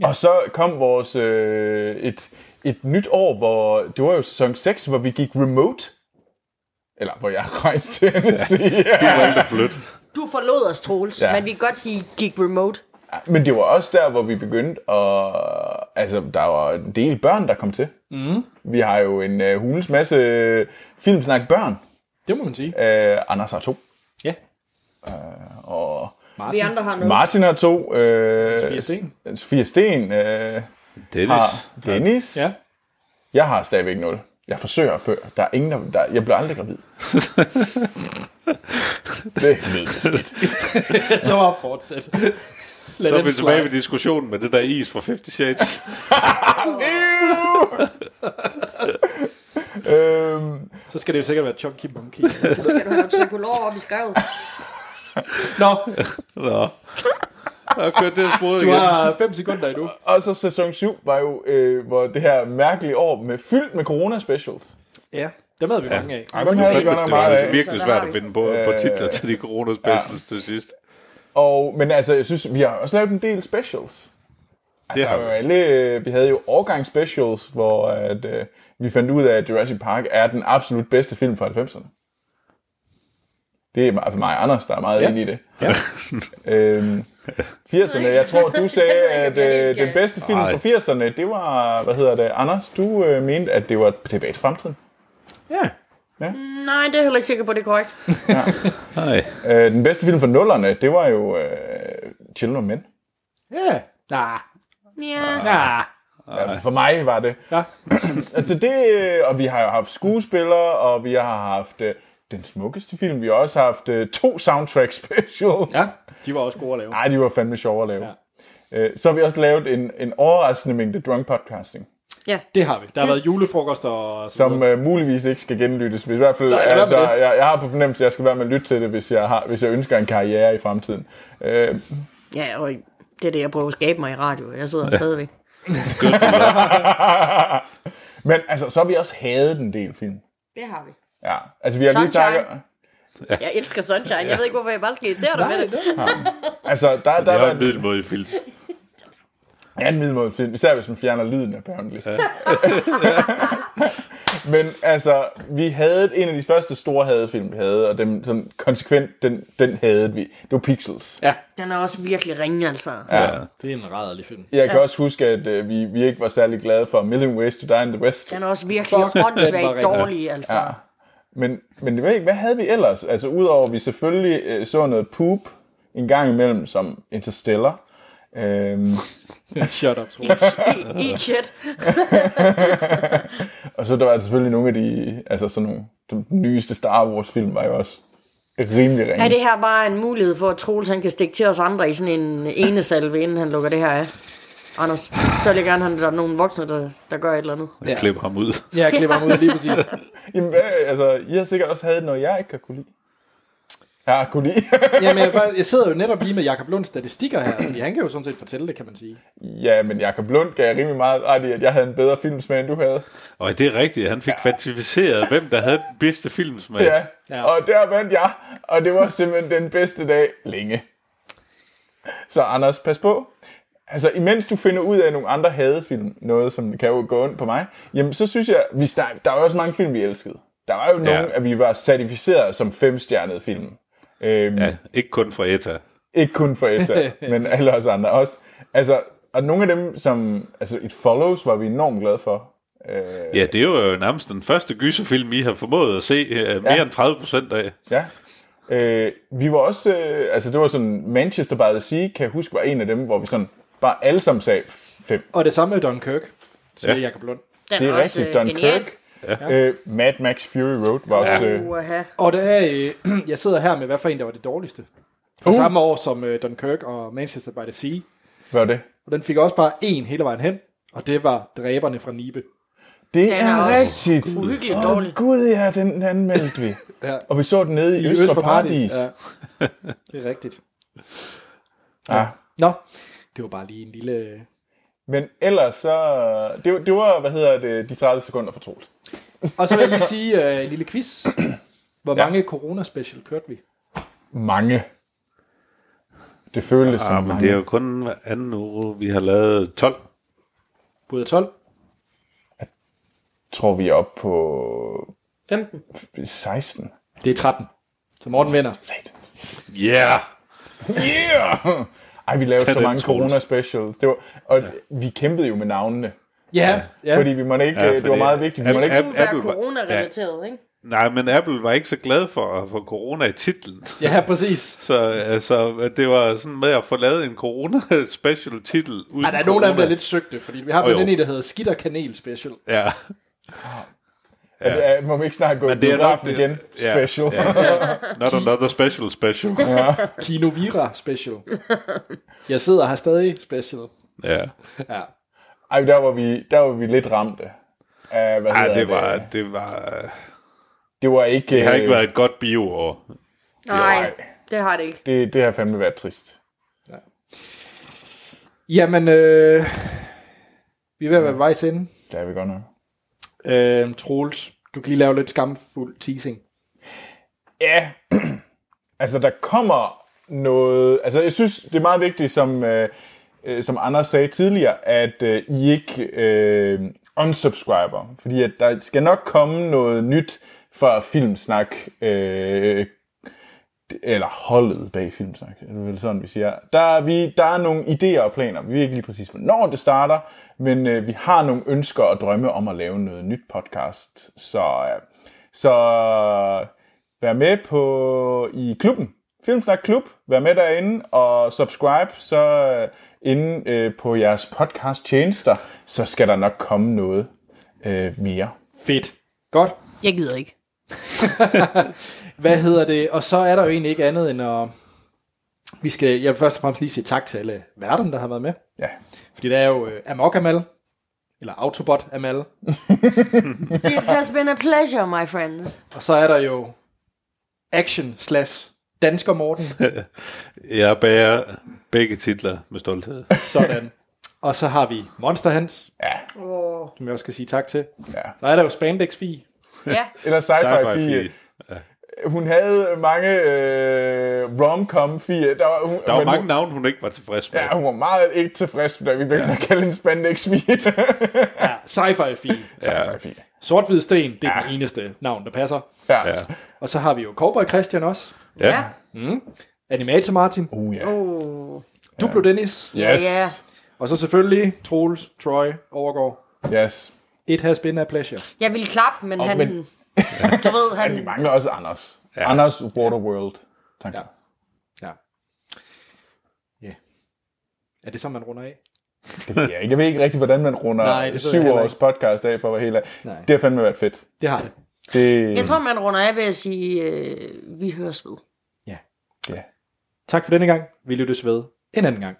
ja. Og så kom vores øh, et, et nyt år, hvor det var jo sæson 6, hvor vi gik remote. Eller hvor jeg rejste til Tennessee. Du valgte at flytte. Du forlod os, Troels, Ja. ja. men vi kan godt sige, gik remote. Men det var også der, hvor vi begyndte at... Altså, der var en del børn, der kom til. Mm. Vi har jo en uh, hulens masse øh, filmsnak børn. Det må man sige. Uh, Anders har to. Ja. Og Vi Martin. andre har noget. Martin har to. Uh, Sofia Steen. Sofia Sten uh, Dennis. har Dennis. Ja. Jeg har stadigvæk nul. Jeg forsøger før. Der er ingen, der, der jeg bliver aldrig gravid. det lyder skidt. Så var fortsæt. Lad Så er dem vi tilbage slide. ved diskussionen med det der is fra 50 Shades. øhm, Så skal det jo sikkert være Chunky Monkey. Skal du have noget tricolor op i skrevet? Nå, Nå. Jeg har kørt det sporet du igen. har 5 sekunder endnu. og så sæson 7 var jo øh, hvor det her mærkelige år med fyldt med corona specials. Ja. Dem havde vi mange af. Ej, dem havde vi Det godt nok var meget altså af. Øh, virkelig svært at finde på, på titler til de corona specials til sidst. Og, men altså, jeg synes, vi har også lavet en del specials. Altså, Det har vi. vi. Alle, øh, vi havde jo årgang specials, hvor at, øh, vi fandt ud af, at Jurassic Park er den absolut bedste film fra 90'erne. Det er meget- for mig og Anders, der er meget ja. inde i det. Ja. øhm, 80'erne, jeg tror, du sagde, jeg at bliver helt øh, den gal. bedste film Ej. fra 80'erne, det var, hvad hedder det, Anders, du øh, mente, at det var Tilbage til fremtiden. Ja. Nej, det er jeg heller ikke sikker på, det er korrekt. Nej. Øh, den bedste film fra 0'erne, det var jo øh, Children of Men. Ja. Nah. Ja. Nah. Ja, for mig var det. Ja. altså det, øh, og vi har jo haft skuespillere, og vi har haft øh, den smukkeste film. Vi har også haft øh, to soundtrack specials. Ja. De var også gode at lave. Ej, de var fandme sjove at lave. Ja. Øh, så har vi også lavet en, en overraskende mængde drunk podcasting, ja. Det har vi. Der har været julefrokost og sådan som noget. øh, muligvis ikke skal genlyttes. Hvis i hvert fald, Nej, lad være med altså, det. jeg, jeg har på fornemmelse, at jeg skal være med at lytte til det, hvis jeg, har, hvis jeg ønsker en karriere i fremtiden. Øh, Ja, og det er det, jeg prøver at skabe mig i radio. Jeg sidder ja. stadigvæk. men altså, så har vi også hadet en del film. Det har vi. Ja, altså vi har lige Sunshine. snakket... Jeg elsker Sunshine. Jeg ved ikke, hvorfor jeg bare skal irritere dig med det. Altså, der, der, Det var er en en- middelmådig film. Ja, en middelmådig film, især hvis man fjerner lyden, apparently. Ja. Men altså, vi havde en af de første store hadefilm, vi havde, og den, sådan, konsekvent, den, den havde vi. Det var Pixels. Ja, Den er også virkelig ringe, altså. Ja. det er en rædderlig film. Jeg kan også huske, at øh, vi, vi ikke var særlig glade for A Million Ways to Die in the West. Den er også virkelig åndssvagt ringe. dårlig, altså. Ja. Men, men det ved jeg ikke, hvad havde vi ellers? Altså udover at vi selvfølgelig øh, så noget poop en gang imellem som Interstellar. Øhm, Shut up, tror jeg. Eat, eat shit. og så der var selvfølgelig nogle af de, altså sådan nogle, den nyeste Star Wars film var jo også rimelig ringe. Er det her bare en mulighed for, at Troels han kan stikke til os andre i sådan en ene salve, inden han lukker det her af? Anders, så vil jeg gerne, at der er nogen voksne, der, der gør et eller andet. Jeg klipper ham ud. Ja, jeg klipper ham ud lige præcis. Jamen, hvad, altså, I har sikkert også havde noget, jeg ikke har kunne lide. Jeg har kunne lide. Jamen, jeg, faktisk- jeg sidder jo netop lige med Jakob Lunds statistikker her, fordi han kan jo sådan set fortælle det, kan man sige. ja, men Jacob Lund gav rimelig meget ret i, at jeg havde en bedre filmsmag, end du havde. Og det er rigtigt, han fik kvantificeret, hvem der havde den bedste filmsmag. Ja. Ja. ja. Og der vandt jeg, og det var simpelthen den bedste dag længe. Så Anders, pas på. Altså, imens du finder ud af nogle andre hadefilm, noget som kan jo gå ondt på mig, jamen så synes jeg, vi der, der var også mange film, vi elskede. Der var jo ja. nogle, at vi var certificeret som femstjernede film. Øhm, ja. Ja, ikke kun fra E ETA. Ikke kun for ESA, men alle os andre også. Altså, og nogle af dem, som... Altså, It Follows var vi enormt glade for. Øh, Ja, det er jo nærmest den første gyserfilm, I har formået at se uh, mere ja. Ja. end 30 procent af. Ja. Øh, vi var også, øh, altså det var sådan, Manchester by the Sea, kan jeg huske, var en af dem, hvor vi sådan bare alle sammen sagde fem. Og det samme med Don Kirk, siger ja. Ja. Jakob Lund. Den Det er også øh, rigtigt, Don Kirk. Ja. Øh, Mad Max Fury Road var også... Øh, Uha. Og det er, øh, jeg sidder her med, hvad for en, der var det dårligste. Fra Uh. samme år som øh, Don Kirk og Manchester by the Sea. hvad var det? Og den fik også bare en hele vejen hen, og det var Dræberne fra Nibe. Det er er, også rigtigt. uhyggeligt Åh, dårlig. Gud, ja, den anmeldte vi. Ja. Og vi så den nede i, I Øst for Paradis. Ja. Det er rigtigt. Ja. Nå, det var bare lige en lille... øh. Men ellers så... Det, var- det var, hvad hedder det, de 30 sekunder for Troels. Og så vil jeg lige sige øh, en lille quiz. Hvor ja. Ja. mange corona-special kørte vi? Mange. Det føltes Ja, som Ah, men mange. det er jo kun hver anden uge, vi har lavet 12. Bud af 12? tror vi er oppe på 15. 16. Det er 13. Så Morten vinder. Satan. Ja! Yeah! Yeah! Ej, vi lavede Tag så den, mange Troels. corona-specials. Det var, og ja. vi kæmpede jo med navnene. Ja, ja. Ja. Fordi vi måtte ikke, Ja, ja, det var fordi- meget vigtigt. Vi måtte ikke, Det skulle være Apple var- corona-relateret, ikke? Nej, men Apple var ikke så glad for at få corona i titlen. ja præcis. Så altså, det var sådan med at få lavet en corona-special titel. Uden Ej, der er nogle af dem, der er corona. lidt søgte, fordi vi har Åh, blandt jo. andet en, der hedder Skidt og Kanel Special. Ja, ja. det er, må vi ikke snart gå i men det er nok biografen det. igen. Ja, Special. Ja. Not another special special. Kinovira Special. Jeg sidder her stadig special. Ja. Ja. Ej, der var vi, der var vi lidt ramte. Af, hvad Ej, hedder det var, det var, det var ikke... det har ikke været et godt bioår. Nej, det har det ikke. Det, det har fandme været trist. Jamen, øh, vi er ved at være ved vejs ende. Det er vi godt nok. Øh, Troels, du kan lige lave lidt skamfuld teasing. Ja, altså der kommer noget... Altså jeg synes, det er meget vigtigt, som, øh, øh, som Anders sagde tidligere, at øh, I ikke øh, unsubscriber. Fordi at der skal nok komme noget nyt fra Filmsnak, øh, eller holdet bag Filmsnak, er det vel sådan, vi siger. Der er, vi, der er nogle idéer og planer. Vi ved ikke lige præcis, hvornår det starter, men øh, vi har nogle ønsker og drømme om at lave noget nyt podcast. Så, øh, så vær med på i klubben. Filmsnak Klub. Vær med derinde og subscribe, så øh, inde øh, på jeres podcast tjenester, så skal der nok komme noget øh, mere. Fedt. Godt. Jeg gider ikke. Hvad hedder det? Og så er der jo egentlig ikke andet end at... Vi skal, jeg vil først og fremmest lige sige tak til alle værterne, der har været med. Ja. Fordi der er jo øh, Amok Amal, eller Autobot Amal, It has been a pleasure, my friends. og så er der jo Action slash Dansker Morten, Jeg bærer begge titler med stolthed. sådan. Og så har vi Monster Hans, Ja, Oh. som jeg også skal sige tak til. ja. Så er der jo Spandex Fi, Ja, Eller sci-fi, Sci-fi sci fi. hun havde mange øh, rom-com fire. Der var, hun, Der var men mange hun, navne, hun ikke var tilfreds med. Ja, hun var meget ikke tilfreds, da vi begyndte ja. at kalde hende spandex fire. Ja, sci-fi fi. ja. fire. Sort-hvid sten, det er ja. den eneste navn, der passer. Ja. Ja. Og så har vi jo Cowboy Christian også. Ja. Ja. Animator Martin. Uh, ja. Uh, Duplo Dennis. Yes. Ja. Og så selvfølgelig Troels, Troy, Overgaard. Yes. It has been a pleasure. jeg ville klappe, men Åh, han... men- Du ved, han... Vi mangler også Anders. Ja. Anders Waterworld. Tak. Ja. Ja. Ja. Ja. Er det så, man runder af? Ja, jeg ved ikke rigtig, hvordan man runder Nej, Nej, det ved det jeg heller syv ikke. års podcast af for at være helt af. Nej. Det har fandme været fedt. Det har det. Det, Jeg tror, man runder af ved at sige, øh, vi høres ved. ja. Tak for denne gang. Vi lyttes ved en anden gang.